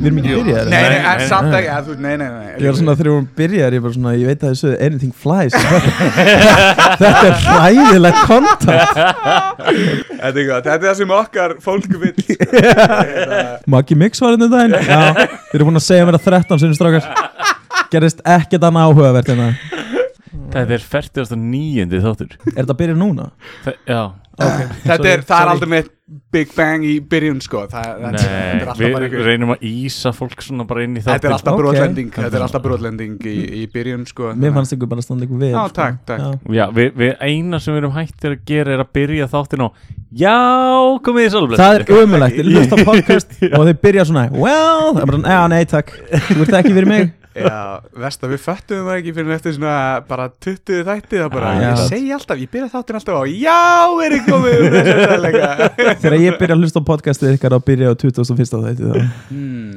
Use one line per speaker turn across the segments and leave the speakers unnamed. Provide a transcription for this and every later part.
Við erum ekki byrjaðir
Nei, nei,
Nei,
en
nei,
samt
nei.
ekki, að þú, nei, nei, nei
Ég var svona þegar við vorum byrjaðir, ég var svona, ég veit að þessu anything flies Þetta er hræðilegt kontant
Þetta er gott, þetta er það sem okkar fólk vil sko.
Maggi Mix var hérna um daginn Já, þið eru búin að segja mér að 13 sinni strákar Gerist ekkert annað áhugavert hérna. en það
Þetta er 49. þáttur
Er þetta að byrja núna?
Þe- Já,
Þetta er, það er
sorry.
aldrei mitt Big Bang í byrjun, sko Það, það,
nei,
þetta er alltaf
við
bara einhver
reynum að ísa fólk svona bara inn í
Þetta er
þáttur
alltaf
Ok.
brotlending, þetta er
Mm.
alltaf brotlending í, í byrjun, sko
Mér fannst ykkur bara að standa ykkur við
Já,
sko.
takk, takk.
Já.
Já, við, við eina sem við erum hættir að gera er að byrja þáttin á Já, komið þið svolblöð
Það er ömulegt, ég lust á podcast og þeir byrja svona Well, það er bara, já, nei, takk Þú ert ekki fyrir mig
Já, vest að við föttum það ekki fyrir eftir svona bara 20 þætti það bara,
Ah,
ég
já.
segi alltaf, ég byrja þáttin alltaf á Já, er ég komið um þessu sannleika
Þegar ég byrja að hlusta á podcastið ykkar að byrja á 21. þætti þá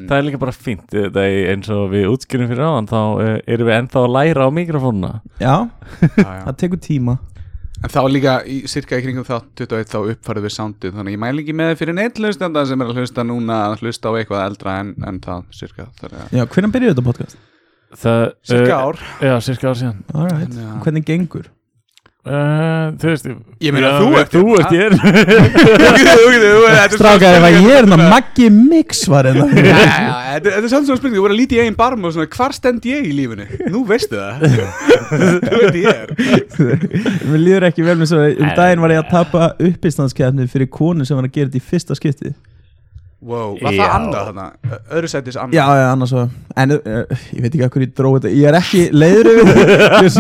Það er líka bara fínt eh, Það er eins og við útskýrum fyrir áðan Þá uh, erum við ennþá að læra á mikrofónuna
Já,
Já, já.
það tekur tíma
En þá líka, í, cirka í kringum þátt 21, þá uppfærið við soundið, þannig að ég mæli ekki með þið fyrir neitt hlustanda sem er að hlusta núna að hlusta á eitthvað eldra en, en það, cirka það er,
Já, hvernig byrjuðu þetta podcast?
Það, eh,
Cirka ár.
Já, cirka ár síðan
All right.
Já.
Hvernig gengur?
uh, Þú veist
Ég meina,
já,
þú
við-
ert-
Þú ert ég er
Strákar, ef að ég er hérna Maggi Mix var hérna
Já, já, já, þetta þetta er samt svona spurning, þú voru að líti í eigin barm og svona, hvar stend ég í lífinu? Nú veistu það Þú veit ég er
Mér líður ekki vel með svo Um daginn var ég að tapa uppistanskefni fyrir konu sem var að gera þetta í fyrsta skipti
Wow, var
Já.
það annað þarna? Öðru sætis annað
Já, já, annars var En uh, ég veit ekki að hverju ég dróði þetta Ég er ekki leiður yfir þetta Ég er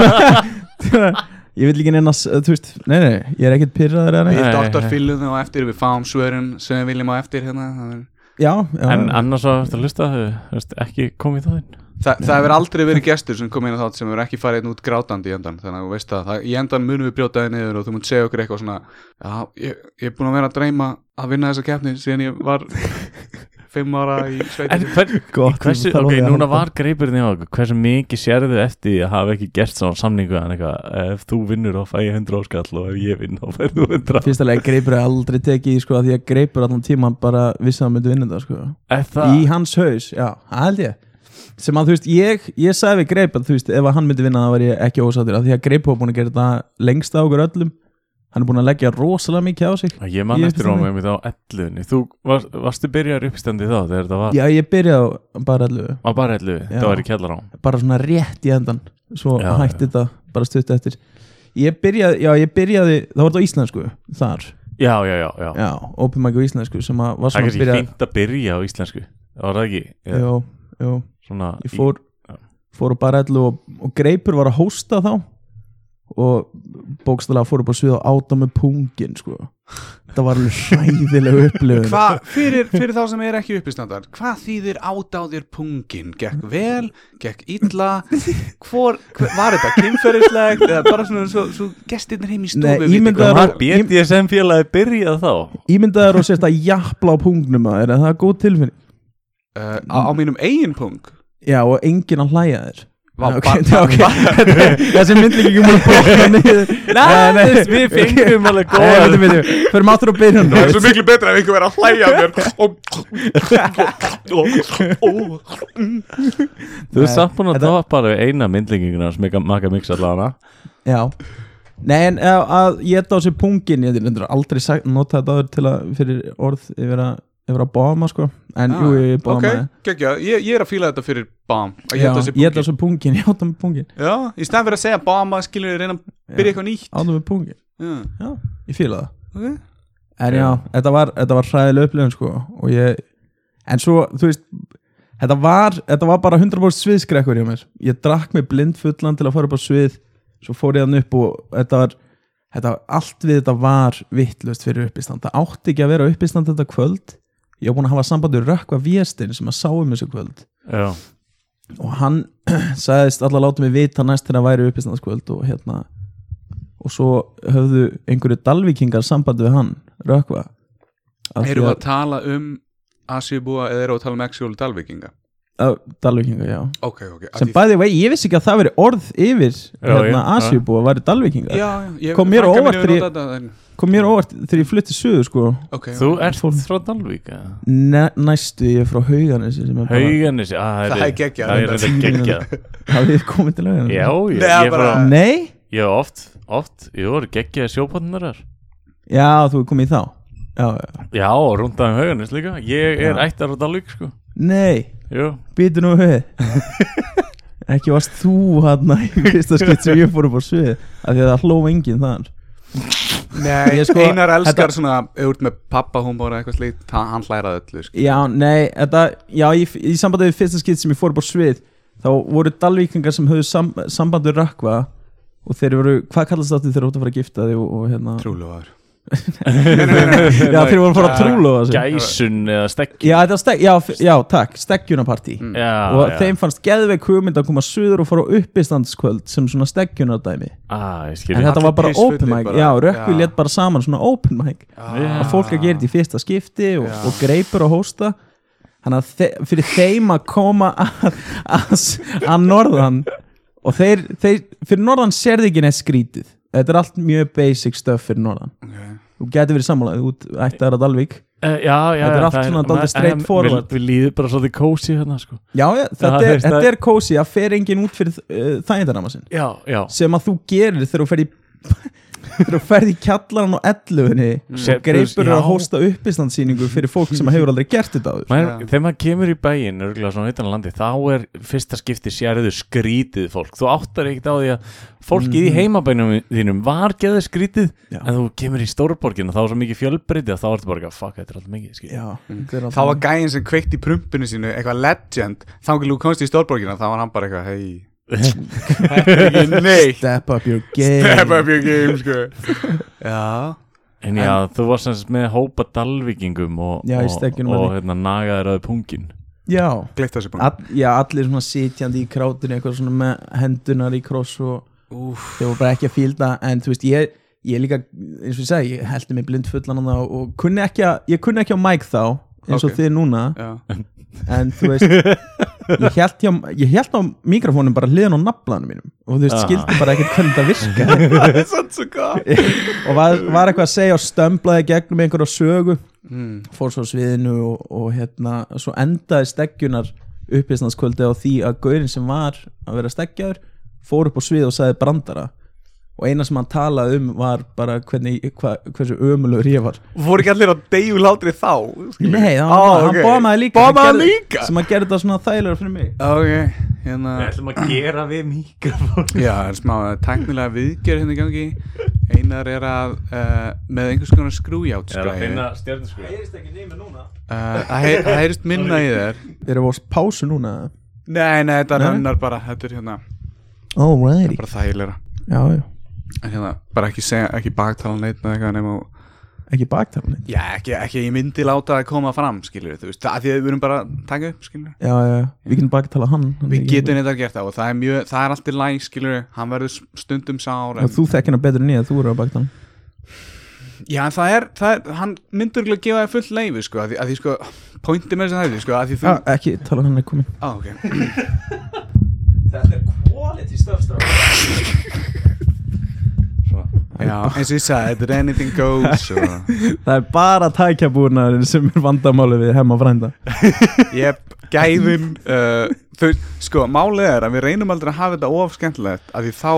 svona- Ég vil ekki neina Þú veist, nei, nei, ég er ekkert pyrraður eða neitt
Við
Nei,
doktorfyllum það á eftir, við fáum svörin sem við viljum á eftir hérna það er-
Já, já
En annars að þetta hlusta Þú veist, ekki komið þá þinn
Þa, það hefur aldrei verið gestur sem kom inn á þátt sem hefur ekki farið einn út grátandi í endan þannig að þú veist það, það í endan munum við brjóta þig niður og þú munt segja okkur eitthvað svona já, ég, ég er búin að vera að dreyma að vinna þessa keppni síðan ég var fimm ára í
En
sveitin
hvern,
Gott,
hversu,
ég þarf
ok,
alveg að
núna
halda.
var greipurinn í okkur Hversu mikið sérðu eftir því að hafa ekki gert svona samningu en eitthvað, ef þú vinnur þá fæ ég 100 áskall og ef ég vinn þá fær þú 100
Fyrsta leið greipur er aldrei tekið í, sko, af Því að greipur allan tíma bara vissi að hann myndi vinna þetta sko.
Er það,
í hans haus, já, það held ég sem að þú veist, ég, ég sagði við Greip að þú veist, ef að hann myndi vinna það var ég ekki ósattur af því að Greip var búin að gera þetta lengst á okkur öllum hann er búin að leggja rosalega mikið á sig
Að Ég man
Í
eftir
uppstandi.
rómum þá elluðinni Þú var, varstu byrjar uppstandi þá þegar þetta var
já, ég byrjaði á bara öllu
á bara elluði,
Já.
það var í kjallarám
bara svona rétt í endan svo
Já,
hætti þetta bara stutt eftir ég byrjaði, já, ég byrjaði það var þetta á íslensku, þar
Já, já, já, já.
já, open mic á íslensku sem að var svona
Það er kannski fínt að byrja á íslensku Það var það ekki Eða
já, já,
svona,
ég fór, fór á barellu og, og greipur var að hósta þá og bókstælega fór upp á svið og áta með pungin sko. það var alveg hræðilega upplifun
Hva, fyrir, fyrir þá sem er ekki uppistandar hvað þýðir át á þér pungin gekk vel, gekk illa hvor, hver, var þetta kynferðislegt eða bara svona svo, svo gestirnir heim í stofu
Nei,
viti
ímyndaðu þér
hvað-
Var BDSM félagi byrjað þá?
ímyndaður og sérst að jafla á pungnum að er það er góð tilfinning
Uh, á, á mínum eigin pung
já og enginn að hlæja þér
Vá,
Nei, ok,
ba-
nei, ok. þessi myndlíking er múin um að bókna niður Nei, nei.
Næst, við fengum alveg
Nei, veitum,
góð
veitum, fyrir matur á byrjun
Það er svo miklu betra ef einhver verið að hlæja að mér og
Þú
Nei,
er samt búin að
þetta-
tapa bara við eina myndlinginguna sem ekki makka mix allana
já Nei, en að, að ég á sér pungin ég er aldrei sagt, nota þetta áður til að fyrir orð yfir að, yfir að bóma sko. en jú, ég bóma
Ah, Ok, geggja, ég, ég er að fíla þetta fyrir bam að
Já,
ég held að sé
ég ætla
búki
svo pungin, ég átta með pungin
Já, í stæðan fyrir að segja bam að skilur reyna að byrja eitthvað nýtt
Átta með pungin,
Já,
já, ég fíla það
ok
En já, þetta var, þetta var hræðileg upplifun sko Og ég, en svo, þú veist Þetta var, þetta var bara 100% sviðskrekkur hjá mér Ég drakk mig blind fullan til að fara upp á svið Svo fór ég hann upp og þetta var þetta, Allt við þetta var vittlust fyrir uppistand Það átti ekki að vera uppistand þetta kvöld Ég var búin að hafa sambandu rökkva Véstein sem að sáum þessu kvöld
Já,
og hann sagðist allar láta mig vita næst þegar væri uppistandskvöld og hérna og svo höfðu einhverju dalvíkingar sambandi við hann rökva Af því
Erum við
að-
að tala um Asjubúa eða erum við að tala um Exjólu Dalvíkinga?
að- Dalvíkinga, já
Ok, ok af
sem
því-
bæði vei, ég vissi ekki að það veri orð yfir hérna
já,
Asjubú að væri Dalvíkinga
Já, já, ég-
Kom mér á
frænka mín
óvart
hefur
þegar ég-
notað þetta, en-
kom mér óvart þegar ég flutti suðu sko
Ok,
Þú
ok.
ert
Fólk-
frá Dalvík eða?
Næ, næstu ég er frá Hauganesi sem er bara,
Hauganesi, að
Það er geggjað,
Það er
reyndar.
reynda geggjað
hafið þið komið til Hauganesi
Já, ég,
Nei,
ég, bara,
bara-
Nei?
ég var oft, oft Ég voru geggjaði sjópotnar þar
Já, þú er komið í þá Já, já.
Já, og rundaði um Hauganes líka Ég er
Já.
ættar á Dalvík sko
Nei,
Jú,
býtu nú höfð Ekki varst þú hann í fyrsta skitt sem ég fór upp á svið af því að það hló enginn þar
Nei,
Ég sko-
Einar elskar
þetta-
svona ef þú ert með pappahúmor eða eitthvað slíkt hann- hann hlærað öllu sko.
Já, nei, þetta, já, í, í sambandi við fyrsta skitt sem ég fór upp á svið þá voru dalvíkingar sem höfðu sam, sambandu rakva og þeir voru, hvað kallast þetta þeir voru að fara að gifta þig og, og hérna
Trúlóðar
Já, þeir voru að fara að trúlu á þessu
gæsun eða stekki
Já, þetta steg, já, f- já, takk, steggjunarpartí
Mm.
Já,
og
já.
þeim fannst geðveik hugmynd að koma suður og fara á uppistandskvöld sem svona steggjunardæmi
ah, ég skil
en þetta
allir
var bara
pissfullir
open mic,
bara.
já, rökkvi
Já.
létt bara saman svona open mic
Ah,
Já.
að fólk að gera þetta í fyrsta skipti og,
Já.
og greipur að hósta þannig að þe fyrir þeim að koma að, að, að norðan og þeir, þeir fyrir norðan sérði ekki neitt skrítið þetta er allt mjög basic stuff fyrir norðan
okay.
þú getur verið sammálaðið út ættar að Dalvik
Eh, Já, já,
Þetta er
já,
allt
það
svona dálítið
maður-
straight
en mér-
forward.
Mér líður bara svolítið kósi hérna sko
já, já, þetta,
það
er,
er-
þetta er kósi að fer enginn út fyrir uh, þægindarama sinn
Já, já
sem að þú gerir þegar þú ferð í þegar þú ferð í kjallaran og elluðinni
Mm.
Sem-
og greipur
Já.
að hósta uppistandsýningu fyrir fólk sem hefur aldrei gert þetta áður
Maður,
Já.
þegar maður kemur í bæinn örgulega svona utan á landi, þá er fyrsta skipti sérðu skrítið fólk þú áttar ekkert á því að fólkið í heimabænum þínum var geðu skrítið
Já.
en þú kemur í stórborgin og þá er svo mikið fjölbreytið að þá ertu bara eitthvað, fuck, þetta er alltaf mikið skil.
Já, þetta er
Mm. Þá
alltaf-
var gæinn sem kveikt í prumpinu sínu eitthvað legend, þá ekki lúk komst í stórborgina þá var hann bara eitthvað, hei Þetta er ekki neitt
Step up your game
Step up your game, sko Já
en já, þú varst sem sagt með hópa dalvíkingum og,
Já, í
og,
stekkjunum
og
þarna.
hérna, nagaðir aðeins pungin
Já,
Glitt þessi punkt
All, já allir svona sitjandi í krátinu eitthvað svona með hendunar í kross og
Úf,
þeir voru bara ekki að fílda en þú veist, ég, ég líka eins og ég segi, ég heldur mig blind fullan á það og, og kunni ekki að, ég kunni ekki á mæk þá eins og
Ok.
þið núna
já
en þú veist, ég held, ég, ég held á mikrofónum bara hliðan á naflanum mínum og þú veist,
Ah.
skildi bara ekkert hvernig það virka
Það er sann svo gott
og var, var eitthvað að segja og stömblaði gegnum einhverja sögu
mm.
fór svo á sviðinu og, og hérna, svo endaði steggjunar uppistanskvöldi á því að gaurinn sem var að vera steggjaður fór upp á svið og sagði brandara og eina sem hann talaði um var bara hvernig, hva, hversu ömulur ég var
Fór ekki allir að deyju látri þá skilur?
Nei, það var
Á,
bara,
ok.
hann bómaði líka
Bomaði
sem gerði-
líka
sem að gera þetta svona þægilega fyrir mig
Ok, hérna
ætlum að gera við mikrofón
Já, það er smá uh, tæknilega viðgerð hérna í gangi Einar er að uh, með einhvers konar skrújátt
Sko,
er að
uh,
finna stjörnuskrið
heyrist ekki nými núna
Það heyr- það heyrist minna í þér
Erum við á pásu núna?
Nei, nei, þetta er
Nei?
hennar bara Þetta er hérna,
Alrighty
bara þægilega
Já, já,
En hérna, bara ekki segja, ekki baktala neitt með eitthvað nema og-
ekki baktarni
Já, ekki, ekki, ég myndi láta að koma fram, skilur þú veist, það því að við erum bara að taka upp, skilur
Já, já, já, við getum baktala hann hann er
Við
ekki-
getum þetta gert það og það er mjög, það er allt í læg, skilur hann verður stundum sár
Já,
en,
Þú þekkir hann betur en ég, þú eru að baktala hann
Já, en það er, það er, hann myndur ekki að gefa þér fullt leifi, sko, að því, að því sko pointi með þess að það, sko, að því þú
Já, Ekki tala um hann er komin
Á, ok,
Þetta er quality stuff strákar.
já, eins og ég sagði, þetta er anything goes og,
Það er bara tækjabúrnaðurinn sem er vandamáli við hemma frænda
Jep, gæðin uh, þau, Sko, málið er að við reynum aldrei að hafa þetta of skemmtilegt að því þá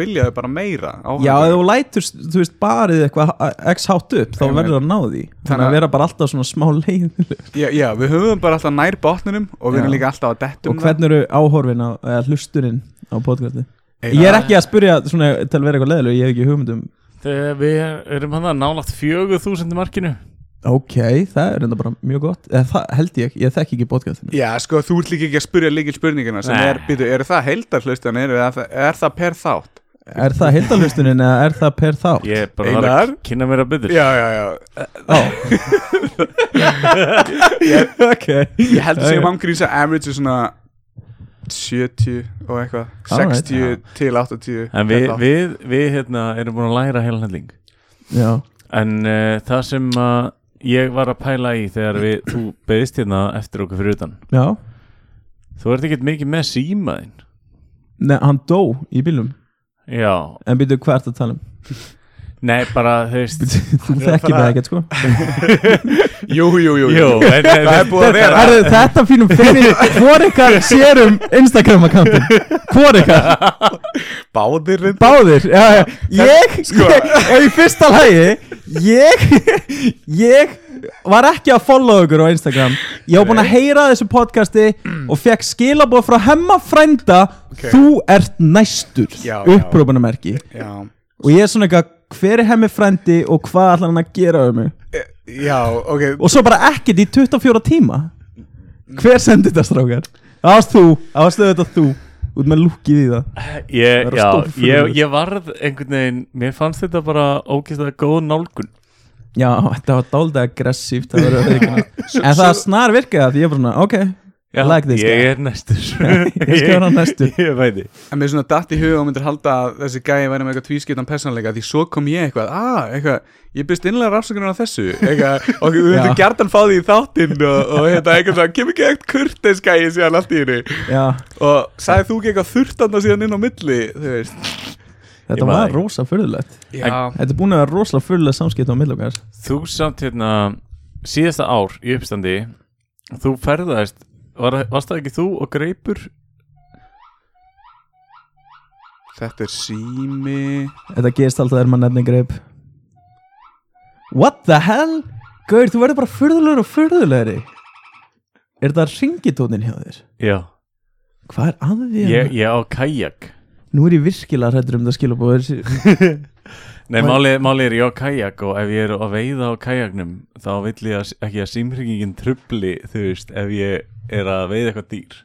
vilja þau bara meira áhorfendur.
Já, ef þú lætur, þú veist, barið eitthvað x hátt upp, þá
Einmitt.
verður að ná því Þannig
að-
að vera bara alltaf svona smá leiðileg
já, já, við höfum bara alltaf nær botninum og við erum
Já.
líka alltaf að dettum
Og hvernig eru áhorfin á, eða hlusturinn á podcasti? Ég er ekki að spyrja, svona, til að vera eitthvað leiðileg, ég hef ekki um hugmyndum
þegar við erum hann að nálaft 4000 markinu
Ok, það er enda bara mjög gott eða, Það held ég, ég þekki ekki podcastinu
Já, sko, þú ert líka ekki að spurja líkil spurningina sem
Nei.
er, býtu, eru það heildarhlustan er, er, er það per þátt?
Er það heildalustunin eða er það per þá?
ég bara var að
Einar?
kynna mér að byggður
Já, já, já
Ok
Ég held að
Já, já.
segja mangrýns að average er svona 70 og eitthvað 60 til 80 per
en við, hérna,
þátt.
við, við hérna, erum búin að læra heilan helling
Já,
En uh, það sem uh, ég var að pæla í þegar við, þú beðist hérna eftir okkur fyrir utan
Já,
Þú ert ekkert mikið með símaðinn
Nei, hann dó í bílum
Já,
En byrju hvert að tala um
nei bara þú veist
Þú
er að
þekkir
fara-
það ekkert sko
Jú, jú, jú,
Jú, en, en,
Það er búið að vera
Herðu, Þetta fínum fyrir Hvor ykkar sérum Instagram akkantin Hvor ykkar
Báðir
Báðir já, já. Ég,
sko.
ég Og í fyrsta lagi Ég Ég var ekki að follow ykkur á Instagram Ég var búin að heyra þessu podcasti Og fekk skilaboð frá hemma frænda Þú ert næstur
Já, já.
Upprópunamerki
Já,
Og ég er svona eitthvað Hver er hemmi frændi og hvað ætlar hann að gera um mig
E, já, ok
Og svo bara ekkert í 24 tíma Hver sendi þetta strákar? Það varst þú, það varst auðvitað þú Út með lúkið í það
ég,
vera
já,
stórfurðulegt.
ég, ég varð einhvern veginn Mér fannst þetta bara ógeðslega góð nálgun
Já, þetta var dálítið aggressíft það verður að viðurkenna. En það snar virkaði það Því ég er bara svona, ok,
Já,
Like this
ég
guy.
er næstur
ég skal vera næstur.
Ég veit þið
En mér svona datt í huga og myndir halda að þessi gæi væri með eitthvað tvískiptan persónleika því svo kom ég eitthvað, að, eitthvað, ég byrst innlega rafsökunar á þessu, eitthvað, og þú
Já.
veitur gertan fá því í þáttinn og, og hérna, eitthvað svona, kemur ekki eitt kurteis gæi síðan allt í henni
já
og sagði þú ekki eitthvað þurftanna síðan inn á milli, þú veist.
Ég
Þetta
maður
var
ekki.
rosa fyrðulegt
Já,
Þetta er búin að vera rosa fyrðulegt samskipt á millokar
Þú samt hérna síðasta ár í uppstandi þú ferðaðist var, varst það ekki þú og greipur
þetta er sími,
Þetta gerist alltaf er maður nefni greip What the hell? Gaur, þú verður bara fyrðulegur og fyrðulegri Er það ringitónin hjá þér?
Já,
Hvað er að því?
ég, ég á kajak
Nú er ég virkilega hrættur um það skilabóður
Nei,
Og-
málið máli er ég á kajak og ef ég er að veiða á kajaknum þá vill ég að, ekki að símhringingin trubli þú veist, ef ég er að veiða eitthvað dýr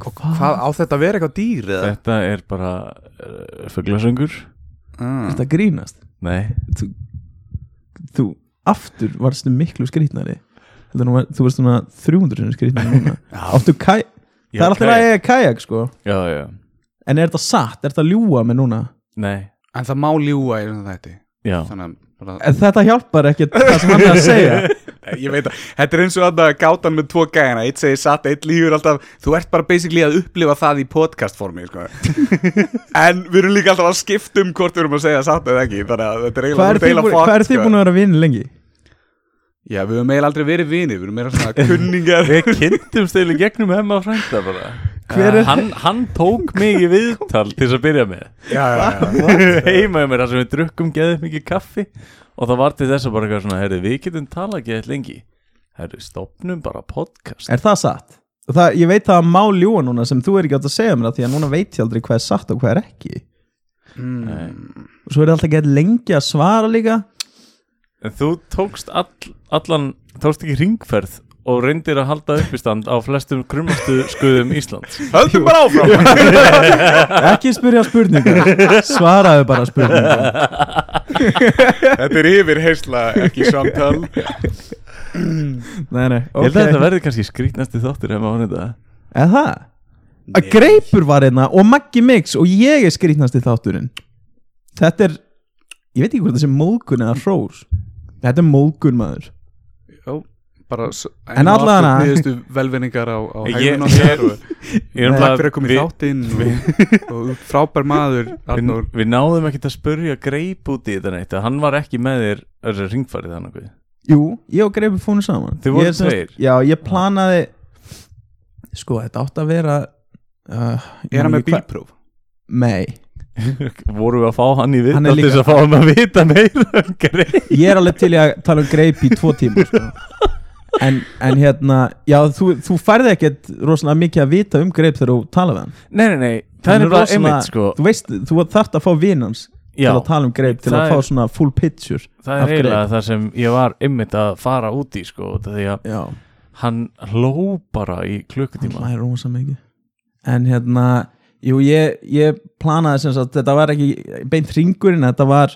Hvað?
á þetta að vera eitthvað dýr
Þetta er bara uh, fuglasöngur
Ah.
Þetta grínast
Nei,
þú, þú aftur varstu miklu skrýtnari Heldur nú var- Þú varst svona 300 sinni skrýtnari núna Áttu kaj
Ég
Það er
á
alltaf að
kajak.
eiga kajak sko
Já, já,
En er þetta satt? Er þetta ljúa með núna?
nei,
En það má ljúa í svona þetta,
já
þannig að bara,
En þetta hjálpar ekkert það sem hann er að segja
Eh, ég veit að þetta er eins og þarna gátan með tvo gæjana eitt segir satt, eitt lífur alltaf þú ert bara basically að upplifa það í podcast formi sko. en við erum líka alltaf að skipta um hvort við erum að segja satt eða ekki þannig að þetta er
Hvað er
eiginlega
þið búin, hvað er
sko.
þið búin að vera vinni lengi?
sko. já, við höfum eiginlega aldrei verið vinir, við erum meira svona kunningar
Við kynntumst eða gegnum hemma frænda bara
Hver er-
hann, hann tók mig í viðtal til þess að byrja með
já, já, já.
Heima um mér þar sem við drukkum geðið mikið kaffi Og það var til þess að bara eitthvað svona Herri, við getum talað geðið lengi Herri, stopnum bara podcast
Er það satt? Og Það, ég veit það að má ljúa núna sem þú er ekki átt að segja mér það því að núna veit ég aldrei hvað er satt og hvað er ekki
Mm. Nei.
og svo er það alltaf gett lengi að svara líka
En þú tókst all, allan Tókst ekki ringferð Og reyndir að halda uppistand á flestum krummastu skuðum Íslands
höldum bara áfram
ekki spyrja spurningar svaraðu bara spurningar
þetta er yfir heysla, ekki samtal
nei, nei,
Ég held að þetta
ok.
verði kannski skrýtnasti þáttur hemma frænda
Er það? Að Greipur var einna og Maggi Mix og ég er skrýtnast í þátturinn Þetta er ég veit ekki hvort það sé móðgun eða hrós Þetta er móðgun maður
Jó, bara s-
En
enn og
allan
aftur
að-
niðurstu velvinningar á, á
Ég-
hægðun okkar
ég-
og- takk fyrir að koma í
við,
þáttinn og- og frábær maður
við,
Arnór
við náðum ekkert að spurja greip út í þetta neitt að hann var ekki með þér öðru ringfarið hann okkur
Jú, ég og Greipur fónu saman
Þið voruð
Ég er sem sagt-
tveir?
Já, ég planaði Sko, þetta átt að vera uh, ég
er hann
man
með
ekki hvað-
bílpróf?
Nei,
voru við að fá hann í
Hann
viðtal
er
til þess
líka-
að fá hann að vita meira um greip
ég er alveg til í að tala um Greip í tvo tíma sko. en, en hérna Já, þú, þú færði ekkert rosalega mikið að vita um Greip þegar þú tala við hann
nei, nei, nei, það er
Hann
bara
rosalega-
einmitt sko
Þú veist, þú þarft að fá vinnans
já,
til að tala um greip til
Það
að fá
er-
svona full picture af
það er
Greip.
eiginlega það sem ég var einmitt að fara út í sko út af því að
Já,
hann hló bara í klukkutíma
það er rosa mikið En hérna, jú, ég, ég planaði sem sagt, þetta var ekki beint ringurinn, þetta var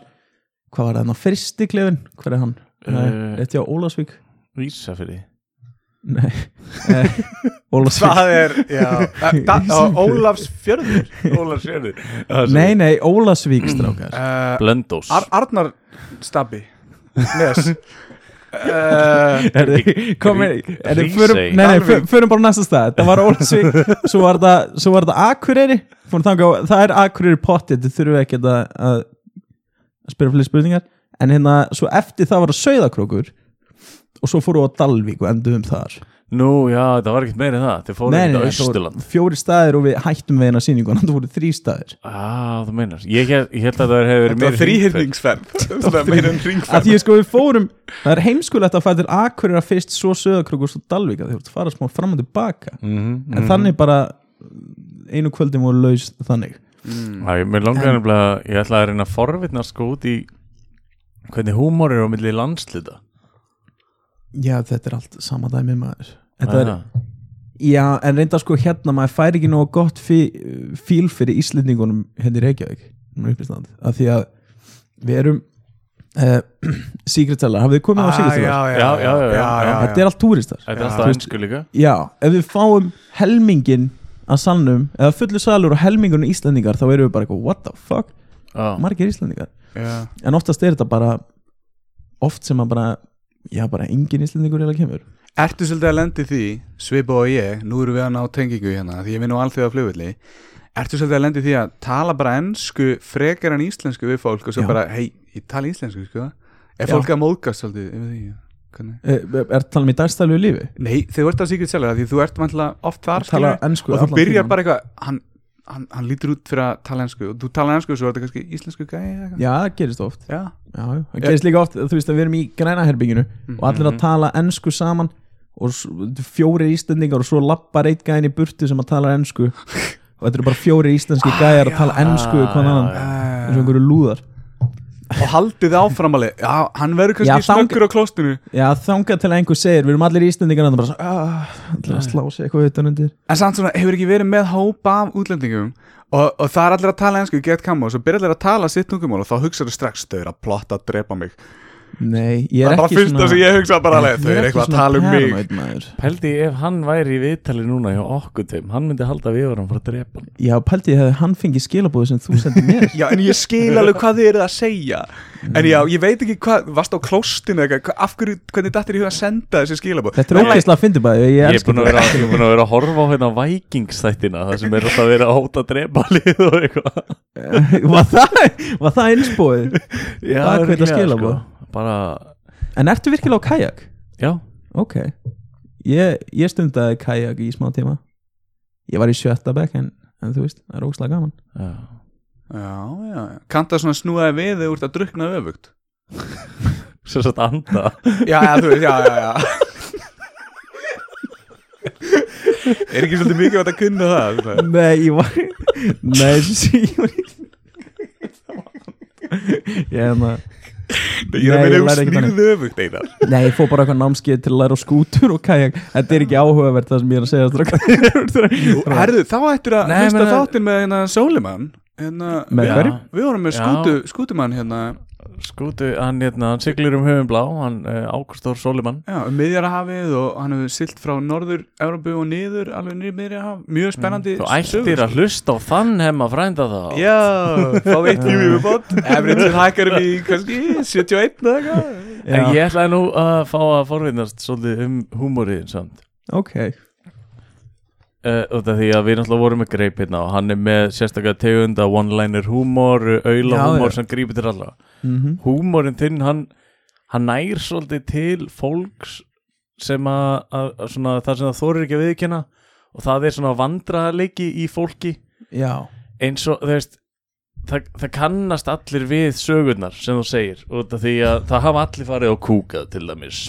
hvað var það, fyrstiklefin, hver er hann? Nei,
Eh.
Rétt hjá Ólafsvík
vísa fyrir því
Nei Eh, Ólafsvík
Það er, já
da- á
Ólafs fjörður Ólafs fjörður
Nei, nei, Ólafsvík
Eh,
strákar
uh,
Blöndós
Ar Arnar Stabbi Nes
Eh,
uh,
Herri, Kom með
Rík-
Herri, förum- Nei,
Ríkisey.
nei,
Dalvík.
för- förum bara á næsta stað Það var Ólafsvík Svo var það, svo var það Akureyri Fórum þangað á- Það er Akureyri pottið Þið þurfum ekki að, að spyrja fleiri spurningar En hérna, svo eftir það var það Sauðakrókur Og svo fórum við á Dalvík og endum þar
Nú, já, það var ekkert meira en það Þið fóru
Nei, nei, nei,
ekkert á
það voru
Östurland
fjóri staðir og við hættum við eina sýningun Það voru þrý staðir
Já, þú meinar Ég held, ég held að það hefur verið
Þetta var
meira
þrýhyrningsferð Þetta var meira en
að
ringferð
því sko við fórum það er heimskulegt að fæða til Akureyra fyrst svo Söðakrúk og svo Dalvík að þið voru að fara smá fram og tilbaka
mm
en þannig bara einu kvöldin voru laus þannig
Æ, mér langar nefnilega, ég ætla að reyna að forvitna sko út í hvernig húmor er á milli landslita
já þetta er allt sama dæmi maður þetta er,
Ah,
já en reynda sko hérna maður fær ekki nóg gott fí- fíl fyrir Íslendingunum hérna í Reykjavík um uppistand að því að við erum uh, Secret Teller, hafið þið
Ah,
komið á Secret Teller?
Ah, Já, já, já, já.
þetta er allt túristar
Þetta
Já.
er alltaf einsku líka
Já, ef við fáum helmingin að salnum, eða fullu salur og helmingun íslendingar, þá erum við bara eitthvað what the fuck,
Já.
margir íslendingar
já.
en oftast er þetta bara oft sem að bara, já bara engin íslendingur eða kemur
Ertu svolítið að lendi því, Svipa og ég, nú erum við að ná tengingu hérna, því ég vinn á alþjóða flugvilli, ertu svolítið að lendi því að tala bara ennsku frekar en íslensku við fólk og svo
Já.
bara, hei, ég tala íslensku, sko? Er
Já.
fólk að móðgast svolítið yfir því? Hvernig?
Eh, Er er talað um í dagstælu lífi?
Nei, þau ert að síkert sjálflega, því þú ert mannlega oft þar,
Tala
skilur,
ennsku
og þú
allan
byrjar
tímann.
bara eitthvað, hann, hann, hann lítur út fyrir að tala ennsku og þú tala ennsku og svo er þetta kannski íslensku gæi eða eitthvað.
Já, það gerist oft
Já.
Já, já. það gerist líka oft, þú veist að við erum í grænaherbygginu og allir
Mhm.
að tala ennsku saman og s- fjórir íslendingar og svo lappar eitt gæðin í burtu sem að tala ennsku og þetta eru bara fjórir íslenski
Ah,
gæjar að tala ennsku við hvað
já,
annan
já.
eins og einhverju lúðar
og haldið áframalið, já, hann
Já,
verður kannski
þang-
snöggur á klóstinu.
Já, þangað til að einhver segir, við erum allir íslendingar og það bara svo, "Ah, allir að slá sig eitthvað utan undir
En samt svona, hefur ekki verið með hópa af útlendingum og, og það er allir að tala ennsku, get kam og svo byrja allir að tala sitt tungumál og þá hugsaðu strax, þau eru að plotta að drepa mig
Nei, ég
Það
er
er bara
ekki
fyrsta sem ég hugsa bara alveg,
Ég
þau
er
eru
ekki
eitthvað að
svona
tala um mig
paranoid, maður.
Pældi ef hann væri í viðtali núna hjá okkur tveim, hann myndi halda að við varum frá að drepa hann
Já, pældi ég hefði hann fengið skilabóðu sem þú sendið mér
Já, en ég skil alveg hvað þið eruð að segja
Mm.
En já, ég veit ekki hvað, varst á klóstinu eitthvað, hva- af hverju, hvernig dattir ég að senda þessi skilabóð
Þetta er ógæslega að fyndi bara, ég
Ég er
elsku
búin að vera, ég er búin að, vera að horfa á hérna Vikings-þættina Það sem er alltaf verið að hóta að drepa lið og eitthvað
Var það, var það einspóið? Hvað
Já,
er þetta
örugglega,
skilaboð?
sko. Bara,
En ertu virkilega á kajak?
já,
Ok Ég, ég stundaði kajak í smá tíma Ég var í sjötta bekk en, en þú veist, það er ógæslega gaman
já
Já, já, kanntu að svona snúaði við þegar þú ert að drukna öfugt
Svo satt anda
Já, já, þú veist, já, já, já Er ekki svolítið mikið að kunna það? svona?
Nei, ég var Nei, þessi ég var ekki Ég hérna- hefna
Ég
Nei, ég
er að meina
lærði
þú
ekki þannig.
snýrðu öfugt einar
Nei, ég fór bara eitthvað námskeið til að læra á skútur og kajak Þetta er ekki áhugavert það sem ég er að segja strákar.
Herðu, þá ættir að
Nei,
hlusta
meina-
þáttinn með hérna Sólimann hérna,
Með
við-
hverju?
Við vorum með
Já.
skútu, skútumann hérna
Skútu, hann, hérna, hann siglir um höfum blá Hann eh, Ágústór Sólimann
Já, um miðjarahafið og hann hefur silt frá norður Európu og niður, alveg niður miðjarahaf Mjög spennandi
Mm. Þú ættir
sko.
að hlusta á þann hemma frænda þá
Já, fá eitt view yfir bótt Efriðsir hækkar við í kannski 71 eða eitthvað
En
Já,
ég ætlaði nú að fá að forvinnast svolítið um húmóriðin samt
ok
uh, út af því að við náttúrulega vorum með greip hérna og hann er með sérstaklega tegunda one-liner húmór, auðla
Já,
húmór
já.
sem grýpir til alla
mm
Húmórin þinn, hann, hann nær svolítið til fólks sem að, að, að svona, það sem það þorir ekki að viðkynna og það er svona vandraðarleiki í fólki
Já,
eins og þú veist það, það kannast allir við sögurnar sem þú segir út af því að það hafa allir farið á kúkað til dæmis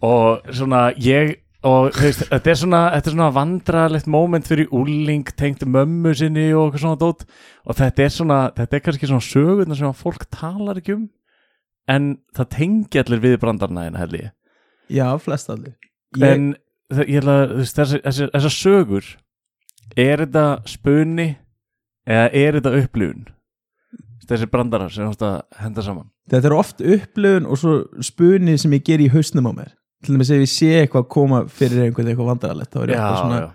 og svona ég og þú veist, þetta er svona, þetta er svona vandralegt moment fyrir úling tengt mömmu sinni og eitthvað svona dót og þetta er svona, þetta er kannski svona sögurnar sem að fólk talar ekki um en það tengi allir við brandarnæðina held ég
já, flest allir ég,
en þa- ég ætla að þú veist, þessi- þessi- þessar sögur er þetta spuni eða er þetta upplifun þessi brandarar sem þú ást að henda saman
Þetta er oft upplöfun og svo spuni sem ég ger í hausnum á mér til dæmis ef ég sé eitthvað koma fyrir einhvern eitthvað vandrarlegt þá er ég eitthvað svona,
já.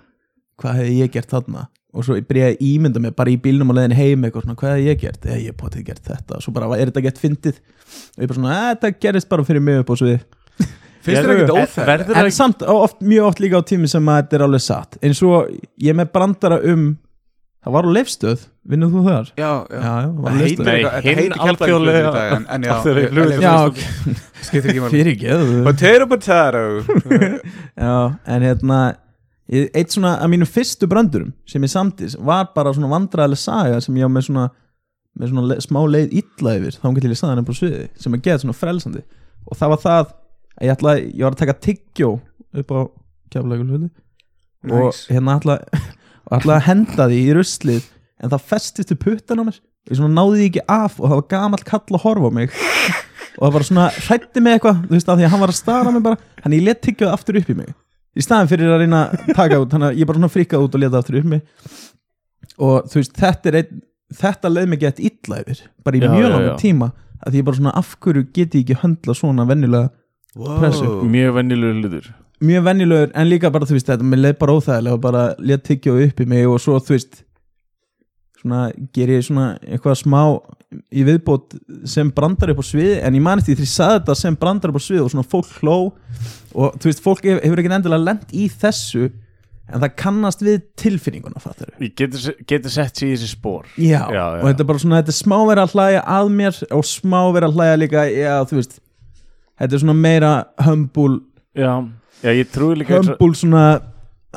hvað hefði ég gert þarna og svo ég byrja að ímynda mig bara í bílnum og leiðin heim eitthvað svona, hvað hefði ég gert eða ég hef potið gert þetta, svo bara er þetta gett fyndið og ég bara svona, "Eh, þetta gerist bara fyrir mig upp og svo við,
Finnst þér ekkert óþægilegt?
Verður það
en
ekki
samt á- oft, mjög oft líka á tími sem að þetta er alveg satt eins og ég er með brandara um það var á leifstöð, vinnur þú þar?
Já, já.
Já, já, var á
Það
Leifsstöð.
heitir
Nei,
eitthvað,
hinn
þetta heitir Keflavíkurflugvöllur í dag, en- en já,
alþjóðlegi
ég-
flugvöllur.
Já,
en
ok,
ég- skiptir ekki máli.
fyrir geðu
Potato, potato.
Já, en hérna ég- eitt svona af mínum fyrstu brandurum sem ég samtis var bara svona vandræðileg saga sem ég á með svona, með svona le, smá leið illa yfir þá um til ég saðan upp á sviði sem að geða svona frelsandi og það var það að ég ætlaði, ég var að taka tyggjó upp á keflaugulvöldu og
Nice.
hérna ætlaði og ætlaði að henda því í ruslið en það festist í puttan á mér og ég svona náði því ekki af og það var gamall kall að horfa á mig og það var svona hrætti mig eitthvað þú veist að því að hann var að stara mig bara hann ég let tyggjóð aftur upp í mig í staðin fyrir að reyna að taka út þannig að ég bara svona frikkaði út og leta aftur upp í mig og þú veist þetta er einn þetta leið mig gett illa yfir bara í
Já, já,
mjög langan
já.
tíma að því ég bara svona af hverju geti ég ekki höndla svona venjulega pressu
mjög vennilegur hlutur
mjög venjulegur en líka bara þú veist þetta mér leið bara óþægilega og bara létt tyggja upp í mig og svo þú veist svona ger ég svona eitthvað smá í viðbót sem brandar upp á sviði en ég man eftir því ég saði þetta sem brandar upp á sviði og svona fólk hló og þú veist fólk hef- hefur ekki endilega lent í þessu en það kannast við tilfinninguna fattar
Ég getur, getur sett sér í þessi spór
já,
Já, já,
og þetta er bara svona þetta er smá verið að hlæja að mér og smá verið að hlæja líka já þú veist þetta er svona meira humble
Já, já ég trúi líka eins og-
humble svona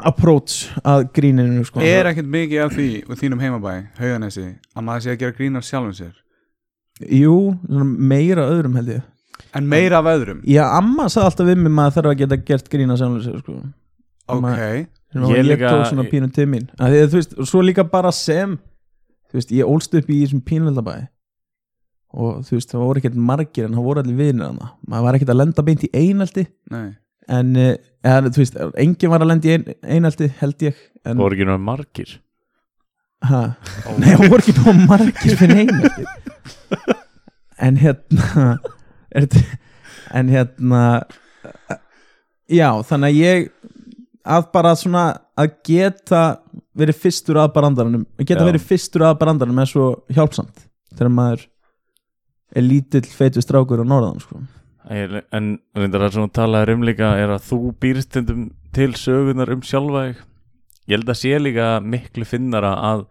approach að gríninu sko.
Er ekkert mikið af því úr þínum heimabæ, hauganesi, að maður sé að gera grín af sjálfum sér
Jú, svona meira öðrum held ég
En meira af öðrum
Já, amma sagði alltaf við mig maður þarf að geta gert grína sjálfum sér sko.
Ok,
Sem að
Ég
ég,
líka-
tók svona pínu til mín að því, að, þú veist, og svo líka bara sem þú veist, ég ólst upp í þessum pínveldabæ og þú veist, það voru ekkert margir en það voru allir vinir hana maður var ekkert að lenda beint í einaldi
nei
en, eh, eða, þú veist, enginn var að lenda í ein, einaldi held ég en,
Það voru ekki náttúrulega margir
Ha? Nei, það voru ekki búin margir fyrir einelti En hérna er, þetta- En hérna Já, þannig að ég að bara svona að geta verið fyrstur að brandaranum að geta
Já.
verið fyrstur að brandaranum er svo hjálpsamt þegar maður er lítill feitur strákur á norðan sko.
Ég- En reyndar það sem hún talaði um líka er að þú býrst stundum til sögunar um sjálfa þig Ég held að sé líka miklu finnara að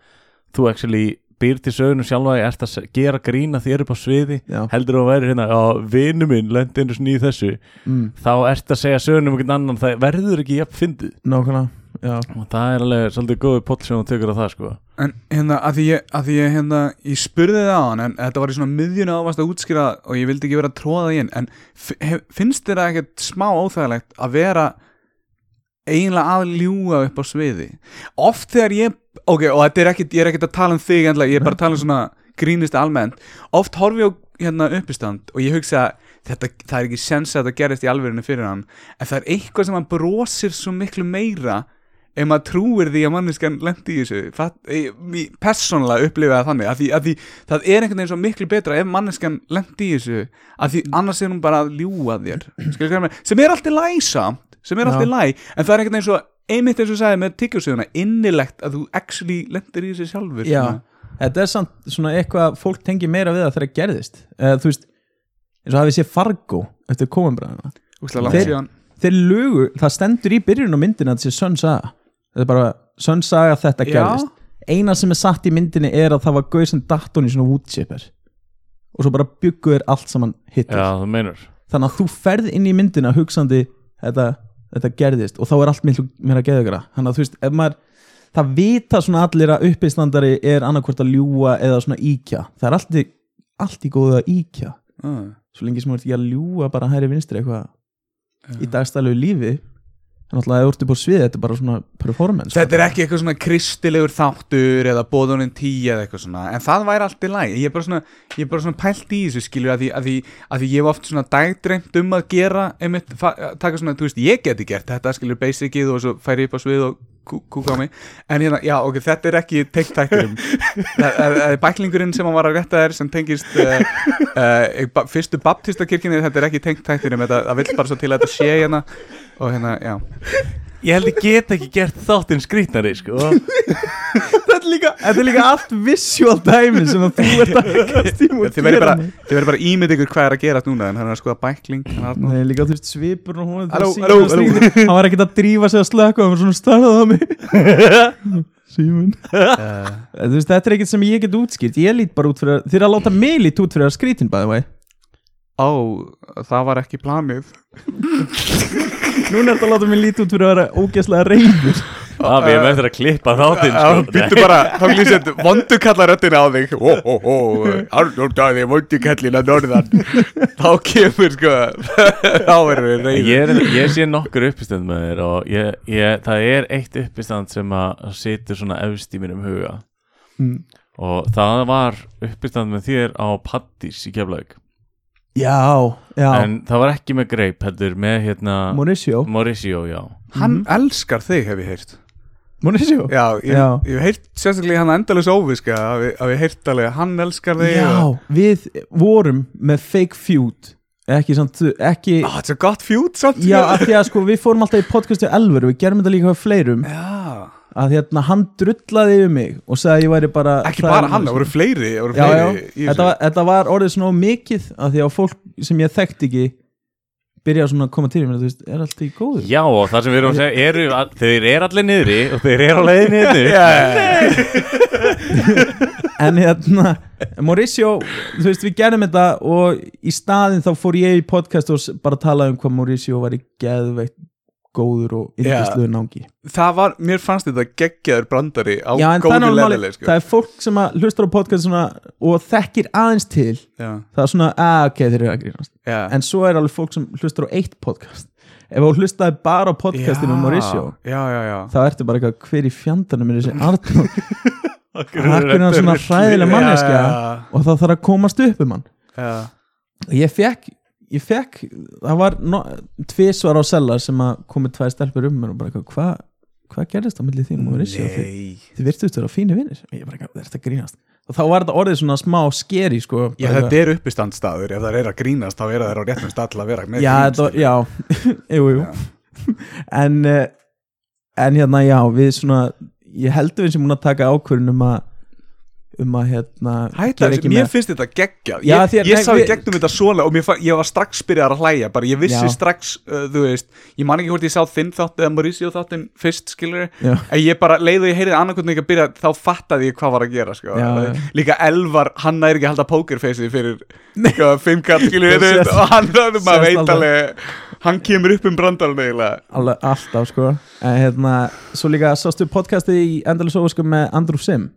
þú actually býr til sögunum sjálfa þig ert að se- gera grína þér upp á sviði
Já,
heldur þú að væri hérna að vinu minn lendi einu sinni í þessu
mm,
þá ert að segja sögunum einhvern annan það verður ekki jafn fyndið
nákvæmlega Já,
og það er alveg svolítið góði pott sem hún tökur á það sko
En hérna, að því ég, að því ég, hérna, ég spurði það á hann en þetta var í svona miðjuna ávast að útskýra það og ég vildi ekki vera að tróða það í inn en f- hef, finnst þér það ekkert smá óþægilegt að vera eiginlega að ljúga upp á sviði oft þegar ég, ok, og þetta er ekkert ég er ekkert að tala um þig endla, ég er bara að tala um svona grínist almennt, oft horfi ég á hérna uppistand og ég hugsa þetta, það er ekki sens að þetta gerist í alverðinu fyrir hann en það er eitthvað sem hann brosir svo miklu meira ef maður trúir því að manneskan lendi í þessu Fatt- ég- ég persónulega upplifa það þannig að því, að því það er einhvern veginn svo miklu betra ef manneskan lendi í þessu að því annars er hún bara að ljúa þér Skilur hvað ég meina? sem er alltaf læsamt sem er
Já.
alltaf læ en það er einhvern veginn svo einmitt eins og ég sagði með tyggjósöguna innilegt að þú actually lendir í þessu sjálfur
Já,
svona.
þetta er samt svona eitthvað að fólk tengi meira við það þegar það gerðist eða þú veist, eins og hafið sé Fargo eftir komanbræðina
Úslega langt
Þeir-
síðan
þeir lugu, það stendur í byrjun á myndinu að þetta sé sönn saga þetta er bara sönn saga að þetta
Já.
gerðist eina sem er satt í myndinu er að það var gauð sem datt hún í svona woodchipper og svo bara byggu þér allt saman hittir
Já, þú meinar
þannig að þú ferð inn í myndina hugsandi þetta, þetta gerðist og þá er allt miklu meira geðugra þannig að þú veist, ef maður það vita svona allir að uppistandari er annarkvort að ljúa eða svona íkja það er allt í, allt í góðu að íkja
Uh,
svo lengi sem þú ert ekki að ljúa bara hæri vinstri eitthvað í dagstælu lífi en alltaf að þú ert upp á svið þetta er bara svona performance sko.
Þetta er ekki eitthvað svona kristilegur þáttur eða bóðunin tíu eða eitthvað svona en það væri allt í læg ég er bara svona, ég er bara svona pælt í þessu skilur að því, að því, að því ég hef oft svona dagdreimt um að gera einmitt, fa- taka svona, þú veist, ég geti gert þetta skilur basicið og svo færi ég upp á svið og kú- kúka á mig en hérna, já, ok, þetta er ekki teikt þætturum það það- það er bæklingurinn sem hann var að rétta þér sem tengist uh, uh, ba fyrstu baptistakirkjunni, þetta er ekki teikt þætturum þetta það vill bara svo til að þetta sé hérna og hérna, já
Ég held ég get ekki gert þáttinn skrýtnari sko.
þetta, er líka, þetta er líka allt visual dæmi sem að þú ert að kasta í múið
þið verður bara, þið verður bara ímynd ykkur hvað er að gera núna en hann er að skoða bækling hann er
Nei, líka þú veist svipur og hún
Halló,
það
halló,
sýnir
halló.
slíkt. Hann var ekkert að drífa sig að slökka og hann var svona starfað á mig Símon Eh,
að-
Þú veist, þetta er ekkert sem ég get útskýrt Ég lít bara út fyrir að Þið er að láta mig lít út fyrir að skrítin by the way
ó, það var ekki planið
Núna er þetta að láta mig lít út fyrir að vera ógeðslega reyður
Það við erum eftir að klippa þáttinn
Já,
sko.
býttu bara, þá lýsir þetta vondukalla röttina á þig Ó, ó, ó, Arnór daði vondukallina norðan Þá kemur sko Þá verður við
Ég,
reyð
er, ég sé nokkur uppistand með þér og ég, ég, það er eitt uppistand sem að situr svona efst í mínum huga
Mm.
og það var uppistand með þér á Paddís í Keflavík
Já, já
en það var ekki með greip heldur með hérna
Mauricio
Mauricio, já
Hann elskar þig hef ég heyrt
Mauricio?
Já, ég,
Já.
ég hef heyrt sérstaklega hann endalus óviska að ég- að ég heyrt alveg að hann elskar þig og-
Já, við vorum með fake feud Ekki, samt, ekki
Á, þetta er gott fjút samt
Já, af því að sko við fórum alltaf í podcastið Elver Við gerum þetta líka með fleirum
Já.
að hérna hann drullaði yfir mig og sagði að ég væri bara
Ekki
hræðilegur.
bara hann, það voru fleiri, það voru
já,
fleiri
já,
í þessu.
þetta, var, þetta var orðið svona of mikið að því að fólk sem ég þekkti ekki byrjaði svona að koma til mér þú veist, er allt í góðu
Já, og það sem við erum að segja eru, all, þeir eru allir niðri og þeir eru á leiðinni niður
en hérna, Mauricio þú veist, við gerðum þetta og í staðin þá fór ég í podcast og s- bara talaði um hvað Mauricio var í geðveikt góður og
Já.
yndisluðu náungi
Það var, mér fannst þetta geggjaður brandari á
Já, en það er,
góðu
náttúrulega
leðileg
máli,
sko.
það er fólk sem að hlustar á podcast svona, og þekkir aðeins til
Já,
það er svona, að ok, þeir eru að grínast
já.
en svo er alveg fólk sem hlustar á eitt podcast ef þú hlustaði bara á podcastinu um Mauricio
Já, já, já
þá ertu bara eitthvað hver í fjandanum er þessi Arnur Arnur
eru
er svona
rugl.
hræðileg manneskja
Já,
og það þarf að komast upp um hann
já.
og ég fekk, ég fekk það var no, tvisvar á sellar sem að komið tvær stelpur um mér og bara eitthvað hvað hva gerðist á milli þín og Mauricio þið,
Nei
þið virtuðst vera fínir vinnir og ég bara eitthvað, þetta grínast og þá var þetta orðið svona smá skeri sko,
Já,
bara eitthvað-
þetta er uppistandstaður, ef það er að grínast þá er það á réttum stað til að vera með sko.
já, þetta
grínast.
var, já, jú, jú
Já.
en eh, en hérna, já, við svona ég heldur við sem múin að taka ákvörðun um að um að hérna
Hætta, þessu, mér
með
finnst þetta geggjað
Já,
Ég,
því að-
ég
nei,
sá í
við-
gegnum þetta svona og mér fann, ég var strax byrjað að hlæja bara ég vissi
Já.
strax, uh, þú veist ég man ekki hvort ég sá þinn þátt eða Mauricio þáttin fyrst, skilur
Já.
en ég bara leiði ég heyrið annarkotni ekki að byrja þá fattaði ég hvað var að gera, sko
Já, já.
líka Elvar, hann næri ekki að halda pókerfeysið fyrir sko, fimmkall, skilur
Það
þú veist,
sést-
og hann, maður
sést
veit
alveg.
alveg hann kemur upp um brandarinn eiginlega
alveg alltaf, sko en hérna, svo líka sástu podcastið í Endalus Óvisku með Andrew Sim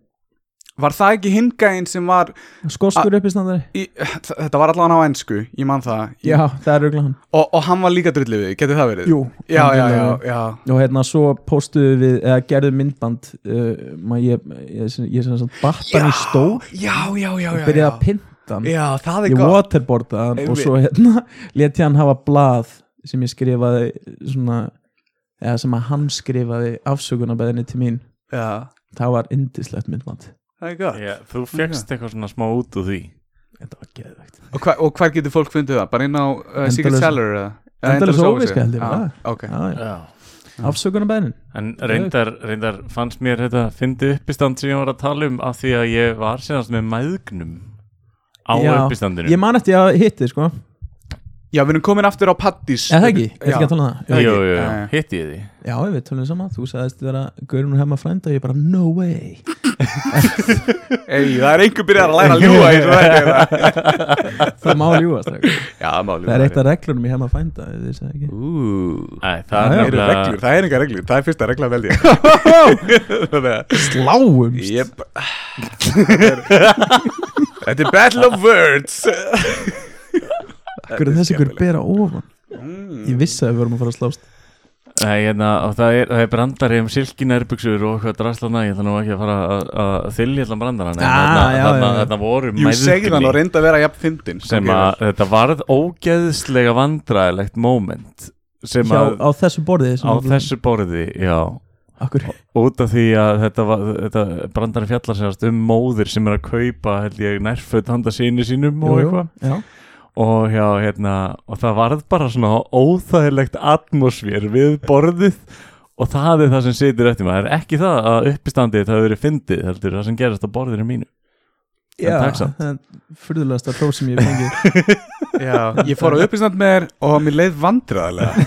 Var það ekki hingæðin sem var
skoskur uppistandari
í, Þetta var allan á ensku, ég man það
já, það er auðvitað hann
og, og hann var líka drullið við, getur það verið?
Jú,
Já,
hann
já,
drullið
já,
við.
já
og hérna, svo postuðu við eða gerðu myndband uh, maður, ég, ég, ég, ég sem sagt battan í stó
Já, já, já, já
byrjaði
já.
að pinta hann
Já, það er
ég
gott
waterboardaði hann og
Einmitt.
svo hérna let ég hann hafa blað sem ég skrifaði svona eða sem að hann skrifaði afsökunarbæðinni til mín
Já,
það var indislegt myndband
það er gott
Já, Þú fegst eitthvað svona smá út úr því
þetta var geðvegt
og, hva, og hvar getur fólk fundið það? Bara inn á uh, Secret
Endalaus-
Cellar eða? Eða
Endalaus
Endalaus
óviska, held ég,
Já,
það.
Ok
okay.
Já
afsökunarbæðin
En reyndar, reyndar fannst mér þetta fyndi uppistand sem ég var að tala um af því að ég var senast með mæðgnum á uppistandinu
ég man eftir að hitti sko eða
Já, við erum komin aftur á Paddís
það ekki, ég ætla ekki að tala um það
Jú,
já,
jú, jú,
Já, já.
hitti ég því
já við tölum saman, þú sagðist vera gaurinn og hefma frænda og ég bara no way
Ei, það er einhver byrjar að læra að ljúa eins og þetta er það.
það má ljúast það
Já, máli
er eitt af reglunum ég hefma frænda þið sagði ekki
Ú
Æ,
Já,
það er
já.
Það eru
nefnilega
reglur, það er engar reglur, það er fyrsta regla veldi Þannig að
sláumst
Ég b- Þetta er battle of words
Akkur er þessi hver bera ofan Ég vissi að við vorum að fara að slást
Nei, hérna, og það er, það er brandari um silkinærbuksur og eitthvað draslana ég ætla nú ekki að fara að- að þylja allan
Ah,
brandaran
já, já, já.
Þetta voru
Jú, segði það og
mæðgnir
reynda að vera jafn fyndin
sem
Ok,
að þetta varð ógeðslega vandræðilegt moment sem
Hjá,
að
á þessu borðið sem
á
við-
þessu borði, já
Akkur,
út af því að þetta, var, þetta brandari fjallar sérast um móðir sem er að kaupa held ég nærföld handa síni sínum og eitthvað
já.
og, já, hérna, og það varð bara svona óþægilegt atmosfér við borðið og það er það sem situr eftir maður það er ekki það að uppistandið það hefur verið fyndið heldur það sem gerast á borðinu mínu
já,
takk samt.
það er fyrðulegasta próf sem ég fengi
Já, ég fór á uppistand með þér og mér leið vandræðilega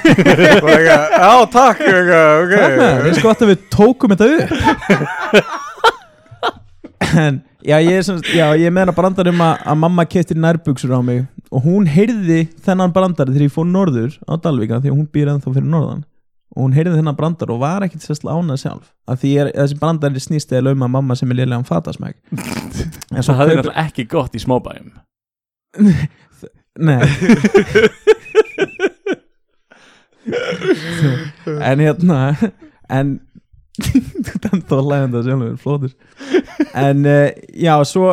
og ég að, já takk eitthvað,
Það
ok
er sko gott að við tókum þetta upp En já, ég, er sem, já, ég meðna brandar um að, að mamma keftir nærbuksur á mig og hún heyrði þennan brandar þegar ég fór norður á Dalvíka því að hún býr ennþá fyrir norðan og hún heyrði þennan brandar og var ekkit sérst lánað sjálf af því ég er, þessi brandar er snýst eða lauma mamma sem er liðlegan fatasmæk En
það hefði
kaupir-
náttúrulega ekki gott í smábæjum
Nei En hérna En Þú dæmt að lægja þetta sjálfur, flótur En uh, já, svo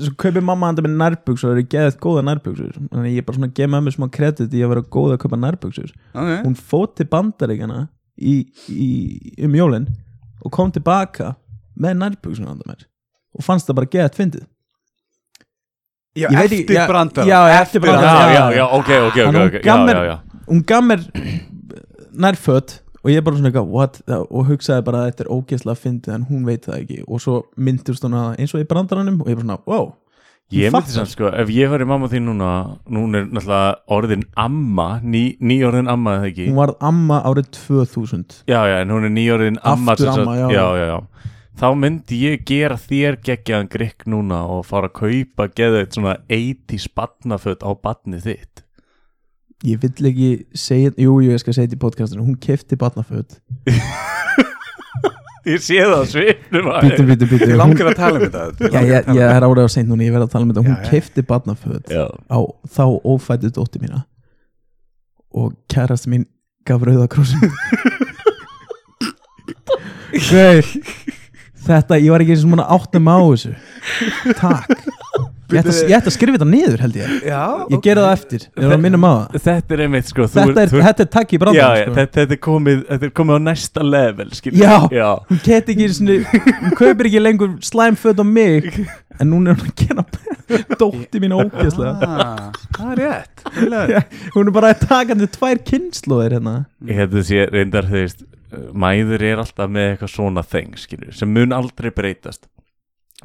Svo kaupir mamma handa með nærbuksur Það eru geðið góða nærbuksur Þannig að ég bara svona geð með mér smá kredit í að vera góð að kaupa nærbuksur
Ok.
Hún fóð til bandaríkjana í, í, Um jólin Og kom tilbaka með nærbuksur handa mér Og fannst það bara geðið fyndið
Já,
Ég veit ekki-
eftir
já,
brandara
Já, eftir
já,
brandara
já, já, ok, ok,
Hann hún
ok, ok, já,
gaf mér-
já, já.
hún gaf mér nærföt og ég bara svona eitthvað, what, og hugsaði bara að þetta er ógeðslega fyndið en hún veit það ekki og svo myndurst hún að eins og í brandaranum og ég bara svona, wow,
Ég myndi
fattar.
samt sko, ef ég væri mamma þín núna núna er náttúrulega orðin amma ný, ný orðin amma eða ekki
hún varð amma árið 2000
Já, já, en hún er ný orðin amma
Aftur
sem sagt-
amma, já.
já, já, já Þá myndi ég gera þér geggjaðan grikk núna og fara að kaupa geða eitt svona 80 barnaföt á barnið þitt
ég vill ekki segja, jú, jú, ég skal segja þetta í podcastinu hún kefti barnaföt
Ég sé það á svipnum á
bítu,
þér.
bítu, bítu,
Ég
hún
langar að tala um þetta
Já, ég, ég er árið á seint núna, ég verð að tala um þetta hún
Já, já.
kefti barnaföt
Já,
á þá ófættu dótti mína og kærasti mín gaf rauðakrósin Gauð Þetta, ég var ekki eins og múin að átta mig á þessu Takk Ég ætti að, ég ætti að skrifa þetta niður held ég
Já,
Ég gera það eftir, ég var að minnum á það
Þetta er einmitt sko þú
Þetta er,
þú
þetta er takk í
Já,
brandar
já,
sko.
þetta, þetta, er komið, þetta er komið á næsta level skilur.
Já.
já,
Hún geti ekki sinni, hún kaupir ekki lengur slæmföt á mig En núna er hún að gera dótti mín ógeðslega
Ah,
það er rétt Eiginlega.
Hún er bara að taka þetta tvær kynnslóðir hérna
Ég hefði sé reyndar þú veist mæður er alltaf með eitthvað svona þeng skilur, sem mun aldrei breytast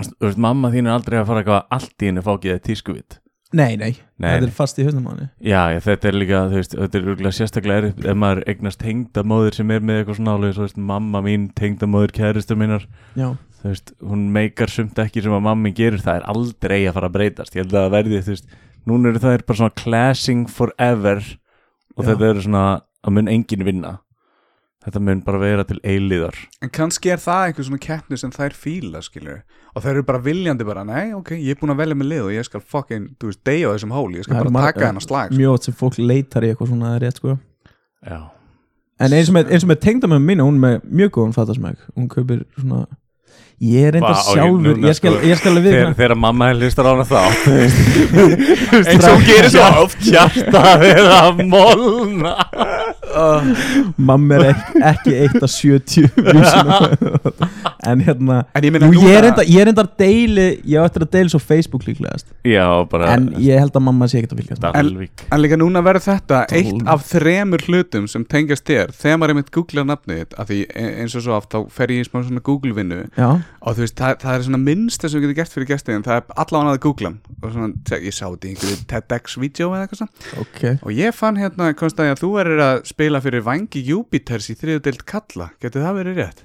Þú veist, mamma þín er aldrei að fara eitthvað allt í henni fákið eða tískuvit
Nei, nei,
Nei,
þetta
nei.
er fast í höfnum á henni
Já, já, þetta er líka, þú veist, þetta er líka sérstaklega erfitt ef maður eignast tengdamóður sem er með eitthvað svona alveg, þú veist, mamma mín tengdamóður kæristu minnar,
Já,
þú veist hún meikar sumt ekki sem að mammi gerur það er aldrei að fara að breytast, ég held að það verði þú veist, núna eru það er bara svona clashing forever og
Já.
þetta eru svona, að mun engin vinna þetta mun bara vera til eilíðar
En kannski er það einhver svona keppni sem þær fíla skilur og þær eru bara viljandi bara nei ok, ég er búin að velja með lið og ég skal fucking, þú veist, deyja á þessum hóli ég skal
Það er
bara
mar-
taka hennar slag sko.
mjög oft sem fólk leitar í eitthvað svona rétt sko
Já.
En eins og með, eins og með tengdamömmu mín hún er með mjög góðan fattasmæk hún kaupir svona ég er enda
Vá, ég-
sjálfur,
núna,
ég skal,
sko,
ég skal alveg
þegar,
við
þegar mamma hlustar á hana þá þú veist,
Eins og hún gerir
svo oft hjartað er að molna
mamma er ekki, ekki eitt af 70 views-um á þetta. en hérna
En ég meina
jú, ég er
núna
enda, ég er enda að deili ég á eftir að deili svo Facebook líklegast
já bara
en ég held að mamma sé ekkert að fylgjast með.
Dalvík
En líka núna verður þetta
Tólf.
eitt af þremur hlutum sem tengjast þér þegar maður er mitt googla nafnið þitt af því e- eins og svo aft þá fer ég í smá svona Google vinnu
já,
og þú veist það, það er svona minnst sem við getum gert fyrir gestin það er allavega að googla hann. og svona te- ég sá þetta í einhverju TEDx vídeo eða eitthvað svona.
ok
og ég fann hérna konst að þú verður að spila fyrir vangi Júpiters í þriðudelt kalla getur það verið rétt?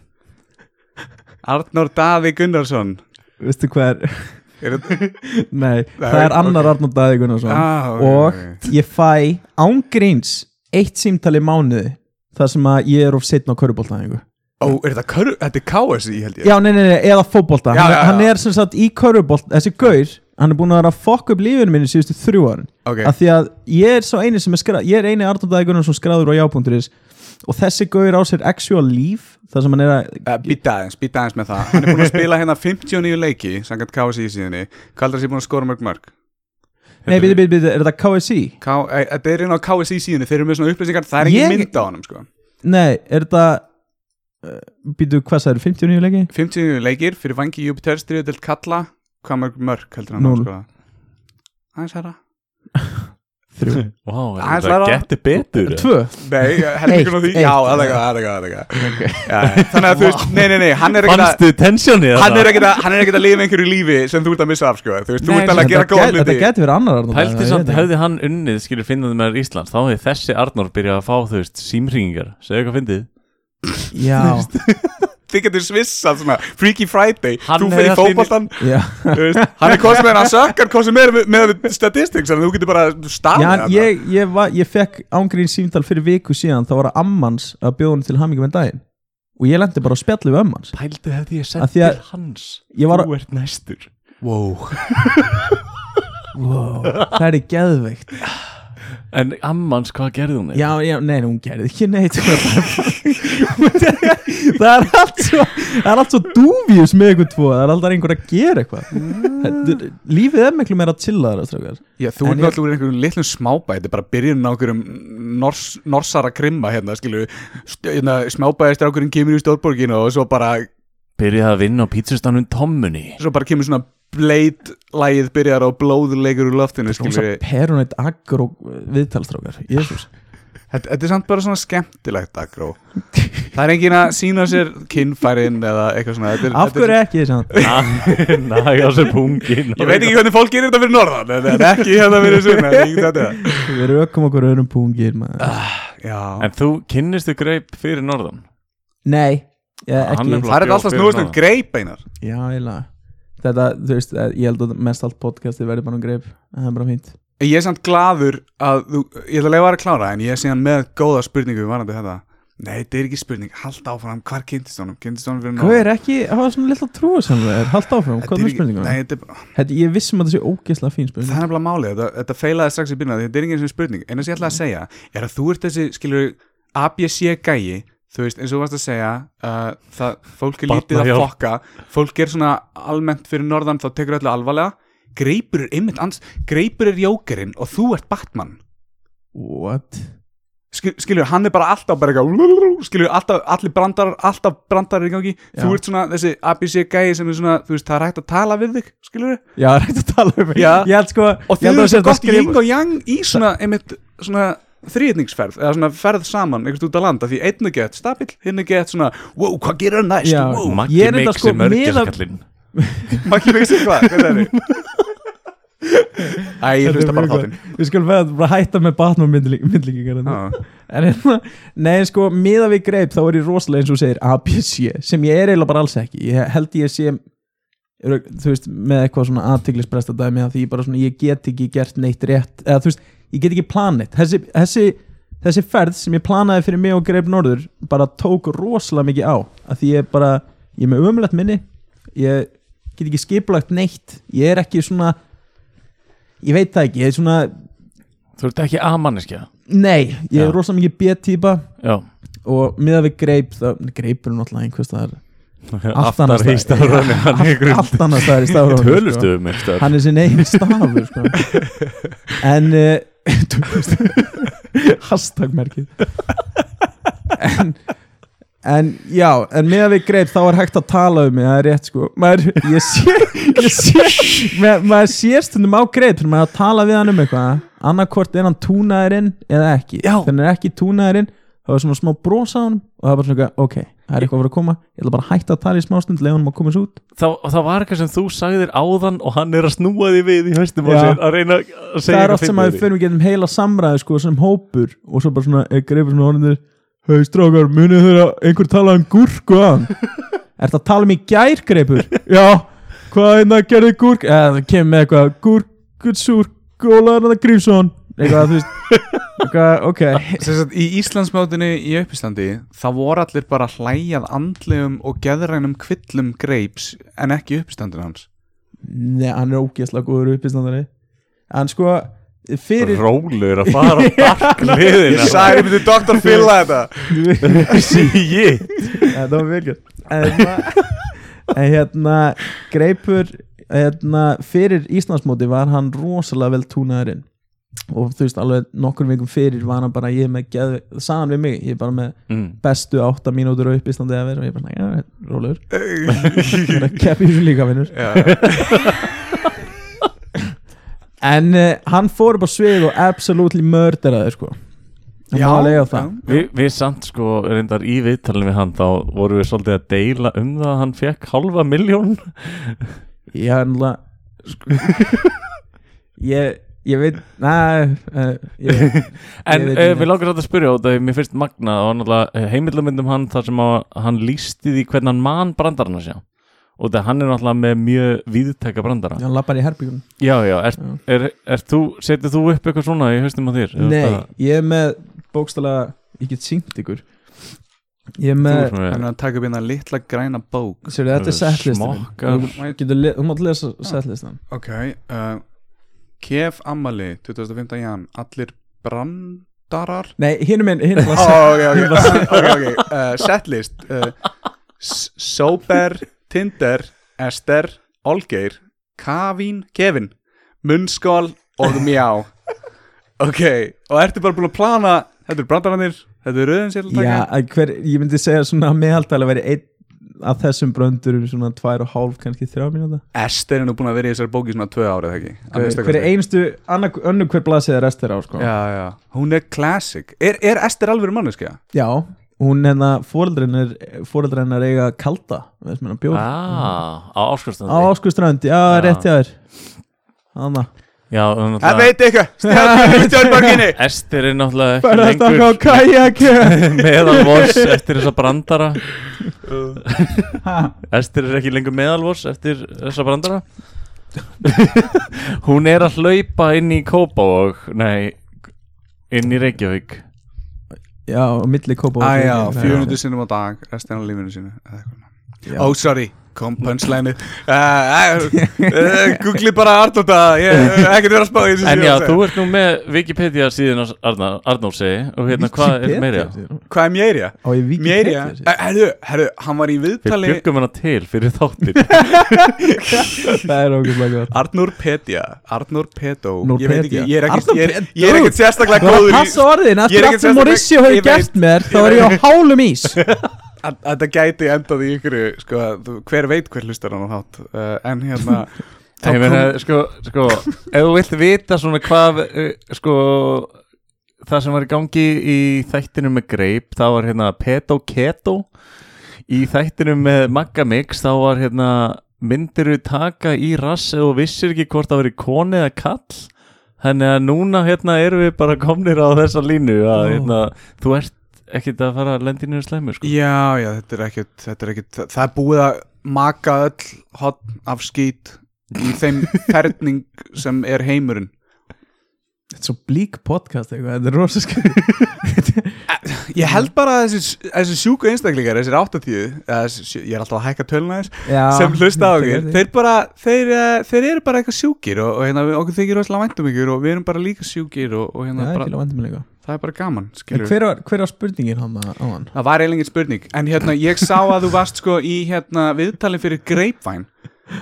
Arnór Daði Gunnarsson
veistu hvað er,
er þetta?
nei, það
Nei,
er annar
ok.
Arnór Daði Gunnarsson
Ah, ok,
og
ok.
ég fæ ángríns eitt símtali mánuði þar sem að ég er of setn á körubóltaðingu
Ó, er þetta körru? Þetta er KSI held ég
já, nei, nei, nei, eða fótbolta
Já,
hann,
já, já.
hann er sem sagt í körubolt þessi gaur, hann er búin að vera að fokka upp lífinu minni síðustu þrjú árin
Ok.
af því að ég er svo eini sem er skráð ég er eini Arnóndaði Gunnarsson skráður á já.is og þessi gaur á sér actual líf þar sem hann er að
Uh, býta aðeins, býta aðeins með það Hann er búin að spila hérna 59 leiki Sangat KSI síðinni Hvað heldur þessi búin að skora mörg mörg?
nei, byrju, byrju, byrju, er þetta KSI?
K eh, Þetta er inn á KSI síðinni Þeir eru með svona upplýsingar Það er engin
Ég-
mynd á honum sko
nei, er þetta býtu hvað það eru 59 leiki
59 leikir fyrir vangi Júpiter stríðudelt kalla hvað mörg mörg heldur hann
Núll.
sko. aðeins herra
þrjú,
Vá, wow,
Aðeins
það
verra.
getur betur eða?
tvö
nei, helmingun á því
Eitt, eitt.
já, það er eitthvað, það er eitthvað, það er eitthvað. Já, já. þannig að þú veist, nei, nei, nei, hann er ekkert að
Fannstu tensjóni
hann er ekkert að, hann er ekkert að lifa einhverju lífi sem þú ert að missa af sko, þú veist, þú
Nei,
ert alveg að gera
þetta
góð
gæti- þetta
hluti
gæti verið annar Arnór
Pældi
Daði,
samt,
ég veit
hefði hann unnið, skilur finnaði með Íslands þá hefði þessi Arnór byrjað að fá, þú veist, símringingar segðu hvað fyndið
ekki. já,
þið getur svissað svona, Freaky Friday
Hann
þú
hefði
fyrir
allt í einu-
fótboltan,
já.
þú veist, hann er kosið meira hann sökkar kosið meira með- með með statistics þannig að þú getur bara
já
stafið
en ég, ég, var, ég fekk ángrín símtal fyrir viku síðan þá var að ammans að bjóða hann til hammingum en daginn og ég lendi bara á spjallu við ammans
Pældi hefði ég
Af
sett
því að-
til hans
ég var,
Þú ert næstur
wow.
wow, það er geðveikt
En ammans, hvað gerði hún?
já, já, nei, hún gerði ekki neitt sko, bara- það er allt svo það er allt svo dúfjus með ykkur tvo það er alltaf einhver að gera eitthvað Þetta er- lífið er miklu meira að chilla þar strákar.
Já, þú
En
ert
ég-
náttúrulega úr einhverjum litlum smábæti bara byrjun á einhverjum nors, norsara krimma hérna, skilju hérna, smábæðistrákurinn kemur í stórborginu og svo bara,
Byrjaði að vinna á pítsustanum Tommunni
svo bara kemur svona blade-lægið byrjar og blóðulegur úr loftinu, skilju
Rosa perunætt agro viðtalstrákar Jésús
þetta, þetta er samt bara svona skemmtilegt agró Það er engin að sína sér kinnfærin eða eitthvað svona þetta er,
Af
þetta
hverju ekki þess að
Næja sér pungin
Ég veit ekki hvernig fólk gerir þetta fyrir norðan en en ekki hérna fyrir sunna þetta.
Við rökum okkur öðrum pungir
Ah.
maður.
Já,
En þú kynnistu greip fyrir norðan
Nei, ég,
Hann
ekki
er
það Ah, er alltaf snúist um greip einar
Já, ég laga Þetta, þú veist, eh, ég held að mest allt podcastið verði bara um greip Það er bara fínt
Ég er samt gladur að þú, ég ætla að leiða að klára en ég er síðan með góða spurningu varandi þetta Nei, þetta er ekki spurning, halda áfram, hvar kynntist honum? Kynntist honum fyrir
Hvað er ekki, hafa svona litla trúa sem það er Hallt áfram,
Þetta
hvað er
ekki-
spurninguna?
Nei, þetta er bara,
Þetta, ég vissum að það sé ógeðslega fín spurning
það er nefnilega málið, þetta, þetta feilaði strax í byrjun af því þetta er ekki eins og spurning En þess ég ætla að segja, er að þú ert þessi, skilur, ABC gæi Þú veist, eins og þú varst að segja, uh, það, fólk er lítið að
Barnahjálp.
fokka Fólk er svona almennt fyrir norðan, þá tekur öllu alvarlega Greipur er einmitt ans, greipur er jókerinn og þú ert Batman
What?
Skil- skilur, hann er bara alltaf bara eitthvað skilur, alltaf, allir brandarar alltaf brandarar í gangi,
Já.
þú ert svona þessi ABC gæi sem er svona, þú veist, það er hægt að tala við þig, skilur,
Já, það er hægt að tala um
Já.
Ég held sko
og
ég
þið
held
eru
að sé
svo
þetta
gott
skrifa-
ying og yang í svona, einmitt, svona þrýðningsferð, eða svona ferð saman einhvers út á landa, því einn er gett stabill hinn er gett svona, wow, hvað gerir hann næst
Já.
wow,
Ég
Maggi
er enda
Mix
sko
er mörgjasakallinn
maður ekki veist hvað, hvað það er Æ, ég
Þetta er
hlusta bara á
mjög
þáttinn Ah.
gott. Við skulum bara- bara hætta með batnum myndlíkingar
Já.
En hérna, nei sko, miða við greip þá er ég rosalega eins og þú segir ABC sem ég er eiginlega bara alls ekki ég held ég sé eru- þú veist, með eitthvað svona aðtiklispresta dæmi af því ég bara svona, ég get ekki gert neitt rétt eða þú veist, ég get ekki planið þessi, þessi, þessi ferð sem ég planaði fyrir mig og greip norður bara tók rosalega mikið á af því ég bara, ég er með umlegt minni ég get ekki skipulagt neitt ég er ekki svona ég veit það ekki, ég er svona
Þú ert ekki A-manneskja
nei, ég
Já.
er rosalega mikið B-típa
Já
og miðað við greip þá, greipur er náttúrulega einhvers staðar Allt annars staðar.
Aftar í stafröðinu Hann er
allt, allt annars staðar í sko. stafrónu
Tölustu um eitthvað
hann er sinn eigin stafur sko. en uh, tölustu hashtagmerkið en En já, en með að við greip þá er hægt að tala um mig, það er rétt sko maður, Ég sé, ég sé mað, maður sé stundum á greip þegar maður er að tala við hann um eitthvað annarkvort er hann túnaðurinn eða ekki
Já.
Þegar hann er ekki túnaðurinn þá er svona smá brosa á hann og það er bara svona eitthvað, ok, það er eitthvað að vera að koma ég ætla bara að hætta að tala í smástund, leiða hann að koma svo út
Þá, þá var eitthvað sem þú sagðir áðan og hann er að snúa því við í höstum og
Já.
sér að reyna að segja
það er oft sem að við
fyndið
fyrir við getum heila samræði sko sem hópur og svo bara svona eh, greipur svona orðinir hei strákar, munið þeirra einhver tala um gúrku aðan er það að tala um í gær greipur? já, hvað einna gerði gúrk eða það kemur með eitthvað gúrkutsúr gólaðan að grímsson eitthvað þú veist eitthvað, ok,
Sem sagt, Í Íslandsmjótinu í uppistandi þá voru allir bara hlæjað andlegum og geðrænum kvillum greips en ekki uppistandin hans
Nei, hann er ógeðslega góður uppistandari en sko fyrir
Rólur að fara barkliðina
sagði, ég myndi Dr. Phil að þetta
Sýi
þetta Eh, var vel gert en, en hérna greipur hérna, fyrir Íslandsmóti var hann rosalega vel túnaðurinn og þú veist alveg nokkur vikum fyrir var hann bara ég er með geð, saðan við mig ég er bara með
mm.
bestu átta mínútur upp í standið að vera og ég er bara svona, já, þetta er rólegur Ég er að keppi þessu líka vinnur en uh, hann fór upp á svið og absolutely murderaði sko hann
Já,
var að lega það
Vi, við samt sko reyndar í viðtalinu við hann þá vorum við svolítið að deila um það að hann fekk halva miljón
ég er náttúrulega sko ég, ég veit, næ uh, ég,
en
Ég veit
uh,
ekki.
við langar þetta að spyrja á þetta mér finnst magna og náttúrulega heimildamindum hann þar sem að, hann lísti því hvernig hann man brandarana sjá og það hann er náttúrulega með mjög víðtæka brandara
hann lappar í herbyggun
já já, er, er, er þú, setur þú upp eitthvað svona í haustum á þér Eða
nei,
það-
ég er með bókstala ég get syngt ykkur ég er
þú
með
ert með-
Hann er að taka upp hérna litla græna bók
Sér, þetta er setlistan
Smokkar.
Getur, le- þú mátt lesa setlistan
Ok uh, Kef Amali 25. jan Allir brandarar
Nei, hinum minn, hinum var
oh, Ok, ok, okay, okay. Uh, Setlist uh, S- Sober Tinder Ester Olgeir Kavin Kevin Munnskál og Mjá Ok, og ertu bara búin að plana Þetta eru brandararnir Þetta eru röðin sér að taka
Já, að hver, ég myndi segja svona að meðaldal að vera einn af þessum bröndur um svona tvær og hálf, kannski þrjá mínúta
Ester er nú búin að vera í þessari bóki í svona tvö árið ekki Að
Hver
minnsta
hver
kosti.
er einstu, annar- önnur hver blasið er restir á sko
Já, já, hún er classic Er, er Ester alveg manneskja?
Já, hún hérna fóreldrennar fóreldrennar eiga kalda veist mér að bjór á
Ah, á áskustandi
Áskuströnd, já,
Já.
rétt hjá þér Anna
Já, þannig
Það veit eitthvað, stjórnborginni
Ester er náttúrulega
Bara
ekki
þetta á
lengur
kajakju
meðalvors eftir þessa brandara Ester er ekki lengur meðalvors eftir þessa brandara Hún er að hlaupa inn í Kópavog Nei, inn í Reykjavík
Já, og milli kópa og-
Æjá,
Já.
400 sinnum á dag, restina af lífinu sínu eða eitthvað.
Já.
Ó, sorry, kom punchline eh, Googli bara Arnóta Ég hef ekkert verið að spá í þessu
En
sem ég
já,
var að
þú
segja.
ert nú með Wikipedia síðan Arnósi Og hérna, hvað er meira?
Hvað er mjérja?
Á ég vikið
Mjérja? Herru, herru, hann var í
Við
viðtali
bjöggum hana til fyrir þáttir
Það er okkur bara gott
Arnur Petja Arnur Peto Ég veit ekki,
Norpedia.
ég er ekkert-
Arnór
ég-
Pedó.
ég er ekkert sérstaklega
Það var að
góður í
passa orðin
Ég er
Eftir
ekki
allt sem
sérstaklega-
Mauricio hefur
ég veit-
gert mér Þá er ég á hálum ís
að að þetta gæti endað í ykkur sko, þú- hver veit hver hlustar hann á þátt uh, en hérna þá
Ég meina,
kom-
sko, sko, ef þú vilt vita svona hvað, eh, sko, það sem var í gangi í þættinu með Greip, þá var hérna Peto Keto, í þættinu með Magga Mix, þá var hérna, myndir við taka í rass ef þú vissir ekki hvort það verið koni eða kall, þannig að núna hérna erum við bara komnir á þessa línu
Ó.
að hérna, þú ert ekkert að fara að lendi niður slæmu, sko.
já, já, þetta er ekkert, þetta er ekkert það, það er búið að maka öll hotn af skýt í þeim ferning sem er heimurinn
Þetta er svo blík podcast eitthvað Þetta er rosa skil
ég held bara að þessi, þessi sjúku einstaklingar þessir 80, eða, þessi sjö- ég er alltaf að hækka töluna þess sem hlusta á okkur þeir, bara, þeir, eh, þeir eru bara eitthvað sjúkir og, og hérna, við- okkur þykir rosalega væntum ykkur og við erum bara líka sjúkir og, og hérna, bara,
Hver
það er bara gaman skilurðu.
var, hver var spurningin hann á hann?
Það var eiginlega engin spurning En hérna, ég sá að þú varst sko í hérna viðtalin fyrir Grapevine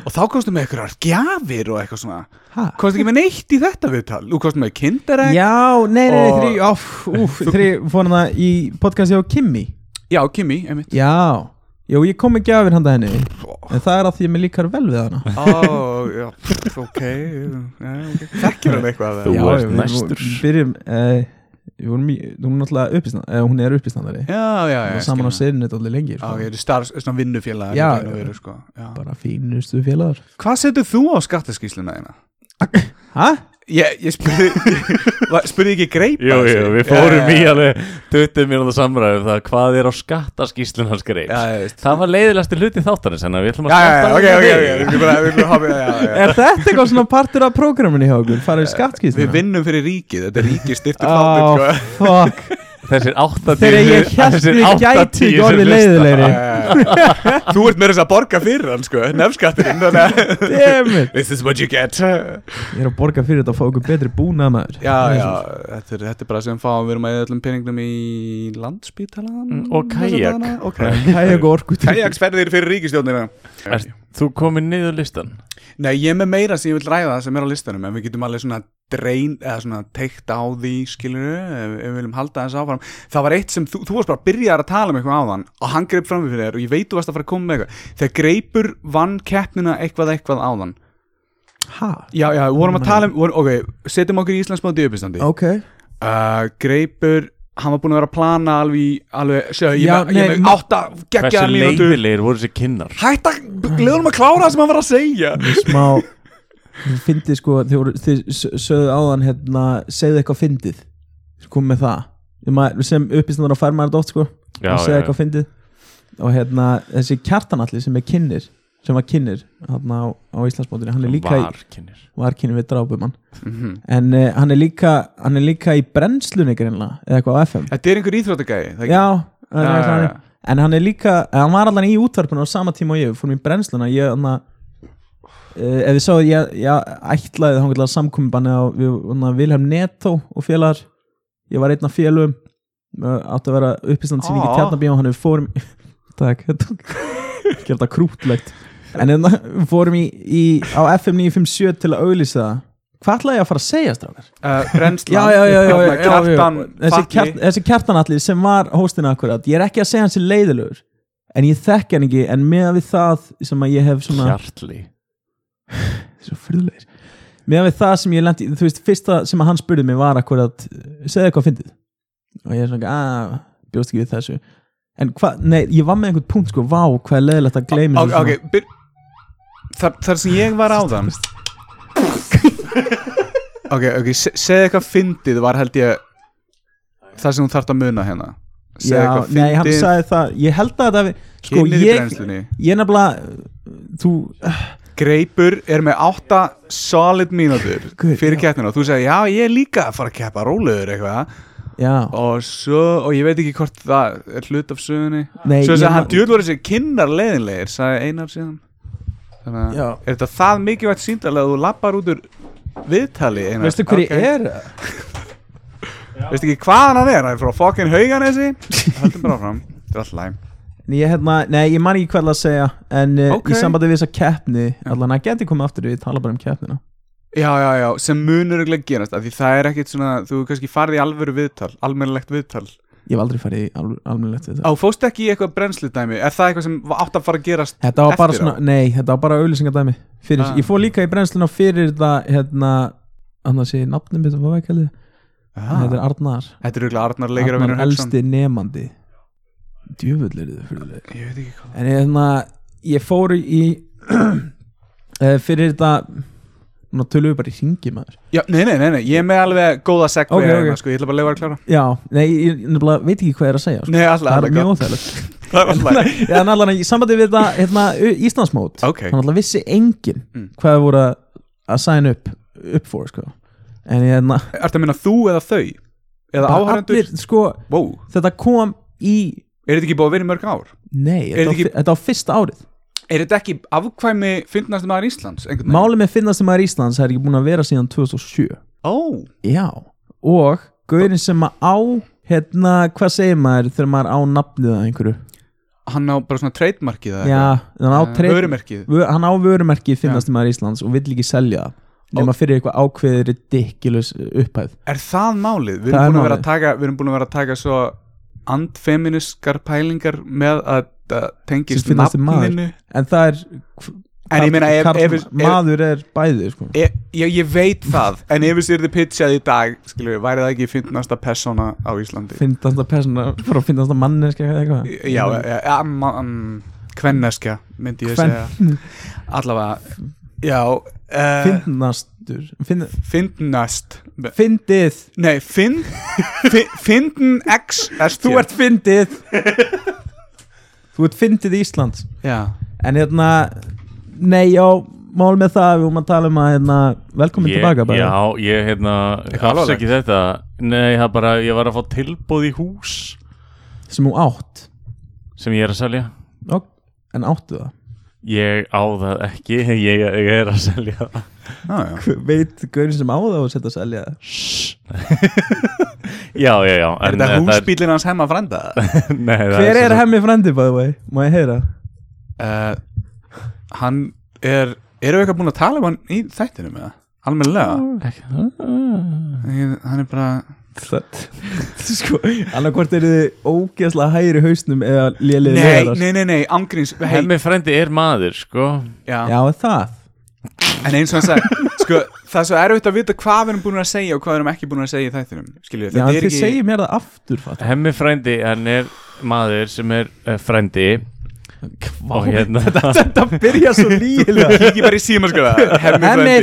Og þá komstu með eitthvað gjafir og eitthvað svona
Ha?
Komstu ekki með neitt í þetta viðtal Þú komstu með kindereg
Já, nei, nei,
Og-
nei, þrý, áf, úf, þrý fór hann í podcasti á Kimi
Já, Kimi, einmitt
Já, jú, ég kom ekki afir handa henni En það er að því að mér líkar vel við hana
Ó, já, pff, ok já, ok. Þekkir hann eitthvað
Þú
það?
Já,
ert
við-
næstur.
við Byrjum, eh, við vorum í- hún er náttúrulega uppistand eh, Hún er uppistandari
Já, já, já
Og
ég
saman á
skil það.
sérinu allir lengi
Já,
sko.
ég er starf, svona vinnufélag
Já, já.
veru, sko. já.
Bara fínustu félagar
Hvað setur þú á skattaskýsluna þína?
Hæ?
Ég, ég spurði, var- spurði ekki Grapevine
Jú, jú,
sig?
við fórum í alveg 20 mínúta samræðum um það hvað er á skattaskýslunars greip
Já, ég veist
Það var leiðilegasti hluti þáttanins en við ætlum að
Já, já, já,
stoppa
ok,
þarna
ok, ok,
við.
við bara, við bara hoppa, já, já, já.
Er þetta eitthvað svona partur af prógraminu hjá okkur? Farið við skattkýstina?
Við vinnum fyrir ríkið, þetta er ríkið sko. styrtur
Á,
þáttir
fuck
Þessir 80
Þegar ég hélt
þessir
við gæti
80
ekki
sem
orðið
hlusta.
leiðilegri
Þú ert með þess að borga fyrir hann sko, nefnskatturinn þannig að-
Dammit
This is what you get Já,
Ég er að borga fyrir þetta og fá okkur betri búna maður
já, þetta er, þetta er bara sem fáum við erum að eða öllum peningnum í landspítalan
Og kajak.
Ok
Kæjag og orku
Kajaksferðir fyrir ríkistjóðnina
Ert Þú komið niður listan
Nei, ég er með meira sem ég vil ræða sem er á listanum en við getum alveg svona drein eða svona teikt á því skilur ef, ef við viljum halda þess áfram það var eitt sem þú, þú varst bara að byrja að tala um eitthvað á þann og hann greip fram fyrir þér og ég veit þú varst að fara að koma með eitthvað þegar greipur vann keppnina eitthvað eitthvað á þann
ha,
já já, við vorum að tala um vorum, ok, setjum okkur í Íslandsmóti í uppistandi
ok
uh, Greipur hann var búin að vera að plana alveg, í- alveg sjö, ég,
Já,
já, ég,
nei,
ég, átta
Hversu
geggjaðar mínútur
leiðilegir voru þessi kinnar
hætt að, leðum að klára það sem hann var að segja
smá ég fyndi sko, þið, voru, þið s- sögðu áðan hérna, segðu eitthvað fyndið kom með það Ég maður- sem uppistandar á færmaður dótt sko
Já,
að segja
já,
eitthvað
já.
fyndið og hérna, þessi kjartanalli sem er kynir sem var kynir hérna á, á Íslandsbótinu, hann er líka í
Var kinnar
var kynir við drápum hann en uh, hann, er líka, hann er líka í brennslunni greinlega, eða eitthvað á FM
þetta er einhver íþróttagæði það ekki?
já, já,
Já, já,
já,
já.
en hann er líka eh, hann var allan í útvarpinu á sama tíma og ég við fórum í brennsluna ég, anna, uh, ef þið sáu, ég, ég ætlaði þá einhverlega samkomibanni á við, anna, Vilhelm Netto og félagar ég var einn af félagum eh, átti að vera uppistand sín ekki
Á.
tjarnabíum hann við fórum takk, þetta ekki alltaf krútlegt en hérna, við fórum í, í, á FM 957 til að auglýsa það hvað ætlaði ég að fara að segja strákar?
Uh, brennslan
já, já, já, já, já, já, já.
kjartan
þessi,
Fatli.
kjart, þessi kjartanalli sem var hóstin akkurat, ég er ekki að segja hans er leiðilegur en ég þekki hann ekki en meða við það sem að ég hef svona
Hjartli
svo fyrðulegir meðan við það sem ég lendi, þú veist, fyrsta sem að hann spurði mig var akkurat, segðu eitthvað fyndið og ég er svona, að, bjóst ekki við þessu en hvað, nei, ég var með einhvern punkt sko, vá, hvað er leðilegt að gleymi
ok, ok byr... þar, þar sem ég var áðan ok, ok, se- segðu eitthvað fyndið var held ég það sem hún þarft að muna hérna segðu
Já,
eitthvað
nei, hann
fyndið,
sagði það, ég held að það sko,
kynnið í
ég,
brennslunni
ég nefnilega þú,
Greipur er með átta solid mínútur
Guð,
fyrir keppnina og þú segir já ég er líka að fara að keppa rólegur eitthvað
já
og svo, og ég veit ekki hvort það er hlut af sögunni
Nei,
svo
ég
þess að
man-
hann djúður voru þessi kinnar leðinlegir sagði Einar síðan þannig að
Já.
er þetta það mikilvægt síndalega að þú lappar út úr viðtali Einar
veistu hverju
Ok.
er
veistu ekki hvaðan hann er, hann er frá fokkin hauganesi höldum bara fram, þetta er alltaf læm
en ég, hérna, nei, ég man ekki hvað að segja en uh,
Ok.
í sambandi við þessa keppni allan að geti komið aftur við tala bara um keppnina
já, já, já, sem munur ekki gerast af því það er ekkit svona, þú hefur kannski farið í alvöru viðtal, almennilegt viðtal
ég hef aldrei farið í alv- almennilegt við þetta
á, fóstu ekki í eitthvað brennsludæmi er það eitthvað sem átt að fara að gerast
Þetta var bara
Eftir á?
svona, nei, þetta var bara auðlýsingadæmi fyrir,
Ah.
ég fór líka í brennsluna fyrir það hérna, annars sé ég nafnum mitt að fá veikælið,
Ah.
þetta er Arnar
Þetta er auðvitað Arnar leikir að
Arnar
vinna
elsti nemandi djöfull er þið fyrir þau
Ég veit ekki hvað
en ég, hérna, ég fór í eh, fyrir þetta núna tölum við bara í ringi maður
Já, nei, nei, nei, nei, ég er með alveg góða segvei
Ok,
okay,
ok.
sko, Ég ætla bara að leifa að klára
já, nei, ég nefnilega veit ekki hvað ég er að segja sko.
Nei, alltaf,
það er
alltaf
mjög
gott
óþægilegt
Það er alltaf lægt.
Já, en allan í sambandi við þetta hérna, U- Íslandsmót
Ok.
Þannig alltaf vissi enginn
Mm.
hvað þau voru að- að sign up upp for sko. En ég hérna
Ertu að minna þú eða þau? Eða
bara
áhærendur?
allir, sko,
Vó,
Þetta kom í
er þetta ekki búið að vera í mörg ár?
Nei, þetta,
Er þetta
ekki...
ekki-
þetta á fyrsta árið
Er þetta ekki afkvæmi fyndnast maður Íslands? einhvern veginn?
Málið með finnastum maður Íslands er ekki búin að vera síðan 2007
Ó,
Já Og gaurin sem að á hérna, hvað segir maður þegar maður á nafnið að einhverju
hann á bara svona trademarkið eða
Já, hann á
eitthvað?
treyt-
Mm. Vörumerkið
vö- hann á vörumerki finnast maður Íslands og vill ekki selja það nema fyrir eitthvað ákveðið ridiculous upphæð
Er það málið? Við
Það er
erum, búin að vera
málið.
að taka, við erum búin að vera að taka svo andfeministkar pælingar með að það tengist
Sem finnast þið maður.
nafninu
en það er
En ég meina, ef-
karl-
ef- ef-
maður er bæði sko.
E, já, ég veit það, en ef þessi er þið pitchað í dag, skilur, væri það ekki finnasta persóna á Íslandi?
finnast það persóna frá finnast það manneska eða eitthvað
Já, ja, ja, um, kvenneskja, myndi ég
Kven-
segja. Allavega, já, uh,
finnastur finn,
finnast,
fyndið
nei, finn, finnin x,
þú ert fyndið þú ert fyndið Íslands
já,
en hérna nei já mál með það við vorum að tala um að hérna, velkomin
Ég-
tilbaka bara
Já, ég hérna Hafsæki þetta Nei, það bara, ég var að fá tilbúð í hús
sem hún átt
Sem ég er að selja
og, en áttu það
Ég á það ekki, ég, ég er að selja það
já, já.
veit gaurin sem á það og setja að selja það
Já, já, já
Er þetta húsbílinn hans heima frænda?
Nei,
hver
það sem
er
sagt-
hemmi frendi by the way má ég heyra
Eh, Uh, hann er, eru við eitthvað búin að tala um hann í þættinum eða? almennilega
Ekki- Ah.
Ég- hann er bara
sko, annarkvort eru þið ógeðslega hægir í hausnum eða lélið
nei, nei, nei, nei, ángríns hei,
Hemmi frændi er maður sko
já.
Já, er það
en eins og hann sagði sko, það er svo erfitt að vita hvað við erum búin að segja og hvað við erum ekki búin að segja í þættinum skilju,
Já,
þetta
þið
er ekki
segir mér það aftur fattar.
Hemmi frændi, hann er maður sem er uh, frændi og hérna
Þetta byrja svo líla
ekki bara í síma sko hemmi
Hemmi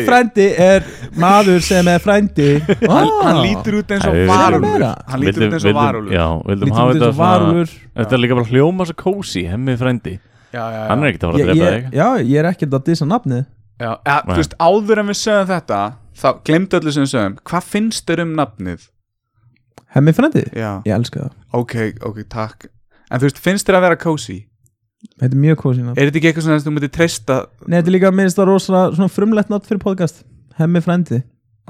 frændi
frændi.
er maður sem er frændi
Hann,
Ah.
hann lítur út eins og
Æ, við-
varulur
Meira.
hann lítur út eins og varulur
já, vildum hafa þetta svona
varur
Þetta er líka bara hljóma svo kósi, hemmi frændi
já, já,
Hann
já.
er ekkert að fara
ég,
að drepa
ég,
þig
Já, ég er ekkert að dissa nafnið
Já, ja, þú
Nei.
veist, áður en við sögum þetta þá glemdu öllu sem við sögum hvað finnst þér um nafnið?
Hemmi frændi,
Já,
ég elska það
ok, ok, takk en þú veist, finnst þér að vera cozy?
Þetta er mjög kósið nafn
Er þetta ekki eitthvað svona sem þú myndir treysta
Nei, þetta er líka minnst það rosalega svona frumlegt nafn fyrir podcast Hemmi frændi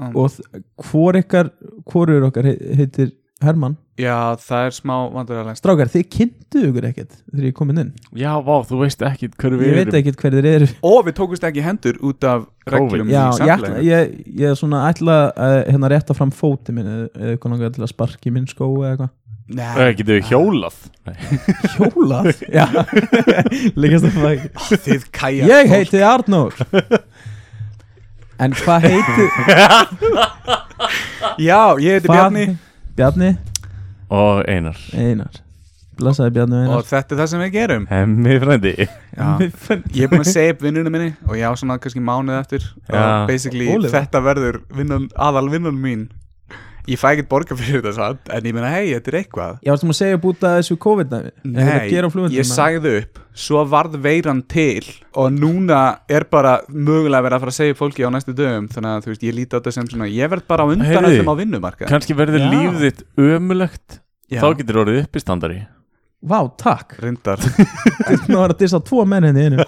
Mm.
Og þ- hvor ykkar, hvorur okkar hei- heitir Hermann
Já, það er smá vandræðalegst
Strákar, þið kynntu ykkur ekkert þegar ég komin inn
Já, vá, þú veist ekki hverju við
Ég veit ekkert hver þið eru
Og við tókumst ekki í hendur út af
Já,
reglum í
ég, ætla,
samfélaginu
ég, ég svona ætla að hérna rétta fram fóti minn eða eða eitthvað langar til að sparki minn skó eða eitthvað
Nei,
ekkert Eh, Getur við hjólað
Hjólað? Já, líkast að það ekki
þið kæja
Ég heiti Arnór En hvað heiti
Já, ég heiti
hvað-
Bjarni
Bjarni
Og einar
Einar Blessaði Bjarni og
og
Einar
þetta er það sem við gerum
Hemmi frændi
Já, ég er búin að segja upp vinnunum minni og ég á svona kannski mánuð eftir
Já.
og basically
Óliver.
þetta verður vinnan, aðal vinnan mín ég fæ ekkert borga fyrir þetta satt en ég meina hei, þetta er eitthvað
Ég varst um að segja búið að þessu COVID-dæmi
Nei, ég sagði upp svo varð veiran til og núna er bara mögulega verið að fara að segja upp fólki á næstu dögum þannig að þú veist, ég líti á þetta sem svona ég verð bara á undan
Heyrðu.
öllum á vinnumarka
Kanski
Já.
verður líf þitt ömulegt
Já,
Þá getur orðið uppistandari
Vá, takk
reyndar
Nú var að dissa tvo menn henni einu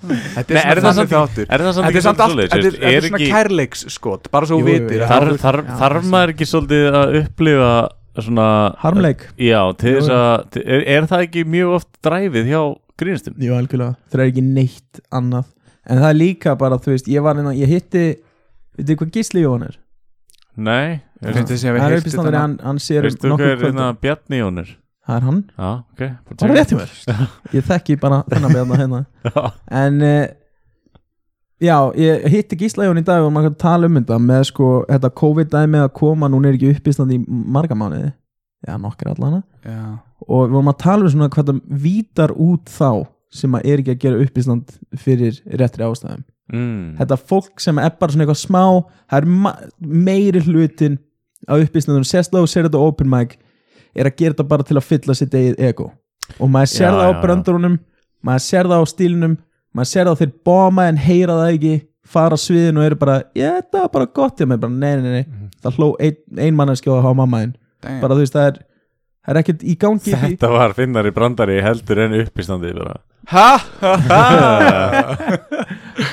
Þetta
Nei, er
er svona
það samt-
þannig þáttur
Er það samt
Þetta er
ekki
samt
svolítið
allt,
svoleiðis,
þetta er,
veist?
þetta er
Er
svona
ekki-
kærleiksskot bara svo
Jú,
þú
jú,
vitir
já.
að-
Þarf þar,
Já,
þar
það er
maður ekki svolítið að upplifa svona eh,
Harmleik
Já, til þess
Jú, jú.
að er, er það ekki mjög oft dræfið hjá grínistum?
Jú, algjörlega, það er ekki neitt annað En það er líka bara, þú veist, ég var inn á, ég hitti Veitir hvað Gísli Jón er?
Nei
Ég finnst þessi að við
Það er
heyrst
uppistandari,
þetta
hann, hann sér um
Veistu
nokkur
hver
kvöld
hérna um Bjarni Jónir?
Það er hann,
Já, ok
það er rétt hjá mér Ég þekki bara þennan með hann hérna
Já,
En uh, Já, ég hitti Gísla Jón í dag og maður kannu tala um þetta með sko, þetta COVID-dæmi að koma, núna er ekki uppistandi í marga mánuði, já nokkar allana
Já.
og við vorum að tala um svona hvað það vítar út þá sem að er ekki að gera uppistand fyrir réttri ástæðum
mm.
þetta fólk sem er bara svona eitthvað smá það er ma- meiri hlutin að upplýsnum, sérst þá sér þetta á open mic er að gera þetta bara til að fylla sitt eigið ego og maður sér
Já,
það á
já, já.
bröndurunum maður sér það á stílinum maður sér það á þeir bóma en heyra það ekki fara á sviðin og eru bara ég, þetta var bara gott hjá mig, bara nei, nei, nei
Mhm.
það hló ein, ein manneski á að hafa mamma þinn
Damn.
bara þú veist, það er, það er ekkert í gangi í-
Þetta var finnari brandari heldur en uppistandi bara.
Ha, ha, ha.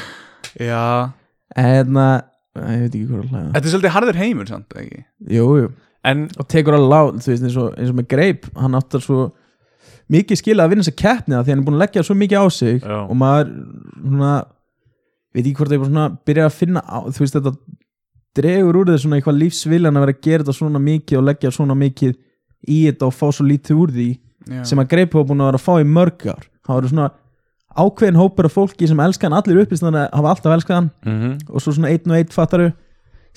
Já
en að, Hérna, ég veit ekki hvað að hlæða
Þetta er svolítið harður heimur samt ekki
jú, jú
En
og tekur alveg lág þú veist, eins, og, eins og með greip hann áttar svo mikið skila að vinna þess að keppni það því hann er búin að leggja svo mikið á sig
Já.
og maður svona veit ekki hvort það er bara svona byrja að finna á, þú veist þetta dregur úr þér svona eitthvað lífsviljan að vera að gera þetta svona mikið og leggja svona mikið í þetta og fá svo lítið úr því
Já.
sem að greip hafa búin að vera að fá í mörg ár það eru svona ákveðin hópur af fólki sem elska hann allir uppist þannig að hafa alltaf elskað hann
mm -hmm.
og svo svona einn og einn fattaru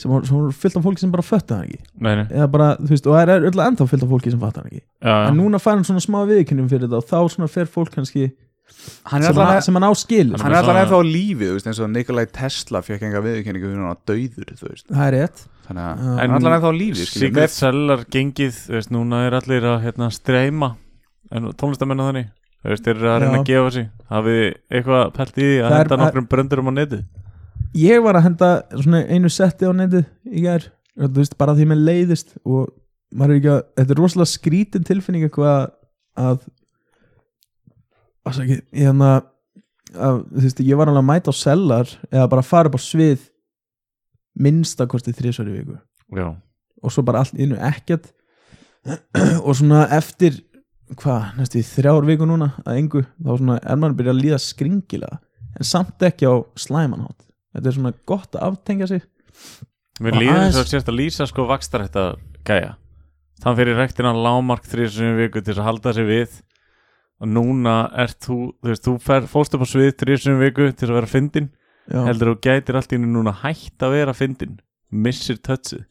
sem sem voru fyllt af fólki sem bara fötta hann ekki
Nei, nei
eða bara, þú veist, og það er öll ennþá fyllt af fólki sem fattar hann ekki
já, já.
en núna fær hann svona smá viðkynnum fyrir þetta og þá svona fer fólk kannski
Hann er
sem hann,
allavega
sem hann á skil
Hann er
Hann er
alltaf
svona-
ennþá á lífi, þú veist, eins og Nikolai Tesla fekk enga viðurkenningu fyrir hann að dauður, þú veist
það er rétt
Þannig að
Já.
hann er alltaf ennþá á lífi, skiljum
Secret Cellar gengið, þú veist, núna er allir að hérna, streyma en tónlistamenn og þannig Þú veist, þeir eru að reyna
Já.
að gefa sig Hafið þið eitthvað pælt í því að
Það er
henda
bara-
nokkrum bröndurum á netið
ég var að henda svona einu setti á netið í gær og þú veist, bara því mér leiðist og maður er ekki að, þetta er rosalega skrítin tilfinning eitthvað að ásaki, ég hann að að, þú veist, ég var alveg að mæta á sellar eða bara fara upp á svið minnstakosti þrísværi viku
Já,
og svo bara allt innu ekkert og svona eftir hvað, næstu í þrjár viku núna að engu, þá svona er maður að byrja að líða skringilega en samt ekki á slæmanhátt þetta er svona gott að aftengja sig
Mér
Og
líður
aðeins-
þess að sérst að lýsa sko vakstar þetta gæja Þann fyrir rektina lámark þrísunum viku til þess að halda sig við og núna ert þú, þú veist, þú fer, fórst upp á svið þrísunum viku til þess að vera fyndin
Já.
heldur þú gætir allt í henni núna hætt að vera fyndin missir tötsið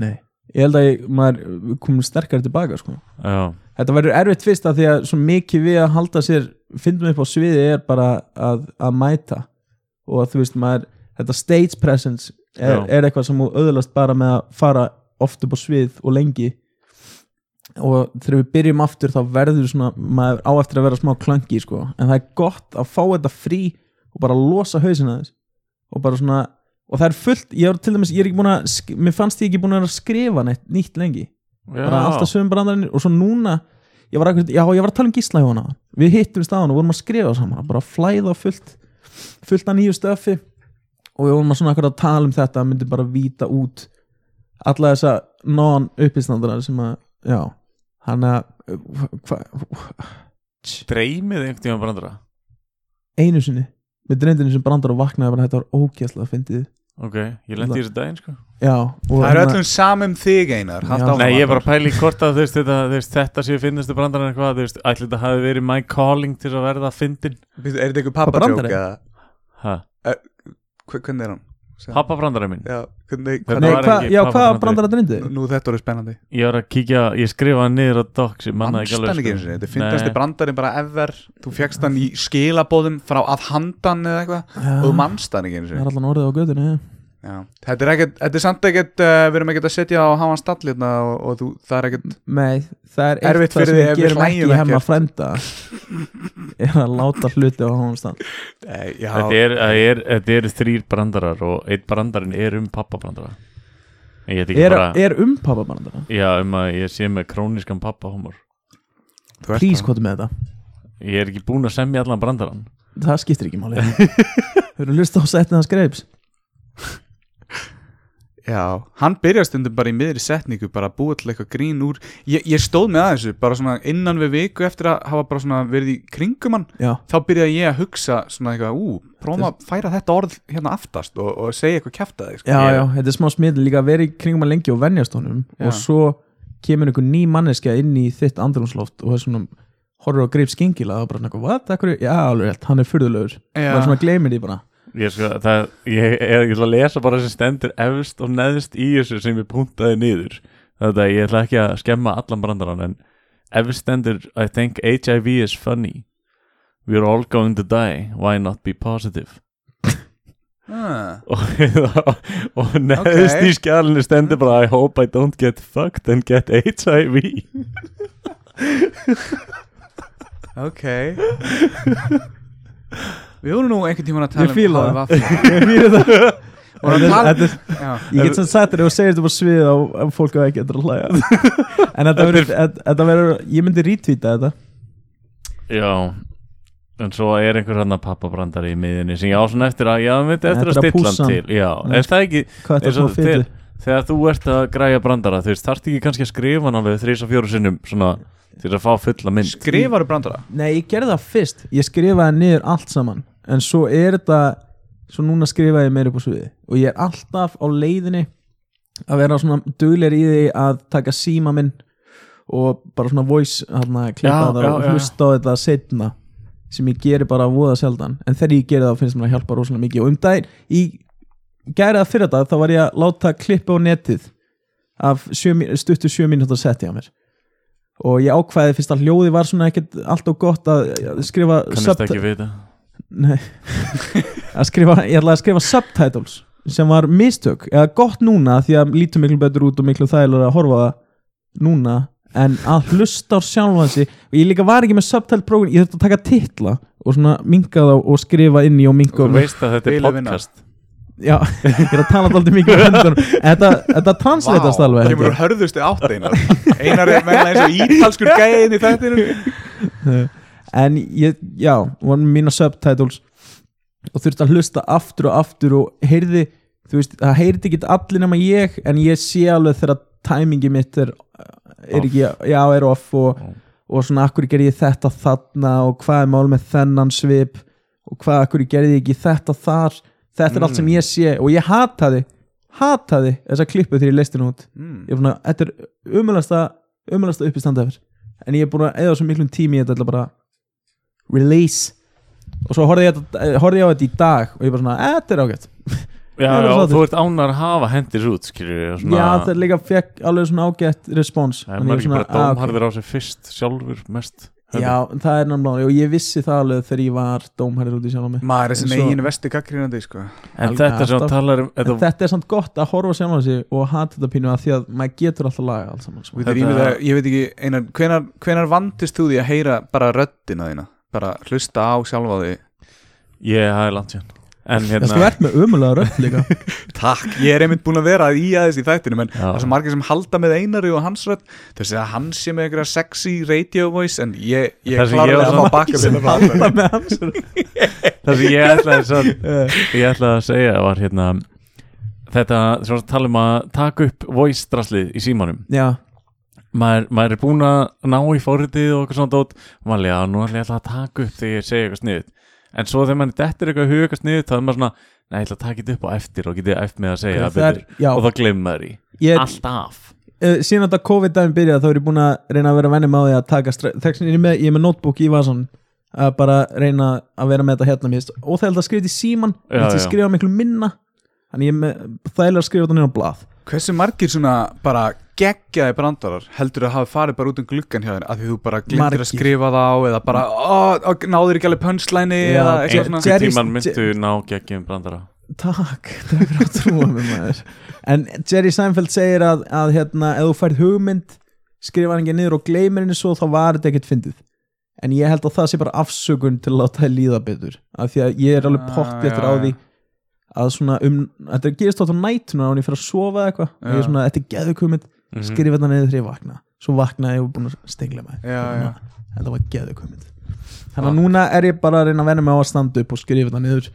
Nei. ég held að ég, maður komur sterkar tilbaka sko.
Já,
þetta verður erfitt fyrst að því að svo mikið við að halda sér fyndum upp á sviði er bara að, að mæta og að þú veist maður þetta stage presence er,
Já.
er eitthvað sem þú öðlast bara með að fara oft upp á svið og lengi og þegar við byrjum aftur þá verður svona, maður á eftir að vera smá klangi sko, en það er gott að fá þetta frí og bara losa hausina þess og bara svona, og það er fullt ég er til dæmis, ég er ekki búin að, sk- mér fannst ég ekki búin að vera að skrifa neitt nýtt lengi bara alltaf sögum brandarinn og svo núna ég var, akkur, já, ég var að tala um gísla hjá hana við hittum staðan og vorum að skrifa saman bara flæða fullt fullt að nýju stöfi og við vorum að svona akkur að tala um þetta myndi bara víta út alla þessa non uppistandara sem að já, hann að hva,
Dreymið einhvern tíma brandara
einu sinni við dreymdinu sem brandar og vaknaði bara þetta var ógæslega fyndið
Ok, ég lendi í þessu daginn sko
já, og hérna-
Það er
hann að-
öllum samum þig einar haltu
Já.
áfram,
Nei, ég er bara
Arnar.
að pæla í hvort að þú veist, þetta, þú veist, þetta séu finnastu brandarar eitthvað, þú veist, ætli þetta hafi verið my calling til þess að verða fyndin
Býttu, Er þetta einhver pappadjók
Brandari?
eða
Ha,
hve- Hvernig er hann?
pappa brandarinn minn
Já, hvernig,
Hvernig-
Nei,
Það var
hva,
ekki
já,
pabbi
hvaða
brandari.
brandara dreymdi
nú þetta voru spennandi
Ég var að kíkja, ég skrifaði niður á docs Ég manna ekki
Mannstan
alveg
ekki
sko.
eins og þetta finnast
Nei.
þið brandarinn bara ever Þú fegst hann í skilabóðum frá að handan eða eitthvað og
Ah.
þú
það
mannst hann ekki eins
er
og
allan orðið á gödunni já.
Þetta er ekkert, þetta er samt ekkert uh, við erum ekkert að setja á háan stall hérna og, og þú, það er ekkert
Nei, það er
Erfitt
eitt það
fyrir
sem
þig
ég
ef við
ger
erum
ekki
ægilega
hemma
gert.
frænda er að láta hluti á hónustan
Nei, Eh, já,
Þetta er- það er- Þetta eru þrýr brandarar og einn brandarinn er um pappa brandara Ég get ekki
er,
bara
er um pappabrandara
Já, um að ég sé með króniskan pappa humor
þú ert
Prís
sko.
það.
hvað með þetta
Ég er ekki búinn að semja allan brandarann
Það skiptir ekki máli Hefur þú lust á setnið hans greifs?
Já, hann byrjar stundum bara í miðri setningu bara að búa til eitthvað grín úr ég, ég stóð með aðeins þessu, bara svona innan við viku eftir að hafa bara svona verið í kringum hann
Já,
þá byrjaði ég að hugsa svona eitthvað, ú, prófum að færa þetta orð hérna aftast og, og segja eitthvað sko." kjæft að þig
já, já, þetta er smá smið líka að vera í kringum að lengi og venjast honum
Já.
og svo kemur einhver ný manneskja inn í þitt andrumsloft og það er svona horfður á greif skingila og bara svona, eitthvað, what, akkur, já, alveg rétt, hann er furðulegur
Já.
bara svona gleymir því bara
Ég, sko, það, ég, ég, ég ætla að lesa bara sem stendur efst og neðst í þessu sem ég puntaði niður Þetta ég ætla ekki að skemma allan brandarann en efst stendur I think HIV is funny We're all going to die, why not be positive
Ah.
og, og neðst í
Ok.
skjálinu stendur bara I hope I don't get fucked and get HIV
Ok Við vorum nú einhvern tímann að tala
Ég
um
fíla það.
það
Ég fíla það.
Og hann
Þetta er-
tala
þetta er Ég get sem sagt þér ef þú segir þetta bara sviðið á á fólk að ekki endur að hlæja En þetta verður, þetta- þetta verður, ég myndi rítvíta þetta
Já En svo er einhver hann að pappabrandari í miðinni sem ég á svona eftir að, já, veit, eftir að
Eftir að
stilla
pússa
hann
hann.
til Já,
Já.
er það ekki,
Hvað þetta er
Eins og
svona fyrir
þegar, þegar þú ert að græja brandara þú veist, þarfst ekki kannski að skrifa hann alveg þrís og fjóru sinnum svona, til að fá fulla mynd
Skrifaru brandara
Nei, ég gerði það fyrst, ég skrifaði niður allt saman En svo er þetta, svo núna skrifaði ég meira upp á sviði Og ég er alltaf á leiðinni að vera svona dugleir í því að taka síma minn Og bara svona voice, hann að klippa
Já,
það
já,
og
já.
hlusta á þetta setna Sem ég geri bara voða sjaldan En þegar ég geri það finnst mér að hjálpa rosalega mikið Og um daginn, í gæri það fyrir þetta þá var ég að láta klippa á netið af sjö, mí- stuttu sjö mínútur setti á mér og ég ákvaði fyrst að hljóði var svona ekkert alltaf gott að að skrifa
kannast
subt-
ekki við þetta
Nei. að skrifa, ég ætlaði að skrifa subtitles sem var mistök eða gott núna því að lítur miklu betur út og miklu þægilega að horfa á það núna en að hlusta á sjálfan sig og ég líka var ekki með subtitle program ég þurfti að taka titla og svona minga þá og skrifa inn í og minga
þú
og
veist að þetta er
Vil að vinna.
podcast
Já, ég er að tala alltaf mikið um höndunum Þetta, þetta translatast alveg
kemur
held ég.
úr hörðustu átt einar Einar er meðlega eins og ítalskur gæðin í þættinu
En ég, já, var með mína subtitles Og þurfti að hlusta aftur og aftur Og heyrði, þú veist, það heyrði ekki allir nema ég En ég sé alveg þegar tæmingi mitt er, er ekki, já, er off og,
Off.
og svona, akkur gerði ég þetta þarna Og hvað er mál með þennan svip Og hvað, akkur gerði ég ekki þetta þar þetta er allt sem ég sé og ég hataði, hataði þessa klippu þegar ég leisti hún út
Mm.
ég er svona, þetta er umjölasta umjölasta uppistandaður en ég er búin að eða svo miklum tími í þetta ætla bara release og svo horfði ég, þetta- eh, horfði ég á þetta í dag og ég bara svona, "Eh, þetta er ágætt
Já,
Ég er
já,
alveg
þú ert ánar að hafa hendis út, skilur við og svona,
já, þetta er líka fekk alveg svona ágætt respons
Það er
Þannig ég
maður ekki
svona,
bara
"Ah, ok."
dómharður á sig fyrst sjálfur mest
Já, það er náttúrulega, og ég vissi það alveg þegar ég var dómherrið út í sjálf á
Mm,
mig
Maður er sem
En svo-
eigin vesti gaggrínandi sko.
En
Alveg
þetta sem
alltaf.
hann talar um
En
þetta,
þetta er samt gott að horfa sjálf á sig og hata þetta pínu að því að maður getur alltaf laga allt saman sko.
Þetta...
Þetta-
Ég, veit að, ég veit ekki, einar, hvenar, hvenar vandist þú því að heyra bara röddina þína bara hlusta á sjálfa því
Ég, það er langt síðan En
Það sko
hérna,
verð með umulega rödd líka
Takk, ég er einmitt búin að vera í aðeins í þættinum en
Já.
það er svo margir sem halda með einari og hans rödd þess að hann sé með einhverja sexy radio voice en ég, ég
Það sem ég var
klárlega
svona-
að fá bakka
sem halda með hans
það sem ég ætlaði sann
Eh,
ég ætlaði að segja var hérna þetta, svo að tala um að taka upp voice draslið í símanum
Já,
maður, maður er búinn að ná í forritið og eitthvað svona dót og maður er að nú ætla ég alltaf að taka upp þegar ég segi eitthvað sniðut en svo þegar maður dettir eitthvað hug eitthvað sniðut þá er maður svona, nei, ég ætla að taka þetta upp á eftir og getið eftir með að segja það
það er,
betur
já
og þá gleymum maður í,
ég,
alltaf
eh, Síðan þetta COVID-dæmi byrjað þá er ég búin að reyna að vera venni með á því að taka Þegar ég er með, ég er með notebook í vasan að bara reyna að vera með þetta hérna mér finnst óþægilegt að skrifa þetta í síman
Já,
þannig að
já.
skrifa miklu minna þannig ég er með þægilega að skrifa þetta niður á blað
Hversu margir svona bara geggjaði brandarar heldur að hafa farið bara út um gluggan hjá þér að því þú bara glindir
Margir.
að skrifa þá eða bara ó, ó, náður ekki alveg punchline
Já,
eða eitthvað
Jerry-
svona
Jerry's-
einhvern tíman myndu ná geggjum brandara
Takk, það er að trúa mér maður En Jerry Seinfeld segir að, að hérna, ef þú færð hugmynd skrifa hann ekki niður og gleymir henni svo þá var þetta ekkert fyndið En ég held að það sé bara afsökun til að láta það líða betur Af því að ég er alveg
Ah,
pott eftir
já,
á
já.
því að svona um, þetta gerist átt á nætuna án ég fyrir að sofa eða eitthvað og ég er
Já.
svona, þetta er geðug hugmynd,
Mhm.
skrifa þetta niður þegar ég vakna Svo vaknaði ég og búin að stengla mig
Já, já.
Þetta var geðug hugmynd Þannig að núna er ég bara að reyna að venja mig á að standa upp og skrifa þetta niður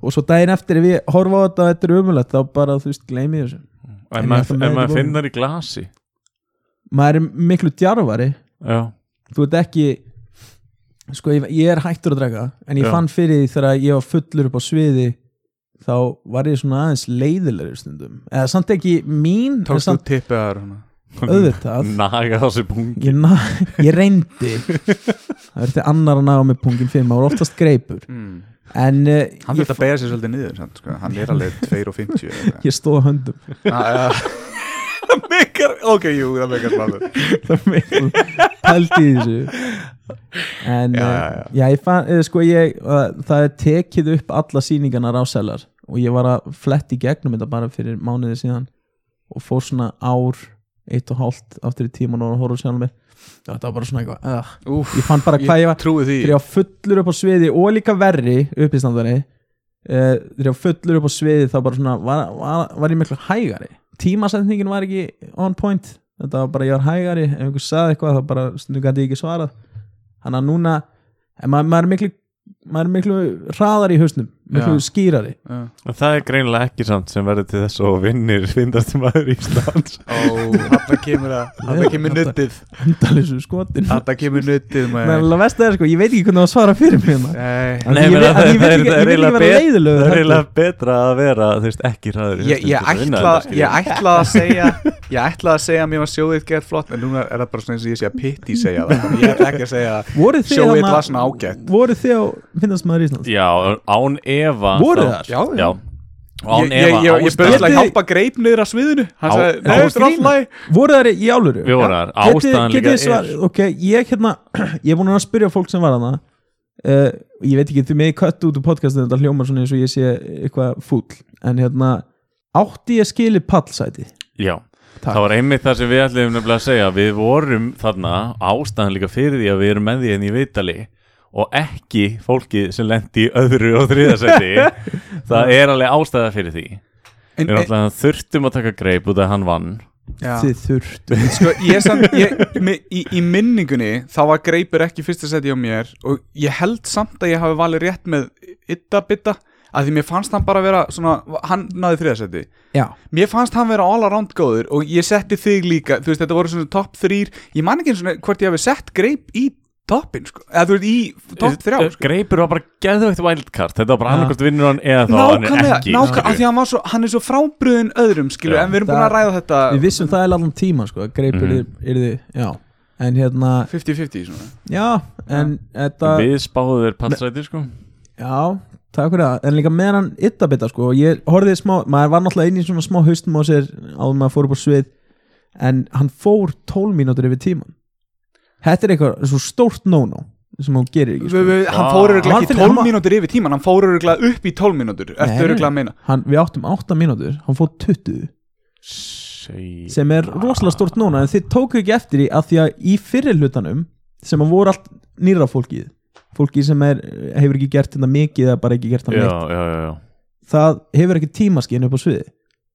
og svo daginn eftir ef ég horfa á þetta og þetta er umulegt þá bara þú veist gleymi ég þessu
ef
En þetta
maður,
með
ef
þetta
maður
bókum.
finnar í glasi
maður er miklu djarfari
já,
þú ert ekki sko ég, ég er hættur að drega en ég
Já.
fann fyrir því þegar ég var fullur upp á sviði þá var ég svona aðeins leiðilegri stundum eða samt ekki mín en
Tókst þú
samt
tippið að þér svona
auðvitað
naga þessi pungi
ég, na, ég reyndi það er til annar að naga með pungin fyrir maður er oftast greipur
mm.
en uh,
Hann
ég,
þurft að beigja sér svolítið niður sant, sko. hann er alveg 2.50 eða eitthvað.
ég stóð á höndum
Ah, já. Megar, ok, jú, það megar smáður
pældi í þessu en já, já,
Já, já, já.
ég fann, eh, sko ég uh, það er tekið upp alla sýningarnar á selar og ég var að fletti í gegnum þetta bara fyrir mánuði síðan og fór svona ár eitt og hálft aftur í tíman og horfður sjálf mig þetta var bara svona eitthvað uh,
Úf,
ég fann bara hvað ég
ég
var
trúi því
þegar ég var fullur upp á sviði og líka verri upp í standari uh, þegar ég var fullur upp á sviði þá bara svona var, var, var ég miklu hægari tímasetningin var ekki on point þetta var bara ég var hægari ef einhver saði eitthvað þá bara stundum gæti ég ekki svarað þannig að núna en maður, maður er miklu maður er miklu hraðari í hausnum miklu
Já.
skýrari
Já.
En það er greinilega ekki samt sem verður til þess og vinnir finnast maður í Íslands
Ó, þetta kemur að þetta kemur
Þetta-
nuttið
undalisu skotin það
þetta kemur nuttið
er
maður.
alveg vest að það sko ég veit ekki hvernig það var að svara fyrir mig maður. Af því
Nei.
ég
menn
veit- af því ég veit
það er-
ekki- ég
það er
vil ekki vera
eiginlega bet-
leiðilegur
Það er
heldur.
eiginlega betra að vera þú veist, ekki hraður í
Ég, ég,
hausnum til að vinna
ætla,
þetta, skilur.
ég ætla að segja ég ætla að segja að mér var sjóðið gett flott en núna er það bara svona eins og ég sé að pitti segja það þannig ég ætla ekki að segja að
voruð þið
sjóðið
þarna-
var svona ágætt
voruð þið á finnast maður Íslands
Já, án efa
Voru
þá-
þar?
Já, já.
Já,
ég,
án
ég, ég,
efa
ég
ástæðan-
bauðslega
Getið-
hjálpa greip niður af sviðinu hann
Á-
sagði,
á-
nei, þetta er alltaf læg
voru það í áluru
Við vorum þar, ástæðan líka er
ok, ég hérna ég er búin að spyrja fólk sem var hana uh, ég veit ekki, því mig kött út úr podcastinu þetta hljómar svona eins og ég sé eitthvað fúll en hérna, átti ég skili pallsæti
Já,
Takk.
það var einmitt það sem við ætlum nefnilega að segja Við vorum þarna ástæðan líka fyrir því að við erum með því enn í vitali og ekki fólkið sem lendi í öðru og þriðasetti það er alveg ástæða fyrir því
En-
Við
en-
náttúrulega þurftum að taka greip út að hann vann
Já.
þið þurftu
Sko, ég samt, ég, mi- í, í minningunni þá var greipur ekki fyrsta seti á mér og ég held samt að ég hafi valið rétt með ytta bytta að því mér fannst hann bara vera svona, hann náði þriða seti
já,
Mér fannst hann vera all around góður og ég setti þig líka, þú veist þetta voru svona top 3 ég man ekki eins og hvort ég hafi sett greip í toppin sko eða þú veist í topp þrjá sko.
eh, Greipur var bara geðveikt wildcard Þetta var bara
Já.
annarkvort vinnur hann eða þá hann
nákvæmlega,
ekki
nákvæmlega,
skilur
af því að hann var svo hann er svo frábriðin öðrum skilu
Já.
en við erum búin að ræða þetta
Við vissum það er allan tíma sko, að
Mhm.
greip mm. yrði, já En hérna,
50-50 svona
já, en þetta
Við spáðum þér pattsæti sko
Já, takk fyrir það En líka meðan hann yttabita sko og Ég horfði smá, maður var náttúrulega inn í svona smá haustum á sér áður en maður fór upp á svið En hann fór 12 mínútur yfir tíman Þetta er eitthvað svo stórt no-no sem hún gerir ekki
Við-
sko.
við- hann
Vá.
fór öruglega
Hann
ekki
finnir-
12
hann var-
mínútur yfir tíman hann fór öruglega upp í 12 mínútur ertu
Nei.
öruglega að meina
hann, Við áttum 8 mínútur, hann fór 20
Seg...
sem er rosalega stórt núna en þið tóku ekki eftir í að því að í fyrir hlutanum sem að voru allt nýra fólkið fólkið sem er, hefur ekki gert þetta mikið eða bara ekki gert það
Já,
neitt
já, já, já.
það hefur ekki tímaskinn upp á sviði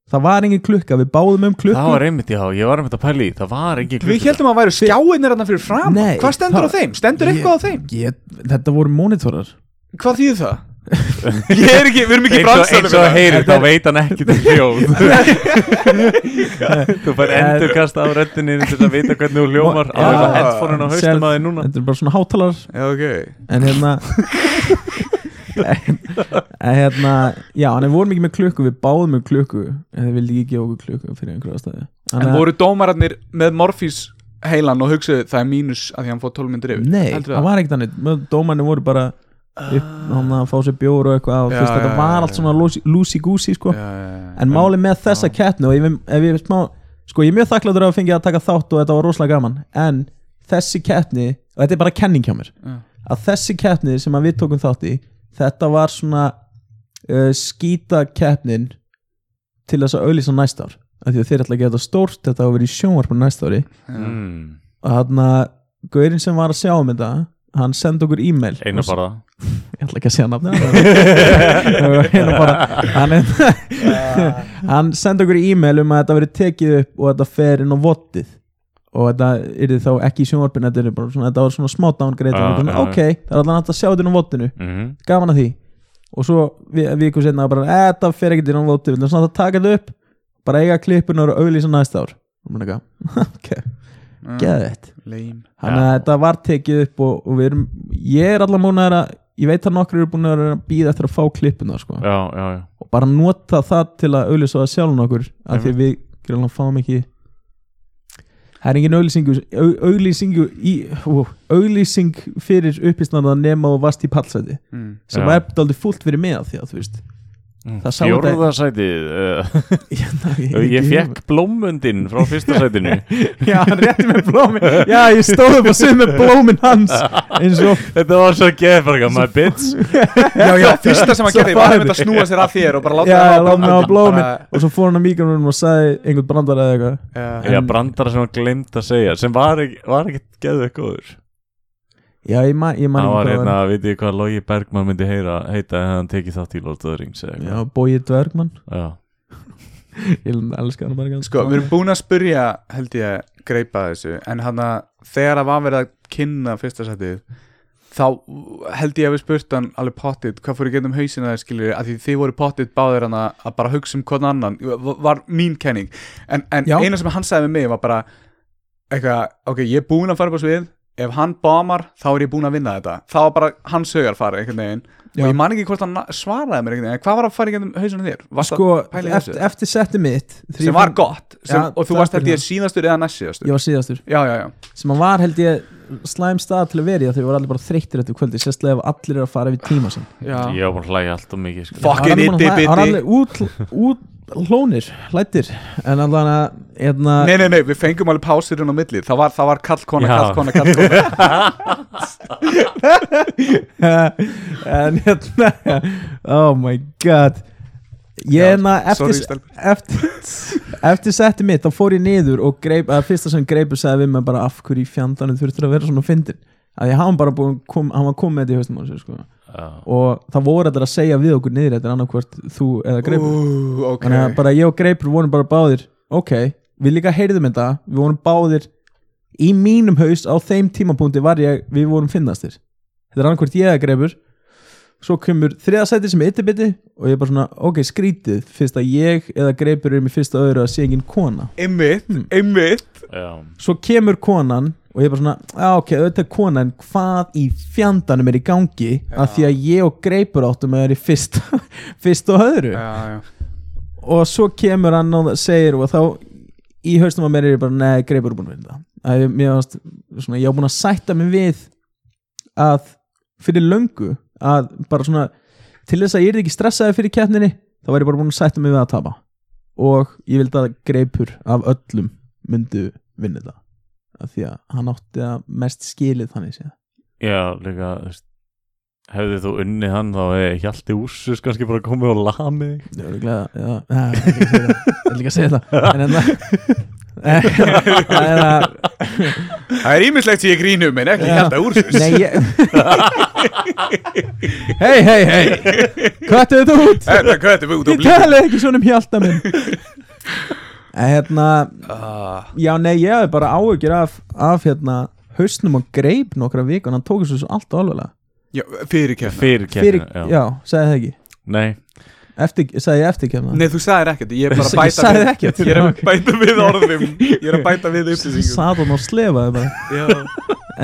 það var engin klukka, við báðum um klukku
Það var einmitt, já, ég var einmitt að pæli Það var engin
við heldum að það væru skjáinir hann fyrir fram
Nei,
hvað stendur
það-
á þeim? stendur eitthvað á þeim?
ég, þetta voru monitorar
hvað þýðir það? ég er ekki, við erum ekki í
Eins og,
bransanum
eins og að
hérna.
heyri, þá veit hann ekki til hljóð Þú fær endurkast af röddinni til þess að vita hvernig þú hljómar
Já.
á því að headphone-un á haustum að þið núna
þetta er bara svona hátalar
já, ok
en hérna en, en hérna já, en við vorum ekki með klukku, við báðum um klukku en þið vildi ekki gefa okkur klukku fyrir einhverja staði
En voru dómararnir með Morfís heilan og hugsaðu það er mínus að því hann fór 12 myndir yfir
Nei,
Heldurðu
það var ekkert þannig Dómarni voru bara upp, hann að fá sér bjór og eitthvað og
Ah. Já,
þú veist,
já,
þetta
já,
var
já,
allt svona lúsi-gúsi sko.
Já, já, já.
en máli með þessa keppni og ef, ég- ef ég smá, sko ég er mjög þakkláttur að fengið að taka þátt og þetta var rosalega gaman en þessi keppni, og þetta er bara kenning hjá mér
Já.
að þessi keppni sem að við tókum þátt í þetta var svona uh, skýta keppnin til þess að auðlýsa næsta ár af því að þeir ætla að gera þetta stórt þetta hafa verið í sjónvarpun næsta ári
Mm.
og hann að gaurinn sem var að sjá um þetta hann sendi okkur e-mail
Einar bara
ég ætla ekki að segja nafni hérna bara hann, hann sendi okkur e-mail um að þetta verið tekið upp og þetta fer inn á vottið og þetta yrði þá ekki í sjónvarpinu þetta, yrði bara svona, þetta var svona smá downgrade
Ah,
ah, svona,
já, já.
ok, það er alltaf hægt að sjá þetta inn á vottinu
Mhm.
gaman að því og svo vi- viku setna bara "Eh, þetta fer ekkert inn á vottið, við viljum svona að taka þetta upp bara eiga klippunar og auðlýsa næsta ár og maður eitthvað, ok,
Mm,
geða þetta
lame.
Þannig að þetta var tekið upp og, og við erum, ég er allan múnaður að ég veit að nokkur eru búin að vera að býða eftir að fá klippuna sko.
Já, já, já
og bara nota það til að auðlýsa það sjálf nokkur af því að við grjóðan fáum ekki það er engin auðlýsingu au- auðlýsingu í, ó, auðlýsing fyrir uppisnarða nema og vast í pallsæti
Mm.
sem
Já.
var eftir fúlt fyrir mig að því að þú veist það sá
Mm. Fjórða sætið uh,
þetta
Ég fekk blómundinn frá fyrsta sætinu
já, hann rétti mér blómin já, ég stóð upp og suð með blómin hans eins og
Þetta var svo geðfarga, my bitch
Já, já, fyrsta sem hann
Svo
gerði var
farið.
einmitt að snúa sér að þér og bara láta
já,
hann
já,
hafa
láta mig hafa
blómin.
blómin
Bara-
og svo fór hann á mikrofonum og sagði einhvern brandar eða eitthvað
Já.
Já, brandara sem hann glemt að segja sem var ekki, var ekki geðveik góður
já, ég, ma ég man
Það var
ekki
hérna, veit ég hvað Logi Bergman myndi heyra, heita að hann tekið þátt í Lord of the Rings eða
já,
eitthvað
Bói Dvergmann
Já.
ég elskar hann bara ekki
Sko, við erum búin að spyrja held ég að greipa þessu en hann að þegar að var verið að kynna fyrsta setið þá held ég að við spurt hann alveg pottit hvað fór ég getum hausina þér skiljur að því þið voru pottit báðir hann að að bara hugsa um hvern annan v- var mín kenning en, en
Já.
eina sem hann sagði við mig var bara eitthvað, ok, ég er búin að fara upp á svið ef hann bomar, þá er ég búin að vinna þetta það var bara hans högar fara einhvern veginn
Já.
og ég man ekki hvort hann na- svaraði mér einhvern veginn en hvað var að fara í getum hausina þér? Varstu
sko,
að pæla í þessu?
eftir, eftir setti mitt
sem var gott sem,
Já,
og þú
takk
varst
fyrir
held ég
það.
síðastur eða næst síðastur
ég var síðastur
já, já, já,
sem hann var held ég slæm stað til að vera í af því við vorum allir bara þreyttir eftir kvöldi sérstaklega ef allir eru að fara yfir tíma sinn
já.
Ég var búin að hlæja alltaf mikið sko.
Fuck. Fucking
Hann var alveg-
iti,
hann var
biti.
alveg út, út hlónir, hlættir en allan að hérna,
Nei, nei, nei, við fengum alveg pásir inn á milli Það var, það var kallkona,
Já.
kallkona, kallkona
en hérna oh my god ég
Já,
hérna
sorry,
eftir,
stelpur.
eftir, eftir setti mitt þá fór ég niður og greip, að fyrsta sem greipur sagði við mig bara af hverju í fjandanum þurftur að vera svona fyndin að ég hafa bara búin, kom, hann var komið þetta í haustum á sér sko.
Já.
og það voru þetta að segja við okkur niður þetta er annarkvort þú eða greipur
Ú, ok
þannig að bara ég og greipur vorum bara báðir ok, við líka heyrðum þetta við vorum báðir í mínum haus á þeim tímapunkti var ég, við vorum finnastir þetta er annarkvort ég eða greipur svo kemur þriðasæti sem er yttirbiti og ég er bara svona, ok, skrítið fyrst að ég eða greipur um í fyrsta öðru að sé engin kona
Einmitt,
Hmm.
einmitt
Já,
svo kemur konan og ég er bara svona, já ok, auðvitað er konan hvað í fjandanum er í gangi já. að því að ég og greipur áttum að er í fyrsta, fyrsta og öðru
Já, já
og svo kemur hann og það segir og þá í haustum að mér er ég bara neði greipur er búin að vinna það að ég, mér varst, svona, ég á búin að sætta mig við að fyrir löngu að bara svona til þess að ég er ekki stressaði fyrir keppninni þá var ég bara búin að sætta mig við að tapa og ég vildi að greipur af öllum myndu vinna það af því að hann átti að mest skilið þannig séð
já líka þú veist, Hefði þú unnið hann þá hefði Hjalti Úrsus kannski bara komið og lamið þig.
Það er örugglega- já, ja, ég vil ekki segja það. Ég vil ekki segja það en hérna- enna það er að
Það er ímislegt sem ég grínum en ekki
Já.
held að úr þessu
Nei, ég Hei, hei, hei Kvættu þetta út
Þetta köttum við út og
Ég
blíð
talaði ekki svona um hjálta minn En hérna
ah,
Já, nei, ég hafði bara áhyggjur af, af hérna, hausnum og greip nokkra vikun Hann tók þessu svo allt alveglega
Já, fyrir kemna
Fyrir
Fyrir,
kemna
já. sagði það ekki
Nei,
eftir, Sagði ég eftir kemna
Nei, þú sagðir ekkert, ég er bara að
Ég
bæta
sagði
við
ekkert.
Ég er
Ok.
að bæta við orðum Ég er að bæta við upplýsingum
Sat hann og slefaði bara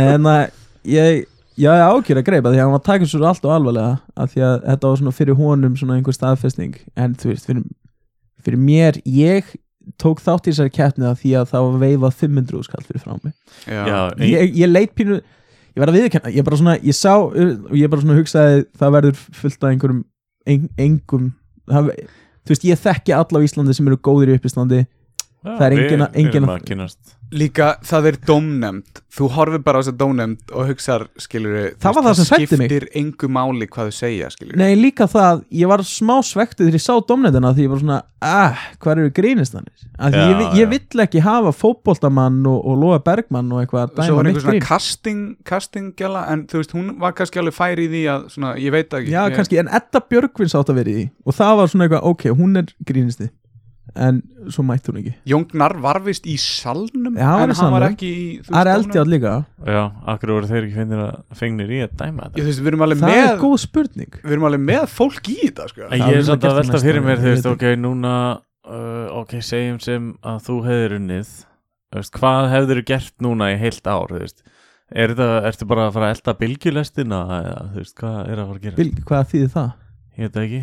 Já
en að ég ég hafði ákjör að greipa því að hann var að taka svo allt og alvarlega af því að þetta var svona fyrir honum svona einhver staðfesting en þú veist fyrir, fyrir mér ég tók þátt í þessari keppni af því að það var veifað 500 skall fyrir frá mig
já,
Já,
ein-
ég, ég leit pínu ég verði að viðurkenna ég bara svona ég sá og ég bara svona hugsaði það verður fullt af einhverjum ein, engum það, þú veist ég þekki alla á Íslandi sem eru góðir í uppistandi
já,
það er
við-
engin að-
við
engin
erum
að-
að kynnast
Líka það er dómnefnd Þú horfir bara á þess að dómnefnd og hugsar skilur
Það var það sem hræddi mig.
Skiptir engu máli hvað þau segja skilur
Nei, líka það, ég var smá svektu þegar ég sá domnendina því ég var svona, ah, hvað eru grínistanir? Af því
Já,
ég, vi-
já.
ég vill ekki hafa fótboltamann og, og Lóa Bergmann og eitthvað að
Svo
dæma
var
mitt
einhver svona
grín.
casting, castingjala en þú veist, hún var kannski alveg færi í því að svona, ég veit það ekki
Já,
ég,
kannski, en Edda Björgvins átt að vera í því og það var svona eitthvað, ok, hún er grínisti en svo mætti hún ekki
Jóngnar var vist í salnum
Já, hann var í
en hann var
salnum.
ekki í þú
Það er
veist, dómnefnd.
eldjátt líka,
Já, akkur voru þeir ekki fengnir, að, fengnir í að dæma
Ég,
þetta
þú veist, við erum alveg
það er
með
góð spurning
við erum alveg með fólk í þetta sko.
En
Það
ég er
verður
samt
gert
að
á
velta
næsta
fyrir
ári,
mér,
ég
þú veist,
veit
ok, núna uh, ok, segjum sem að þú hefðir unnið þú veist, hvað hefðir þú gert núna í heilt ár, þú veist er þetta, ertu bara að fara að elda bylgjulestina eða, þú veist, hvað er að fara að gera
Bil, Hvað þýðir það?
ég veit það ekki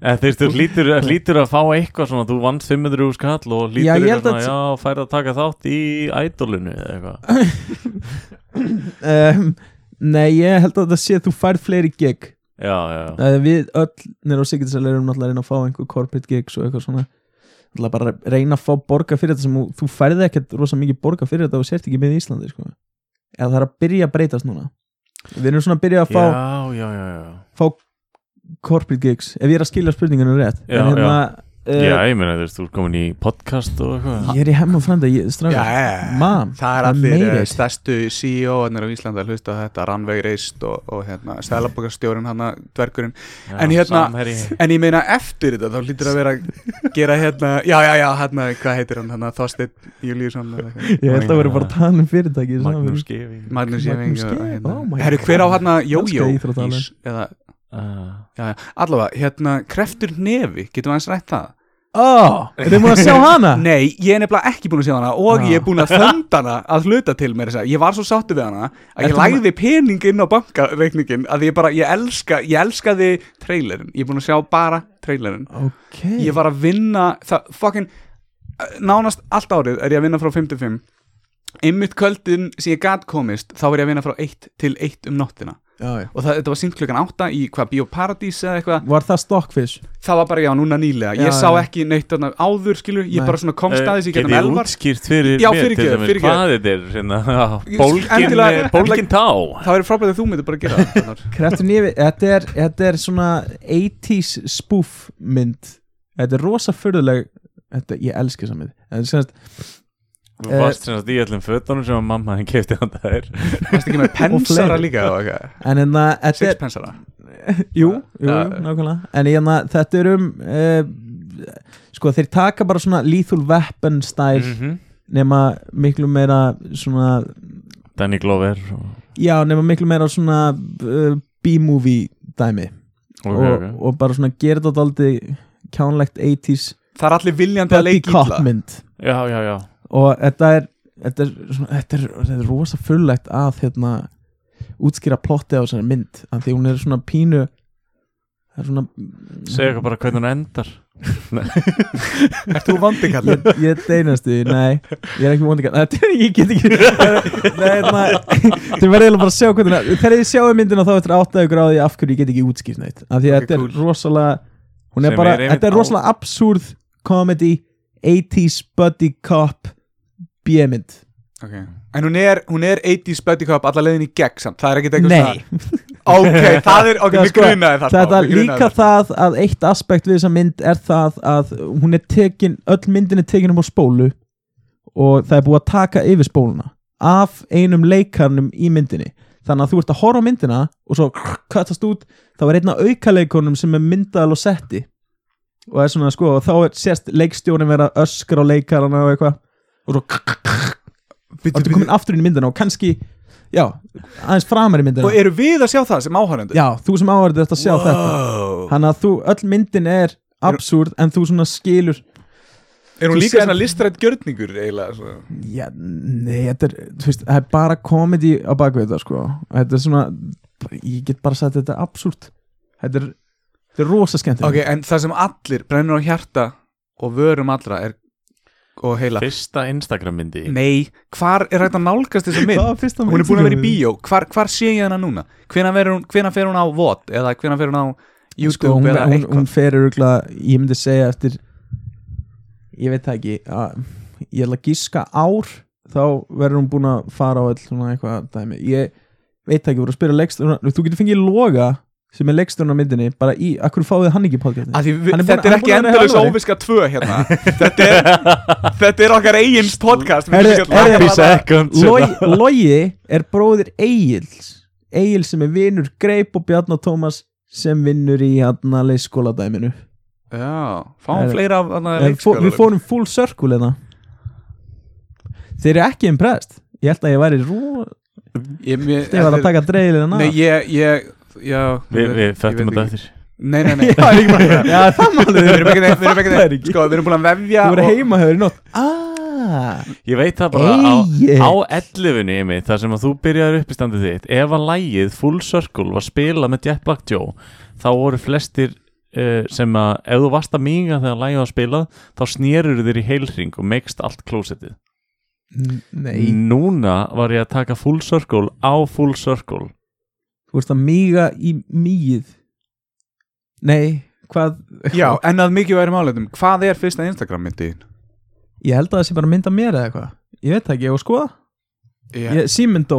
eða, þú veist, þú lítur, lítur að fá eitthvað svona, þú vannst 500 úr skall og lítur
Já, ég
eitthvað
held
svona,
að-
já, færð að taka þátt í ædolinu eða eitthvað,
Um, nei, ég held að það sé að þú færð fleiri gig
já, já, já
Það er við öll nýra á Sigurdsal erum náttúrulega að reyna að fá einhver corporate gigs og eitthvað svona náttúrulega bara að reyna að fá borga fyrir þetta sem þú- þú færði ekkert rosa mikið borga fyrir þetta og sért ekki með í Íslandi sko. eða það er að byrja að breytast núna við erum svona að byrja að fá,
já, já, já, já.
fá corporate gigs ef ég er að skilja spurninginu rétt
Já,
en hérna
Eh,
já,
uh,
ég meina, þú veist, þú er komin í podcast og eitthvað
ég er í hemmum frænda
Já,
strákar,
já, já.
mam
það
það
er
er
allir
meira
eh,
í-
stærstu CEO-arnir á Íslanda að hlusta á þetta, Ranveig Reist og, og hérna, Stælabokastjórin hann dvergurinn
Já,
En hérna-
samherji.
En ég meina eftir þetta þá lítur að vera að gera hérna, já já já, hérna, hvað heitir hann hérna, Þorsteinn Júlíusson eða eitthvað.
ég held að vera bara að tala um fyrirtæki í samfélagi.
Magnús Gefi
Magnús Jefing
Magnús Geir, oh my
Herru, hver á
God.
hérna Jójó
Elska íþróttamenn.
ís, eða,
uh,
já, já, allavega, hérna Kreftur Nefi, getum við aðeins rætt það?
ó, erum við að sjá hana?
Nei, ég er nefnilega ekki búin að sjá hana og
Ah.
ég er búin að þönda hana að hluta til mér þess að ég var svo sáttu við hana að
Ertu
ég læði pening inn á bankareikningin að ég bara, ég elska, ég elskaði trailerin, ég er búin að sjá bara trailerin
ok,
ég var að vinna það, fucking, nánast allt árið er ég að vinna frá 5-5 einmitt kvöldin sem ég gat komist þá er ég að vinna frá 1 til 1 um nóttina
já, já.
og það, þetta var sínt klukkan 8 í hvað Bíóparadís eða eitthvað,
var það stockfish?
það var bara já núna nýlega ég
Já,
sá
já.
ekki neitt þarna áður skilur, ég
Nei.
bara svona komst aðeins í getum
Geti Eh, ég
elvar
útskýrt fyrir
Já,
mér til
fyrirgefðu,
dæmis
fyrirgefðu.
Hvað þetta er hérna?
Ég-
Bólgin,
endilega- Eh,
bólgin tá
Það verður frábært að þú myndir bara gera það Arnar.
Kraftur nýfi, þetta er, þetta er svona 80s spoof mynd Þetta er rosa fyrðuleg þetta, Ég elski þessa mynd En semst,
Þú varst sem sagt í öllum fötunum sem að mamma henni kefti hann þær
Varstu ekki með pensara
fleiri.
líka og eitthvað?
En hérna, þetta
Sex
er
pensara
Jú, jú,
Ja.
jú nákvæmlega En hérna, þetta er um uh, Sko, þeir taka bara svona lethal weapon style
Mhm.
Nema miklu meira svona
Danny Glover og-
Já, nema miklu meira svona uh, eh, B-movie dæmi
Ok,
og,
ok.
og bara svona gera þetta aldrei kjánlegt 80s
Það er allir viljandi að leika
buddy
illa
cop mynd
Já, já, já
og þetta er þetta er, svona, þetta er, þetta er rosa fullegt að hérna, útskýra plotti á þessari mynd af því hún er svona pínu það er svona
Segja eitthvað bara hvernig hún endar
Ert þú vandi kallinn?
ég, ég deynast því, nei ég er ekki vondingar, þetta er ég get ekki nei, hérna þið verður eiginlega bara að sjá hvernig það- þegar ég sjáu myndina þá eftir áttaðu gráði af hverju ég get ekki útskýrt neitt af því að
Ok,
þetta
cool.
er rosalega hún er
Sem
bara,
er einmitt
þetta er
á-
rosalega absúrð comedy, 80s buddy cop B-mynd
Okay. En hún er, hún er 80s buddy cop alla leiðin í gegn samt Það er ekkert eitthvað
nei,
svona Ok, það er, ok,
Það er
mér
sko-
grunaði það
þetta líka það að eitt aspekt við þessa mynd er það að hún er tekin, öll myndin er tekin um á spólu og það er búið að taka yfir spóluna af einum leikarnum í myndinni þannig að þú ert að horfa á myndina og svo kattast út, þá er einn af aukaleikunum sem er myndal og setti og er svona sko, og þá er sérst leikstjónin vera að öskra á leikarana og eitthvað og svo
Bittu,
ertu komin aftur inn í myndina og kannski já, aðeins framar í myndina
Og eru við að sjá það sem áhærendur?
já, þú sem áhverður þetta að sjá þetta
Oh.
Þannig að þú, öll myndin er absúrð en þú svona skilur
Er hún
Þú
líka
sérð-
svona listrætt gjörningur eiginlega? svona?
Já, nei, þetta er, þú veist, það er bara komedi á bakvið þetta, sko Þetta er svona, ég get bara sagt þetta er absúrð Þetta er, þetta er rosa skemmt
Ok, en það sem allir brennur á hjarta og vörum allra er og heila
Fyrsta Instagram myndi
Nei, hvar er hægt að nálgast þessu mynd?
Hvað var fyrsta mynd
Hún er búin
sem
að vera í
þú-
bíó, hvar, hvar sé ég hana núna? Hvena fer hún, hvena fer hún á VOD eða hvena fer hún á YouTube
sko, hún,
eða
hún,
eitthvað?
hún fer örugla, ég myndi segja eftir Ég veit það ekki að, Ég ætla að gíska ár Þá verður hún búin að fara á öll svona eitthvað dæmi Ég veit það ekki, voru að spyrja leikstjórna Þú getur fengið loga sem er leikstjórna myndinni bara í, akkur fáið hann ekki í podcastin
Af því við-
Hann er búin-
Þetta
hann
er
er
ekki
búin að vera
endalus
þjálfari.
óviska 2 hérna þetta, er, þetta er okkar eigin podcast við
Herri,
skulum-
herri,
Happy seconds
Logi, Logi er bróðir Egils Egils sem er vinnur Greip og Bjarnar Tómas sem vinnur í hérna leikskóladæminu
Já, fáum
Herri.
fleira af þarna
En fó, Við
leikskólalögum.
fórum full circle hérna Þeir eru ekki impressed Ég held að ég væri rú
Ég mér-
Þegar var að taka dreigilina
Nei, ég, ég Já,
Við, við
ég
fættum
veit
þetta
ekki.
eftir
Nei, nei, nei
Það er ekki bara Já, það málið
Við erum ekki neitt, við erum ekki
Fattar
neitt
ekki.
Sko, við erum búin að vefja
Þú verður
og-
heima hefur í nótt Ah,
Ég veit það bara
Egill.
á, á 11-unni ymi þar sem að þú byrjaður uppistandið þitt ef að lægið Full Circle var spilað með Jet Black Joe þá voru flestir uh, sem að ef þú varst að minga þegar lægið var spilað þá snýrur þér í heilring og meikst allt klósettið
n- Nei,
Núna var ég að taka Full Circle á Full Circle
þú veist að míga í mýið Nei, hvað
Já, en að mikið væri máliðum Hvað er fyrsta Instagram myndið?
Ég held að það sé bara mynda mér eða eitthvað Ég veit það ekki, ég var skoða
Ég,
yeah. Síminn dó,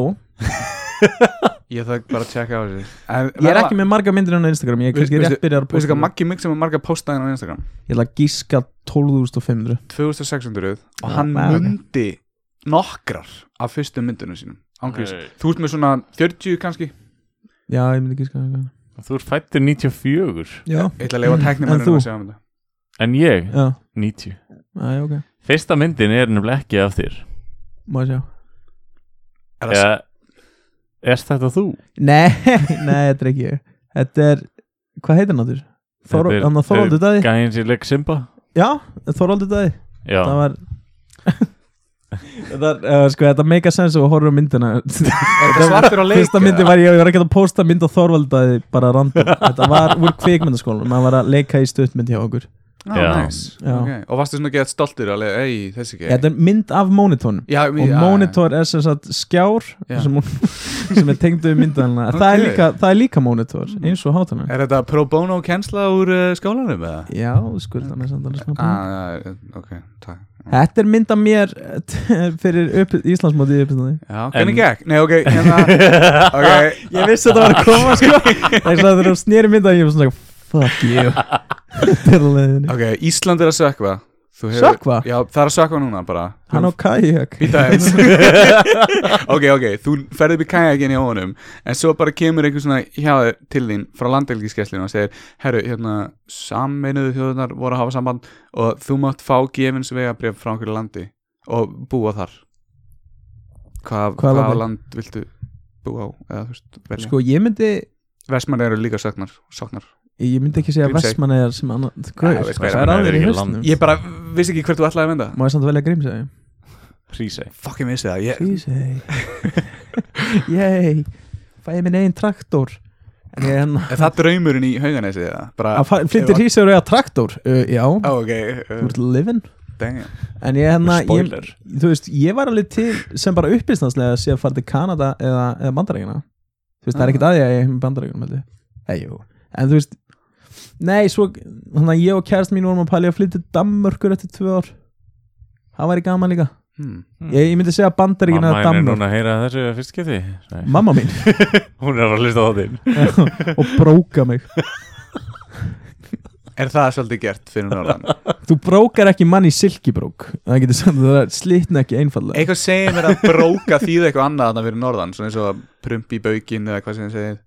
ég þarf bara að tjekka á þessu en,
ég er ekki með marga myndir hann á Instagram Ég er kannski
Veistu-
rétt byrjar að
Þú veist
posta
ekki að Maggi Mix sem er marga postaðin á Instagram
Ég ætla að gíska 12.500
2600 og
Já,
hann
bara, ok.
mundi nokkrar af fyrstu myndunum sínum Ángriðs Þú ert með svona 40 kannski
Já, ég myndi gíska það.
Þú er fættur 94
Já,
Ég ætla að
Mm. En
leifa
þú?
tæknimannum að segja um þetta
en ég
já,
90
já, ok
Fyrsta myndin er nefnilega ekki af þér
Má sjá
Er það
Eða, Er þetta þú?
Nei, nei, þetta er ekki ég Þetta er, hvað heitir hann áttur?
Þetta er-
Þorvaldur Dæði
Gæðin sér leik Simba?
Já, Þorvaldur Dæði
Já
Það var Þetta, uh, sko, þetta make a sense og horfum á myndina
Er það svartur á leik?
Fyrsta myndi var ég, ég var ekki að posta mynd á Þorvaldæði bara random, þetta var úr kvikmyndaskólanum maður var að leika í stuttmynd hjá okkur
Já,
Já.
nice.
Já.
Ok. Og varstu svona gett stoltir að leiða Ei, þessi ekki
Þetta er mynd af mónitónum
Já,
og mónitór er sem sagt skjár
Já.
sem, hún- sem er tengdu við myndalina það, er
Ok.
líka, það er líka mónitór eins og hátanar
Er þetta pro bono kensla úr uh, skólanum eða?
Já, skulda með samt alveg smá pening.
Ah, já, ok, takk
Þetta er mynd af mér eh, fyrir upp, Íslandsmóti uppstæði
Já,
En-
hvernig gekk? Nei, ok, hérna Ok,
Ég vissi að þetta var að koma sko Þegar það eru snýri mynda Ég var svona Fuck you Þetta er leiðinni
Ok, Ísland er að sökva Þú
Sökkva?
Já, það er að sökva núna bara
Hann á kajak
Býta eins Ok, ok, þú ferði upp í kajakinni á honum En svo bara kemur einhver svona hjá þér til þín Frá landelgiskesslinu og segir Herru, hérna, saminuðu þjóðunar voru að hafa samband Og þú mátt fá gefins vegabrif frá einhverju landi Og búa þar Hvað,
Hvaða
hvaða
landi?
land viltu búa á? Eða, þú veist, velja
Sko ég myndi
Vestmann eru líka saknar, saknar.
Ég myndi ekki segja
Grímsey.
Vestmannegar sem annað Hvað
Já,
er
veist
hvað er
hvað,
að
Vestmannaeyjar
þér
eru
í
ekki
hausnum?
Ég bara vissi ekki hvert þú ætlaði að mynda
Má ég samt velja Grímsey?
Prísei
Fucking vissi það ég,
Grímsey Yey Fæði minn einn traktor En ég en
Er það draumurinn í hauganesi eða? Bara,
Að fa- flyttir hýsir og eiga traktor uh, Já,
Ó, ok
þú
uh,
ert livin
dang.
En ég hérna ég,
Spoiler
Þú veist, ég var alveg til sem bara upplýstanslega sé að fara til Kanada eða, eða bandarækina Þú veist, það er
Ah.
ekkert að ég að ég er með bandarækina meldi Eyjú En þú veist Nei, svo Þannig að ég og kærst mín vorum að pæli að flytja til Danmörkur eftir tvö ár Það væri gaman líka
hmm.
Ég, ég myndi segja bandaríkina að
Mamma henn er
Danmörk
núna að heyra þessu fyrst geti Nei,
Mamma mín
Hún er að hlusta á þinn
og bróka mig
Er það svolítið gert fyrir norðan?
Þú brókar ekki mann í silkibrók Það getur samt það er slitna ekki einfallega
Eitthvað segir mér að bróka þýða eitthvað annað þarna fyrir norðan Svona eins og að prumpi í baukinn eða hvað sem þið segir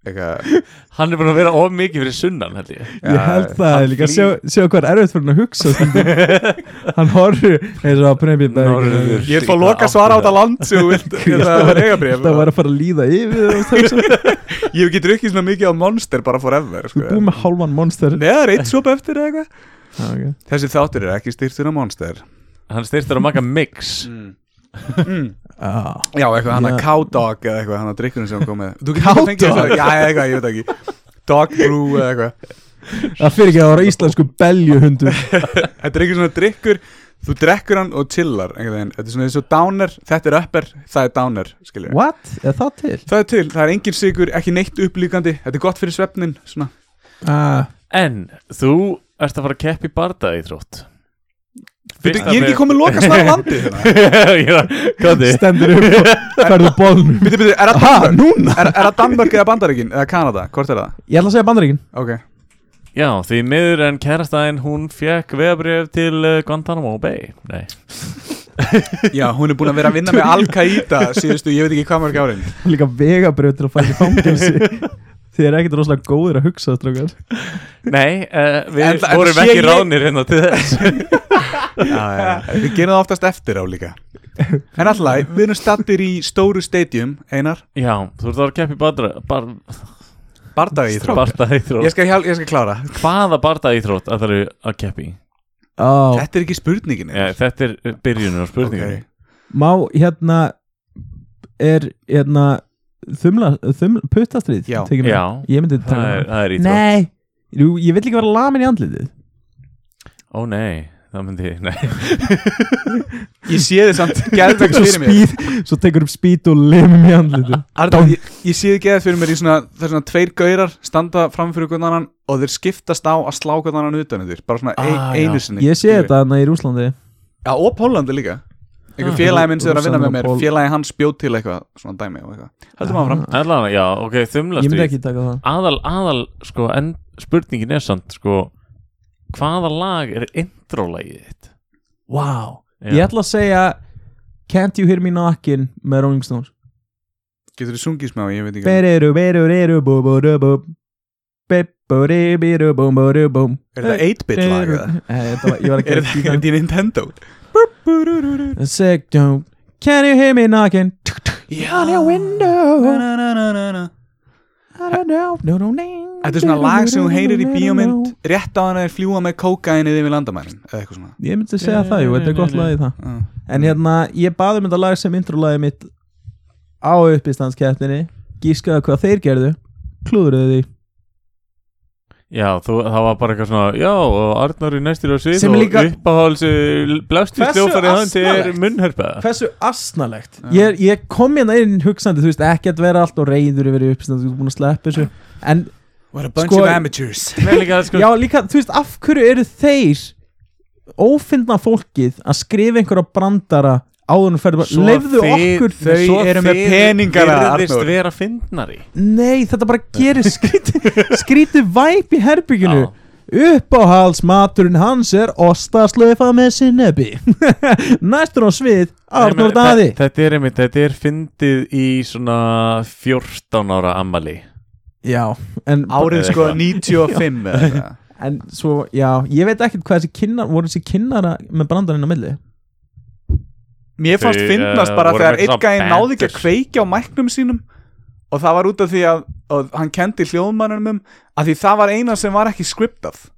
Eitthvað
Hann er búin að vera of mikið fyrir sunnan held ég
Ég held það
hann
er líka
flýr-
Sjá sjá hvað er erfitt fyrir hann að hugsa stundum. Hann horfur eins og að pröfum í dag
Norður.
Ég ætla að loka svara á þetta land sem þú vilt Það var eigabrif
Það var að fara að líða yfir og það hugsa.
Ég hef ekki drukkið svona mikið á Monster bara forever
Þú
sko.
er búið með hálfan monster
Nei, það er eitt sop eftir eða eitthvað
Já, ok.
Þessi þáttur er ekki styrtur á Monster
Hann styrtir að maka mix
Já.
Já, eitthvað hann að
Já.
Cowdog eða eitthvað hann að drikkunum sem kom með Þú getur fengið þess að, já, eitthvað, ég veit ekki Dog Brew eða eitthvað
Það fyrir ekki að það var íslensku beljuhundur
Þetta er eitthvað svona drikkur, þú drekkur hann og chillar einhvern veginn Þetta er svona eins og downer, þetta er upper, það er downer, skilur
What? Er það til?
Það er til, það er engin sigur, ekki neitt upplíkandi Þetta er gott fyrir svefnin, svona
Ah,
En þú ert að fara að keppa í barda í þrótt
Veitu, Ég er ekki komið loka svar landi hérna
Kvæði
Stendur upp og færðu bólnum
Bíddu, bíddu, Er það
Ha,
Danmörk?
Ah, núna?
Er, er það Danmörk eða Bandaríkin eða Kanada? Hvort er það?
Ég ætla að segja bandaríkin
Ok,
Já, því miður en kærastæðin hún fekk vegabrif til uh, Guantanamo Bay Nei,
já, hún er búin að vera að vinna með Al-Qaida síðustu, ég veit ekki hvað mörg árin
Líka vegabröð til að fara í fangelsi Þið er ekkert rosalega góðir að hugsa strókar
Nei uh,
En
við
það- en
vorum
sé
ekki
ég-
ránir hérna til þess
já, já, já. Við gerum það oftast eftir á líka En alltaf, við erum stattir í stóru stadium, Einar
Já, þú ert að fara að keppa í barda, bar,
Bardaga í þrótt
barda í þrótt
Ég skal, hjál- ég skal klára
Hvaða barda í þrótt að það eru að keppa í?
oh.
Þetta er ekki spurningin
Já, þetta er uh, byrjunum á spurningunni
Ok.
Má hérna Er hérna Þumla, þumla puttastrið
Já.
tekin með?
Já,
Ég myndi
það
taka
er, það er í
það Nei, Jú, ég vill ekki vera lamin í andlitið
Ó nei, það myndi ég, nei
Ég sé þið samt geðvegt
Svo
fyrir mér
spýð, svo tekur upp spýt og limum í andlitið
Arna, ég, ég sé þið geðvegt fyrir mér í svona Það er svona tveir gaurar standa framfyrir hvernig annan Og þeir skiptast á að slá hvernig annan utan þér Bara svona ein,
Ah, já.
einu sinni
Ég sé þetta þannig í Rúslandi
Já, og Pólandi líka
Ah.
Einhver félagi minn sem er að vinna með
Rússanar
mér
og Pól-
Félagi hans bjóð til eitthvað Svona dæmi og eitthvað Heldum áfram
Ah,
Allan, já, ok, þumla
Ég myndi ekki taka það
Aðal, aðal, sko, en spurningin er samt, sko Hvaða lag er intro-lagið þitt?
wow.
Já.
Ég ætla að segja Can't you hear me knockin með Rolling Stones
Getur þið sungið smá, ég veit ekki
Beriru, beriru, bú, bú, rú, bú Bibburi, biru, bú, bú, rú, bú
Er þetta 8-bit lag eða?
Nei, þetta var, ég var að
Er
gera
þetta er
bítan
þetta í Nintendo?
Sick, don't Can you hear me knocking
Já
On your window
Na, na, na, na, na.
I don't know no, no, no,
Þetta er svona lag sem þú heyrir í bíómynd Rétt á hann að þeir fljúa með kókainið yfir landamærin Eða eitthvað svona Ah.
Ég myndi segja það, jú, þetta er gott lag í það
Já.
En hérna, ég baði um þetta lag sem introlagið mitt á uppistandskeppninni Gískaðu hvað þeir gerðu Klúðruðu því
Já, þú, það var bara eitthvað svona Já, og Arnar í næstur á svið
Sem
og
líka-
uppáhalds blástu
Hversu
sljófarið hans er
asnalegt?
munnherpa
Hversu asnalegt ég, ég kom hérna inn hugsandi, þú veist, ekki að vera allt og reyður yfir uppistandi, þú er búin að sleppa þessu En
What a bunch
Sko-
of amateurs
Nei, líka, sko,
Já, líka, þú veist, af hverju eru þeir ófinna fólkið að skrifa einhverja brandara áður en ferðu bara,
Svo
leifðu
þið-
okkur
þau
svo
eru með
þið
peningana,
virðist
Arnór.
vera fyndnari
Nei, þetta bara gerir skrítið skrítið væp í herbygginu Uppáhaldsmaturinn hans er ostasleifa með sinnebi Næstur á svið, Arnór Daði
Þe- Þetta er einmitt, þetta er fyndið í svona 14 ára ammali
Já, en,
Árið
Eða
sko
eitthvað.
95 eða eitthvað.
en svo, já, ég veit ekkert hvað þessi kynnar, voru þessi kynnara með brandarinn á milli
Mér fannst
Þau,
finnast
eh,
bara
voru
þegar
með
einn
svona
gæði náði ekki að
banders.
kveikja á mæknum sínum og það var út af því að, að hann kendi hljóðmannunum að því það var eina sem var ekki skriptað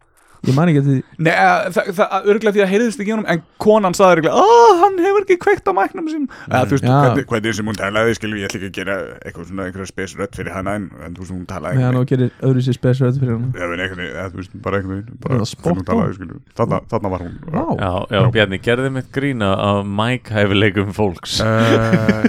Ég man ekki að því
Nei, eh, það, það örgulega því að heyrðist ekki í honum en konan saði örgulega, ó, hann hefur ekki kveikt á mæknum sínum eða þú veist,
Já.
hvernig, hvernig sem hún talaði, skilur, ég ætla ekki að gera eitthvað svona, einhverja spesrött fyrir hana en, en þú veist, hún talaði
Meðan og gerir öðru sér spes rödd fyrir hann
Ég veit einhvern veginn, eða þú veist, bara einhvern veginn
Það
bara
var spot
hvernig hún talaði, skilur, þarna, þarna var hún
Vá,
Já, já, Bjarni, gerði mitt grína af Mike hæfileikum fólks
uh,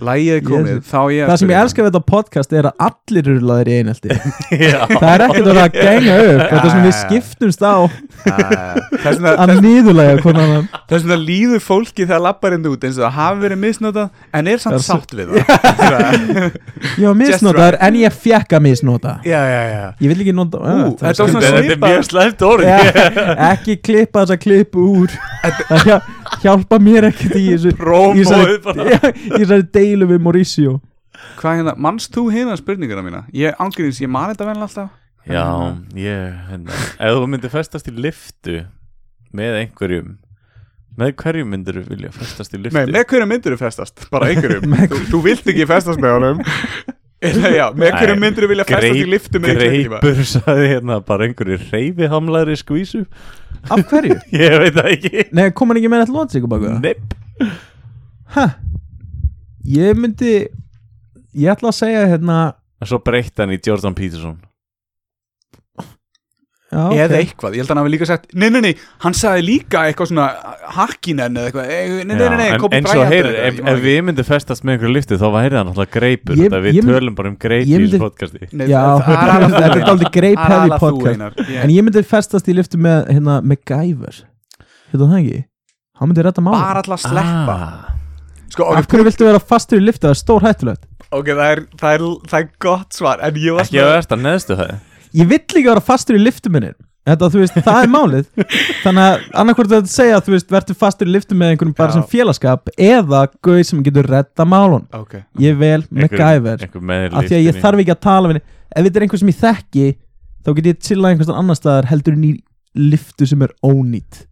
Lægið komið,
Jesus.
þá ég að
Það sem ég
spyrja.
elska við þetta podcast er að allir eru laðir í einelti
Já,
Það er ekkert að vera að genga upp Þetta er sem við skiptumst á
Þess vegna-
að nýðulega konan hann
Þess vegna líður fólki þegar lappar hendur út eins og það hafi verið misnotað en
Það
er samt
er svo-
sátt við það
Ég var misnotaður en ég fekk að misnota
Já, já, já
Ég vil ekki nota
Ú,
uh,
þetta var svona
þetta er
svipað-
mjög slæmt orð
Ekki klippa þessa klipp úr Það hjá- hjálpa mér ekkert í þessu í
Rómóið
þessari-
bara
Já, Í þessari deilu við Mauricio
Hvað hérna, manst þú hérna spurninguna mína? Ég ángriðins, ég man þetta vel alltaf
Já, ég, hérna Ef þú myndir festast í liftu með einhverjum með hverjum myndir þú vilja festast í liftu?
Nei, með hverju myndir þú festast? Bara einhverjum þú, þú vilt ekki festast með honum Eða já, með hverju
Nei,
myndir þú vilja festast í
Greip-
liftu með klukkutíma?
Greipur sagði hérna bara einhverju reyfihamlari skvísu
Af hverju?
Ég veit það ekki
Nei, kom hann ekki með eitthvað lótsíku baka það?
Nepp
Ég myndi Ég ætla að segja hérna
En svo breytti hann í Jordan Peterson
já,
Eða
ok.
eitthvað, ég held að hann hafi líka sagt Nei, nei, nei, hann sagði líka eitthvað svona Hakkinen eða eitthvað "Eh, Nei, nei, nei, nei,
Já, en,
Kobe
en svo
Bryant
heyr,
eða eitthvað, ég
ef,
man
ef
ekki.
við myndum festast með einhverju liftu þá væri það náttúrulega greipur
Ég-
ég, Við
ég-
tölum bara um
ég
greip í þessu
myndi-
podcasti
Já, þetta er dálítið greip hefði podcast En
podcast
ég myndi festast í liftu með hérna MacGyver Hérna það ekki? Hann myndi redda mála
Bara alltaf að sleppa
ah,
Sko,
Af
ok,
hverju viltu vera fastur í liftu? Það er stór hættulegt
ok, það er, það, er, það er gott svar En ég var
Ekki að versta neðstu það
Ég vill ekki vera fastur í liftu minni Þetta, þú veist, það er málið Þannig að annarkvort þetta segja að þú veist Vertu fastur í liftu með einhverjum bara
Já.
sem félagskap Eða gauð sem getur redda málun
Ok,
Ég vel MacGyver
Einhver með
Af því að ég þarf ekki að tala við henni Ef þetta er einhver sem ég þekki Þá get ég chillað einhvers staðar annar staðar Heldur en í liftu sem er ónýtt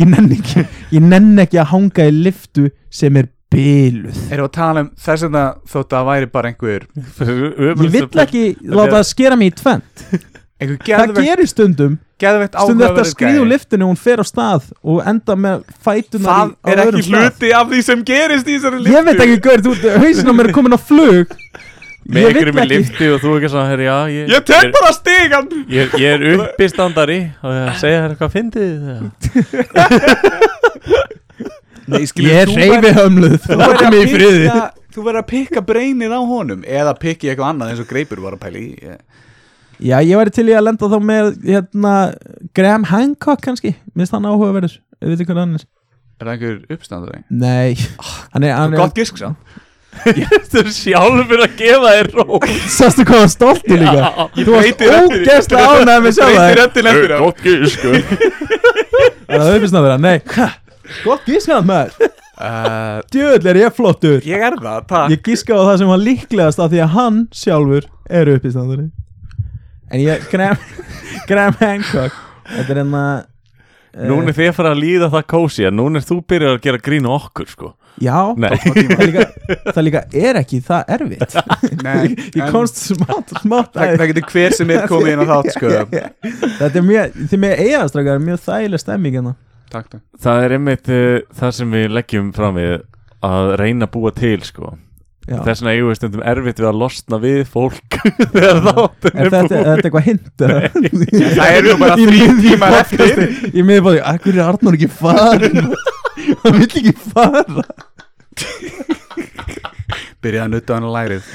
Ég nenn ekki Ég nenn ekki að hanga í liftu Sem er byluð
erum við að tala um þess að þótt að það væri bara einhver
Ég
Ég vill ekki láta það skera mig í tvent
einhver
Það
geðveikt-
gerir stundum
geðveikt
Stundum þetta
áhugaverður
skriðu
gæi.
liftinu Hún fer á stað og enda með fætunar
Það er ekki hluti af því sem gerist í þessari liftu
Ég veit ekki gaur, þú hausinn á mér er komin á flug
Með
Ég
einhverjum
vill
í
ekki-
liftu og þú ekki svona herri, já, ég,
Ég tek bara stigan
ég, ég er uppistandari og ég segja þér hvað fyndið þið það
Nei,
Ég er reyfi hömluð Þú verður mig í friði
Þú verður að pikka breinið á honum Eða pikki eitthvað annað eins og greipur var að pæli í
Já, ég væri til í að lenda þá með hérna, Graham Hancock kannski minnst hann áhugaverður, við veitum hvað hann er
Er það einhver uppstandari?
Nei, hann er, hann er
Gott gisk sá
Þú er sjálfur að gefa þér ró
Sástu hvað hann stolti líka Þú varst
breyti röddinni.
ógeðslega ánægð með sjálf
Breytir
það
röddin eftir á
gísku
sko.
Það er uppist náður, nei ha, Gott gískað maður
Uh,
Djöðl er ég flottur
Ég er það, takk
Ég gíska á það sem var líklegast af því að hann sjálfur er uppist náður En ég, Graham, Graham Hancock Þetta er hérna eh,
Núna er þið að fara að líða það kósi en núna er þú byrjar að gera grín á okkur sko
eh, Já,
Nei.
það líka, það líka er ekki það erfitt
Nei,
Ég
en-
komst smátt, smátt
Það, það getur hver sem er komið inn á þátt sko
Þetta er mjög, þið með eigaðastrákar mjög þægileg stemming hérna
Takk, takk
Það er einmitt uh, það sem við leggjum fram við að reyna að búa til sko
Já.
Þess vegna eigum við stundum erfitt við að losna við fólk þegar
Mm.
þáttin
Er
er
þetta,
búin
er þetta eitthvað hint? eða?
Það eru nú bara
Í
þrý
miðju
tímar
podcasti, Í miður bara, akkur er Arnór ekki farin Hann vill ekki fara
Byrjaði að nutta hann á lærið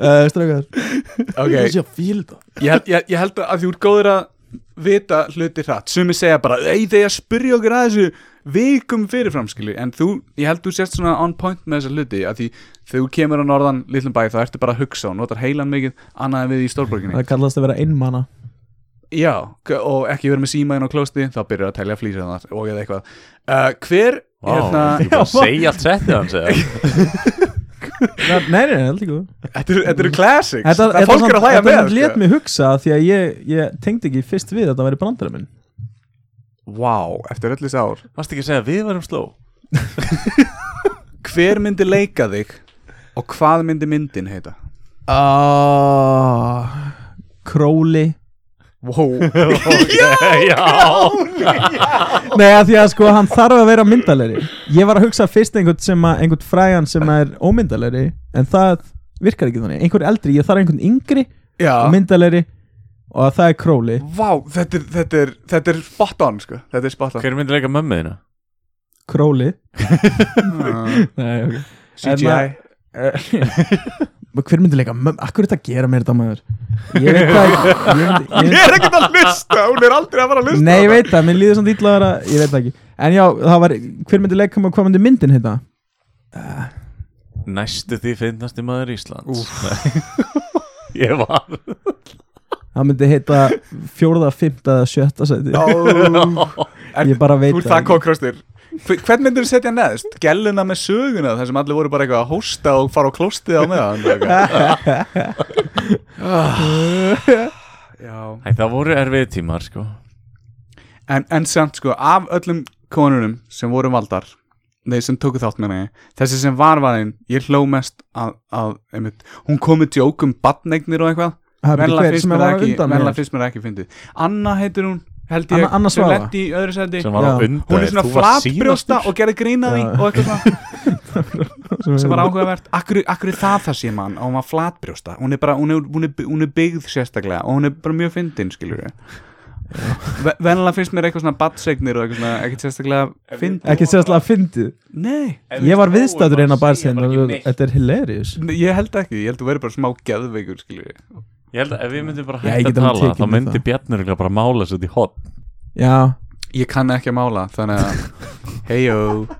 uh, Strákar, það
Ok,
sé að fíla þetta
ég, held- ég, ég held að því úr góður að vita hluti hratt Sumi segja bara, ei þegar spyrja okkur að þessu vikum fyrirfram skilju En þú, ég held þú sért svona on point með þessa hluti að Því þegar þú kemur á norðan litlum bæ þá ertu bara að hugsa og notar heilan mikið annað en við í stórborginni
Það kallast að vera einmana
Já, k- og ekki verið með símaðin á klósti þá byrjar að telja flýsa þannig og eða eitthvað uh, Hver,
Vá,
hérna,
þú bara segja allt settið hans eða
Nei, nei, nei, heldur ekki
þetta eru- þetta eru classics
Þetta,
Það fólk er að hlæja með sko.
Þetta let mig hugsa því að ég, ég tengdi ekki fyrst við að það væri brandara minn
Vá, eftir öllis ár
Varst ekki að segja að við varum sló
hver myndi leika þig og hvað myndi myndin heita
uh, Króli
wow.
Já,
Nei, að því að sko hann þarf að vera myndalegri Ég var að hugsa fyrst einhvern sem að einhvern fræjan sem er ómyndalegri en það virkar ekki þannig einhvern eldri, ég þarf einhvern yngri og
Já,
myndalegri og að það er Króli
vá, þetta er, þetta, er, þetta er spot on sko, þetta er spot on
Hver myndi leika mömmu þína?
Króli
uh,
Nei, ok
CGI
Og Hver myndi leika, mömm- akkur er þetta að gera mér þetta maður Ég veit það ekki Ég myndi- ég-
Ég er ekkert að hlusta, hún er aldrei að fara að hlusta
Nei, ég veit það, mér líður svona ítlaður að vera- Ég veit það ekki En já, það var, hver myndi leika maður, hvað myndi myndin heita?
Næstu því finnasti maður Íslands Nei. Ég var
Það myndi heita fjórða, fymta eða sjötta seti
er-
Ég bara veit
Þú ert það kokkrostir Hvern myndir þú setja neðst? Gelluna með söguna þar sem allir voru bara eitthvað að hósta og fara á klóstið á meðan eitthvað. Ah. Já
Æ, Það voru erfið tímar sko
en, en samt sko, af öllum konunum sem voru valdar þeir sem tóku þátt með mig þessi sem var varinn, ég hló mest að, að einmitt, hún komið djók um batneignir og eitthvað
Það er
Venjulega
hver sem
mér
var
ekki,
undan
venjulega
mér
finnst mér ekki fyndið Anna heitir hún, held ég
Anna- Anna
sem
Svava.
lendi í öðru seti
sem var á
Já.
undan
hún er
þér.
svona
Þú varst
flatbrjósta
síðastur.
og gerði grínaði
Já.
og eitthvað svona sem var áhugavert akkur, akkur er það það sé mann og hún var flatbrjósta hún er bara, hún er, hún er, hún er byggð sérstaklega og hún er bara mjög fyndin skilur við venlega finnst mér eitthvað svona batsegnir og eitthvað svona ekkert sérstaklega fyndin
Ekki sérstaklega fyndið
nei,
Ég var hérna viðstættur einn að barsein Þetta er hilarious
ég held ekki, ég held þú verður bara smá geðveikur skilur við
Ég held að ef við myndum bara
Já, ég
hægt
get
að
alveg
tala
tekið
þá
undir
myndi
það.
Bjarnur örugglega bara mála sér í hot
Já
ég kann ekki að mála, þannig að heyjó,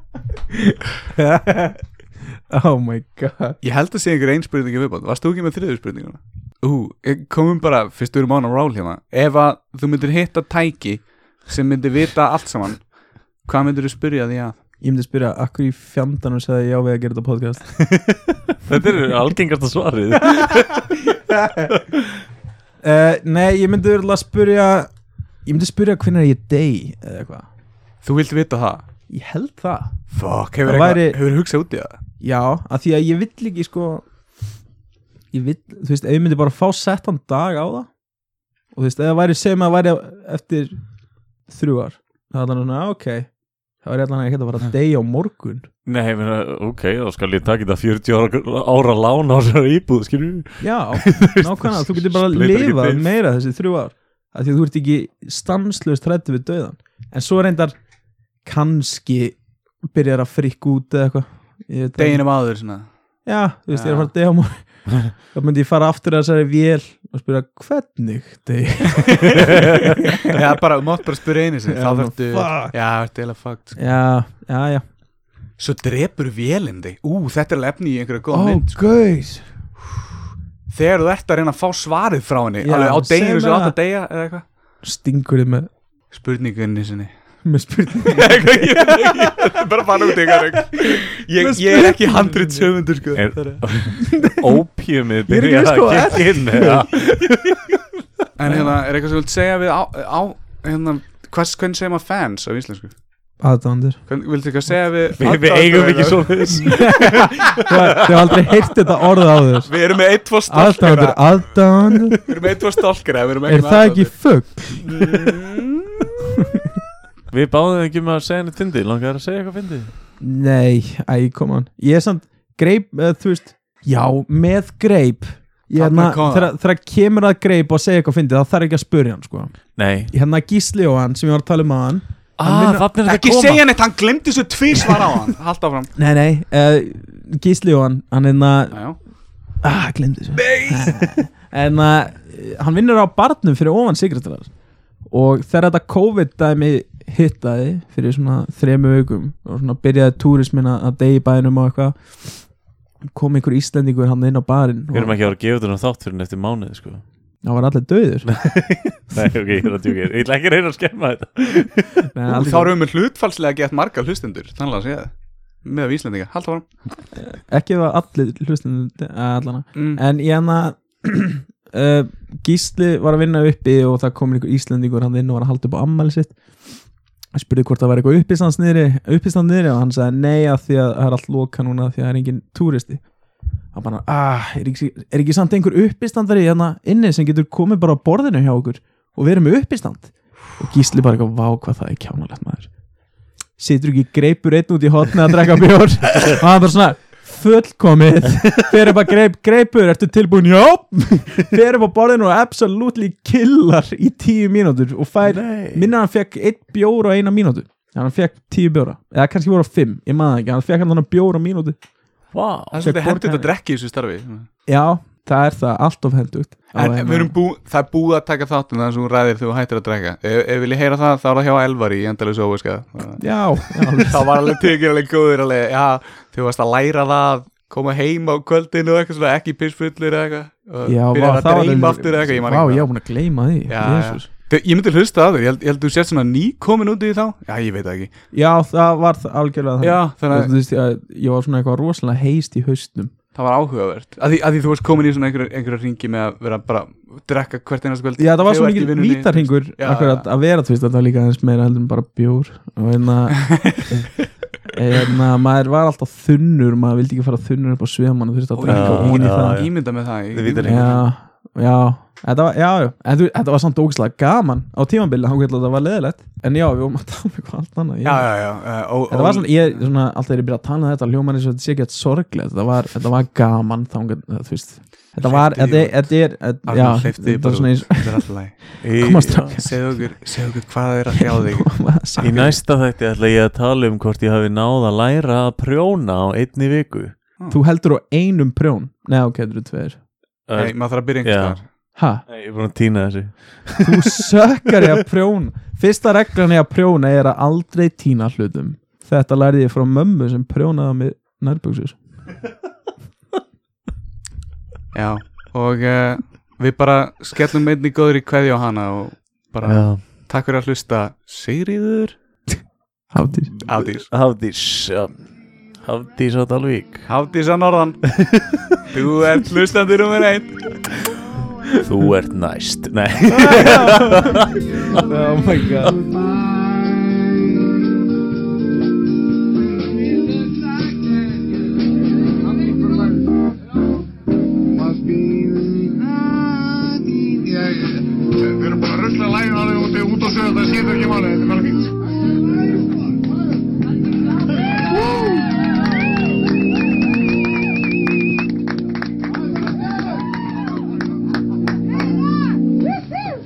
Oh my god
ég held að sé einhver einn spurning í viðbótt, varst þú ekki með þriður spurninguna? Ú, eh, komum bara, fyrst við erum án á ról hérna ef að þú myndir hitta tæki sem myndir vita allt saman hvað myndir þú spyrja því að?
Ég myndi spyrja, akkur í fjandanum segði já við að gera þetta podcast
Þetta er algengasta svarið
uh, Nei, ég myndi örugglega spyrja Ég myndi spyrja hvernig ég dey eða eitthvað
Þú vilt vita það?
Ég held það
Fuck, hefur,
Það
eitthvað,
væri-
hefur hugsað út í það?
Já, að því að ég vill ekki sko ég vill, þú veist, ef ég myndi bara fá settan dag á það og þú veist, ef það væri sem að væri eftir þrjú ár það er þannig svona, "Ah, ok það væri allan ekki að fara að deyja á morgun
Nei, ég meina, ok, þá skal ég taka þetta 40 ára, ára lán á sér íbúð, skilju
Já, nákvæmlega, þú getur bara að
Splitar ekki
lifa
byggð.
meira þessi þrjú ár af því að þú ert ekki stanslust hrættu við döðan en svo reyndar kannski byrjar að frikka út eða eitthvað Ég veit það ekki.
Deginum áður svona
Já, þú veist, ég er að
Já.
fara að deyja á morgun þá myndi ég fara aftur að þessari vél og spyrja hvernig deyja
Já, bara, þú mátt bara spyrja einu sinni
Já,
þá
nú,
þarftu
fuck.
Já, þetta er eða fucked sko.
Já, já, já
Svo drepur vélindi Ú, þetta er alveg efni í einhverju góð
Ó,
mynd
gauð
Þegar þú ert að reyna að fá svarið frá henni
Já,
Alveg á deginu
segðu
sem
mér
átt
það.
að degja eða eitthvað
Stingur þið með,
Spurningunni sinni
með spurning
Ég veit ekki, þetta er bara að fara út í eitthvað ég, ég er ekki handrit sögundur sko
Er- Ópjumið
Ég er ekki
byrja
viss
að
hvað
kikka inn eða?
En hérna, er eitthvað sem þú vilt segja við á, á hérna, hvers, hvernig segir maður fans á íslensku?
Aðdándur
Hvern, viltu eitthvað segja við
Við við eigum ekki svo þess
Þau þau hafa aldrei heyrt þetta orð á þér
Við erum með eitt tvo stálkera
Aðdándur, aðdándur
Við erum með eitt tvo stálkera við erum
Er
með
það ekki
aðdáendur.
fugg?
Við báðum ekki um að segja henni fyndið Langar að segja eitthvað fyndið
Nei, æ, kom on Ég er samt, greip, uh, þú veist Já, með greip Ég hérna,
Þarna kom það.
þegar þegar kemur að greip og segja eitthvað fyndið, þá þarf ekki að spurja hann sko.
Nei
Hérna Gísli og hann sem ég var að tala um að hann
Ah, þannig er þetta
Ekki
koma
segja neitt, hann glemdi svo tvísvar á hann Hald áfram
Nei, nei, uh, Gísli og hann Hann hérna,
Já, já.
ah, glemdi þessu Nei En uh, hann vinnur á barnum fyrir ofan sigratarar Og þegar þetta COVID-dæmi hittaði fyrir svona þremu vikum og svona byrjaði túrismin að að deyja í bæðinum og eitthvað kom einhver Íslendingur hann inn á barinn
Við
og
erum ekki að vera að gefa þetta þátt fyrir næstu mánuði sko
það var allir döður
Nei, ok, ég er að djúka Ég ætla ekki að reyna að skemma þetta
Ú, Þá erum við með hlutfallslega gett marga hlustendur Þannig að segja það Með víslendinga, hald áfram
ekki það allir eh, hlustin allana
mm.
en ég hann að uh, Gísli var að vinna uppi og það kom einhver Íslendingur hann inn og var að halda upp á ammæli sitt Ég spurði hvort það var eitthvað uppistand niðri, uppistand niðri og hann sagði nei að því að það er allt loka núna því að það er engin túristi hann bara, ah, er ekki, er ekki samt einhver uppistandari hérna inni sem getur komið bara á borðinu hjá okkur og verið með uppistand og gísli bara eitthvað, vá hvað það er kjánulegt maður situr ekki greipur einn út í hotni að drekka bjór og hann bara svona fullkomið, fer upp að greip, greipur ertu tilbúin, já fer upp á borðinu og absolutely killar í tíu mínútur og fær minna hann fekk eitt bjór á eina mínútu Já, hann fekk tíu bjóra, eða kannski voru á fimm ég maður ekki, hann fekk hann þannig bjór á mínútu
Vá,
Það er svolítið
borga
hendið að
henni.
drekki í þessu starfi
já, það er það allt of hendugt Á
En
hérna-
við erum búið, það er búið að taka þáttum þannig sem hún ræðir þegar þú hættir að drekka Ef, ef vil ég heyra það, þá er það hjá Elvar í endalus óviska
já, já,
Það var alveg tekið alveg góður alveg, já, þú varst að læra það koma heim á kvöldinu og eitthvað svona ekki pissfullir eða eitthvað og
já
byrjar að
það var
dreyma
alveg-
aftur eða eitthvað, ég man
vá,
ekki
ég
hvað.
var búin að gleyma því
Já,
Jesus.
Þau- Ég myndi hlusta að þér, ég held, ég held þú sért svona ný komin út í þá Já, ég veit það ekki
já, það var það algjörlega þannig.
Já, þannig að
Þú veist, ég, ég var svona eitthvað rosalega heist í haustnum
það var áhugavert að því, að því þú varst komin í svona einhverja einhver ringi með að vera bara að drekka hvert einast kvöld
Já, það var
Þegar
svo
þú ert í
mikið
vinnunni.
vítarhingur
Já,
akkurat að vera, þú veist, þetta var líka aðeins meira heldur en bara bjór og hérna hérna, maður var alltaf þunnur, maður vildi ekki fara þunnur upp á svið mann og þurfti að
Ó,
drekka
já,
ón í
já,
það
Ímynda með það
Þið
ég-
vitið ekki.
Já, já, þetta var, já, já en þú, þetta var samt ógislega gaman á tímambili þá hvernig þetta var leðilegt, en já, við vorum að tala um eitthvað allt annað,
Já,
já
já, já eh, ó-
Þetta var svona, ég, svona, alltaf þegar ég byrja að tala um þetta hljóman eins og þetta sé ekki að sorglegt þetta var, þetta var gaman þangat, þú veist Þetta var,
Hleyptu
þetta
því
er, þetta er, þetta- já,
Arnar, hleyptu því
þetta
bara
var svona eins
Það er alltaf læg
Koma strákar.
Segðu okkur, segðu okkur hvað það er að hrjá þig
Í næsta þætti ætla ég að tala um hvort ég hafi náð að læra að prjóna á einni viku.
Þú heldur á einum prjón Nei, ok, þetta eru tveir
Nei, maður þarf að byrja
Já.
einhvers
Ha,
Nei, ég er búin að týna þessu.
þú sökkar ég að prjón Fyrsta reglan ég að prjóna er að aldrei tína hlutum Þetta lærði ég frá mömmu sem prjónaði með nærbuxur
þar Já, og eh, við bara skellum einni góður í kveðju á hana og bara
Já.
takk fyrir að hlusta Sigriður
Hátís
Afdís
Hafdís, já. Hafdís á Dalvík.
Afdís að norðan Þú ert hlustandi nummer einn
Þú ert næst. Nei.
Oh my god
Við erum búin að rusla lægin á þig út og sögða, það skiptir ekki máli, þetta er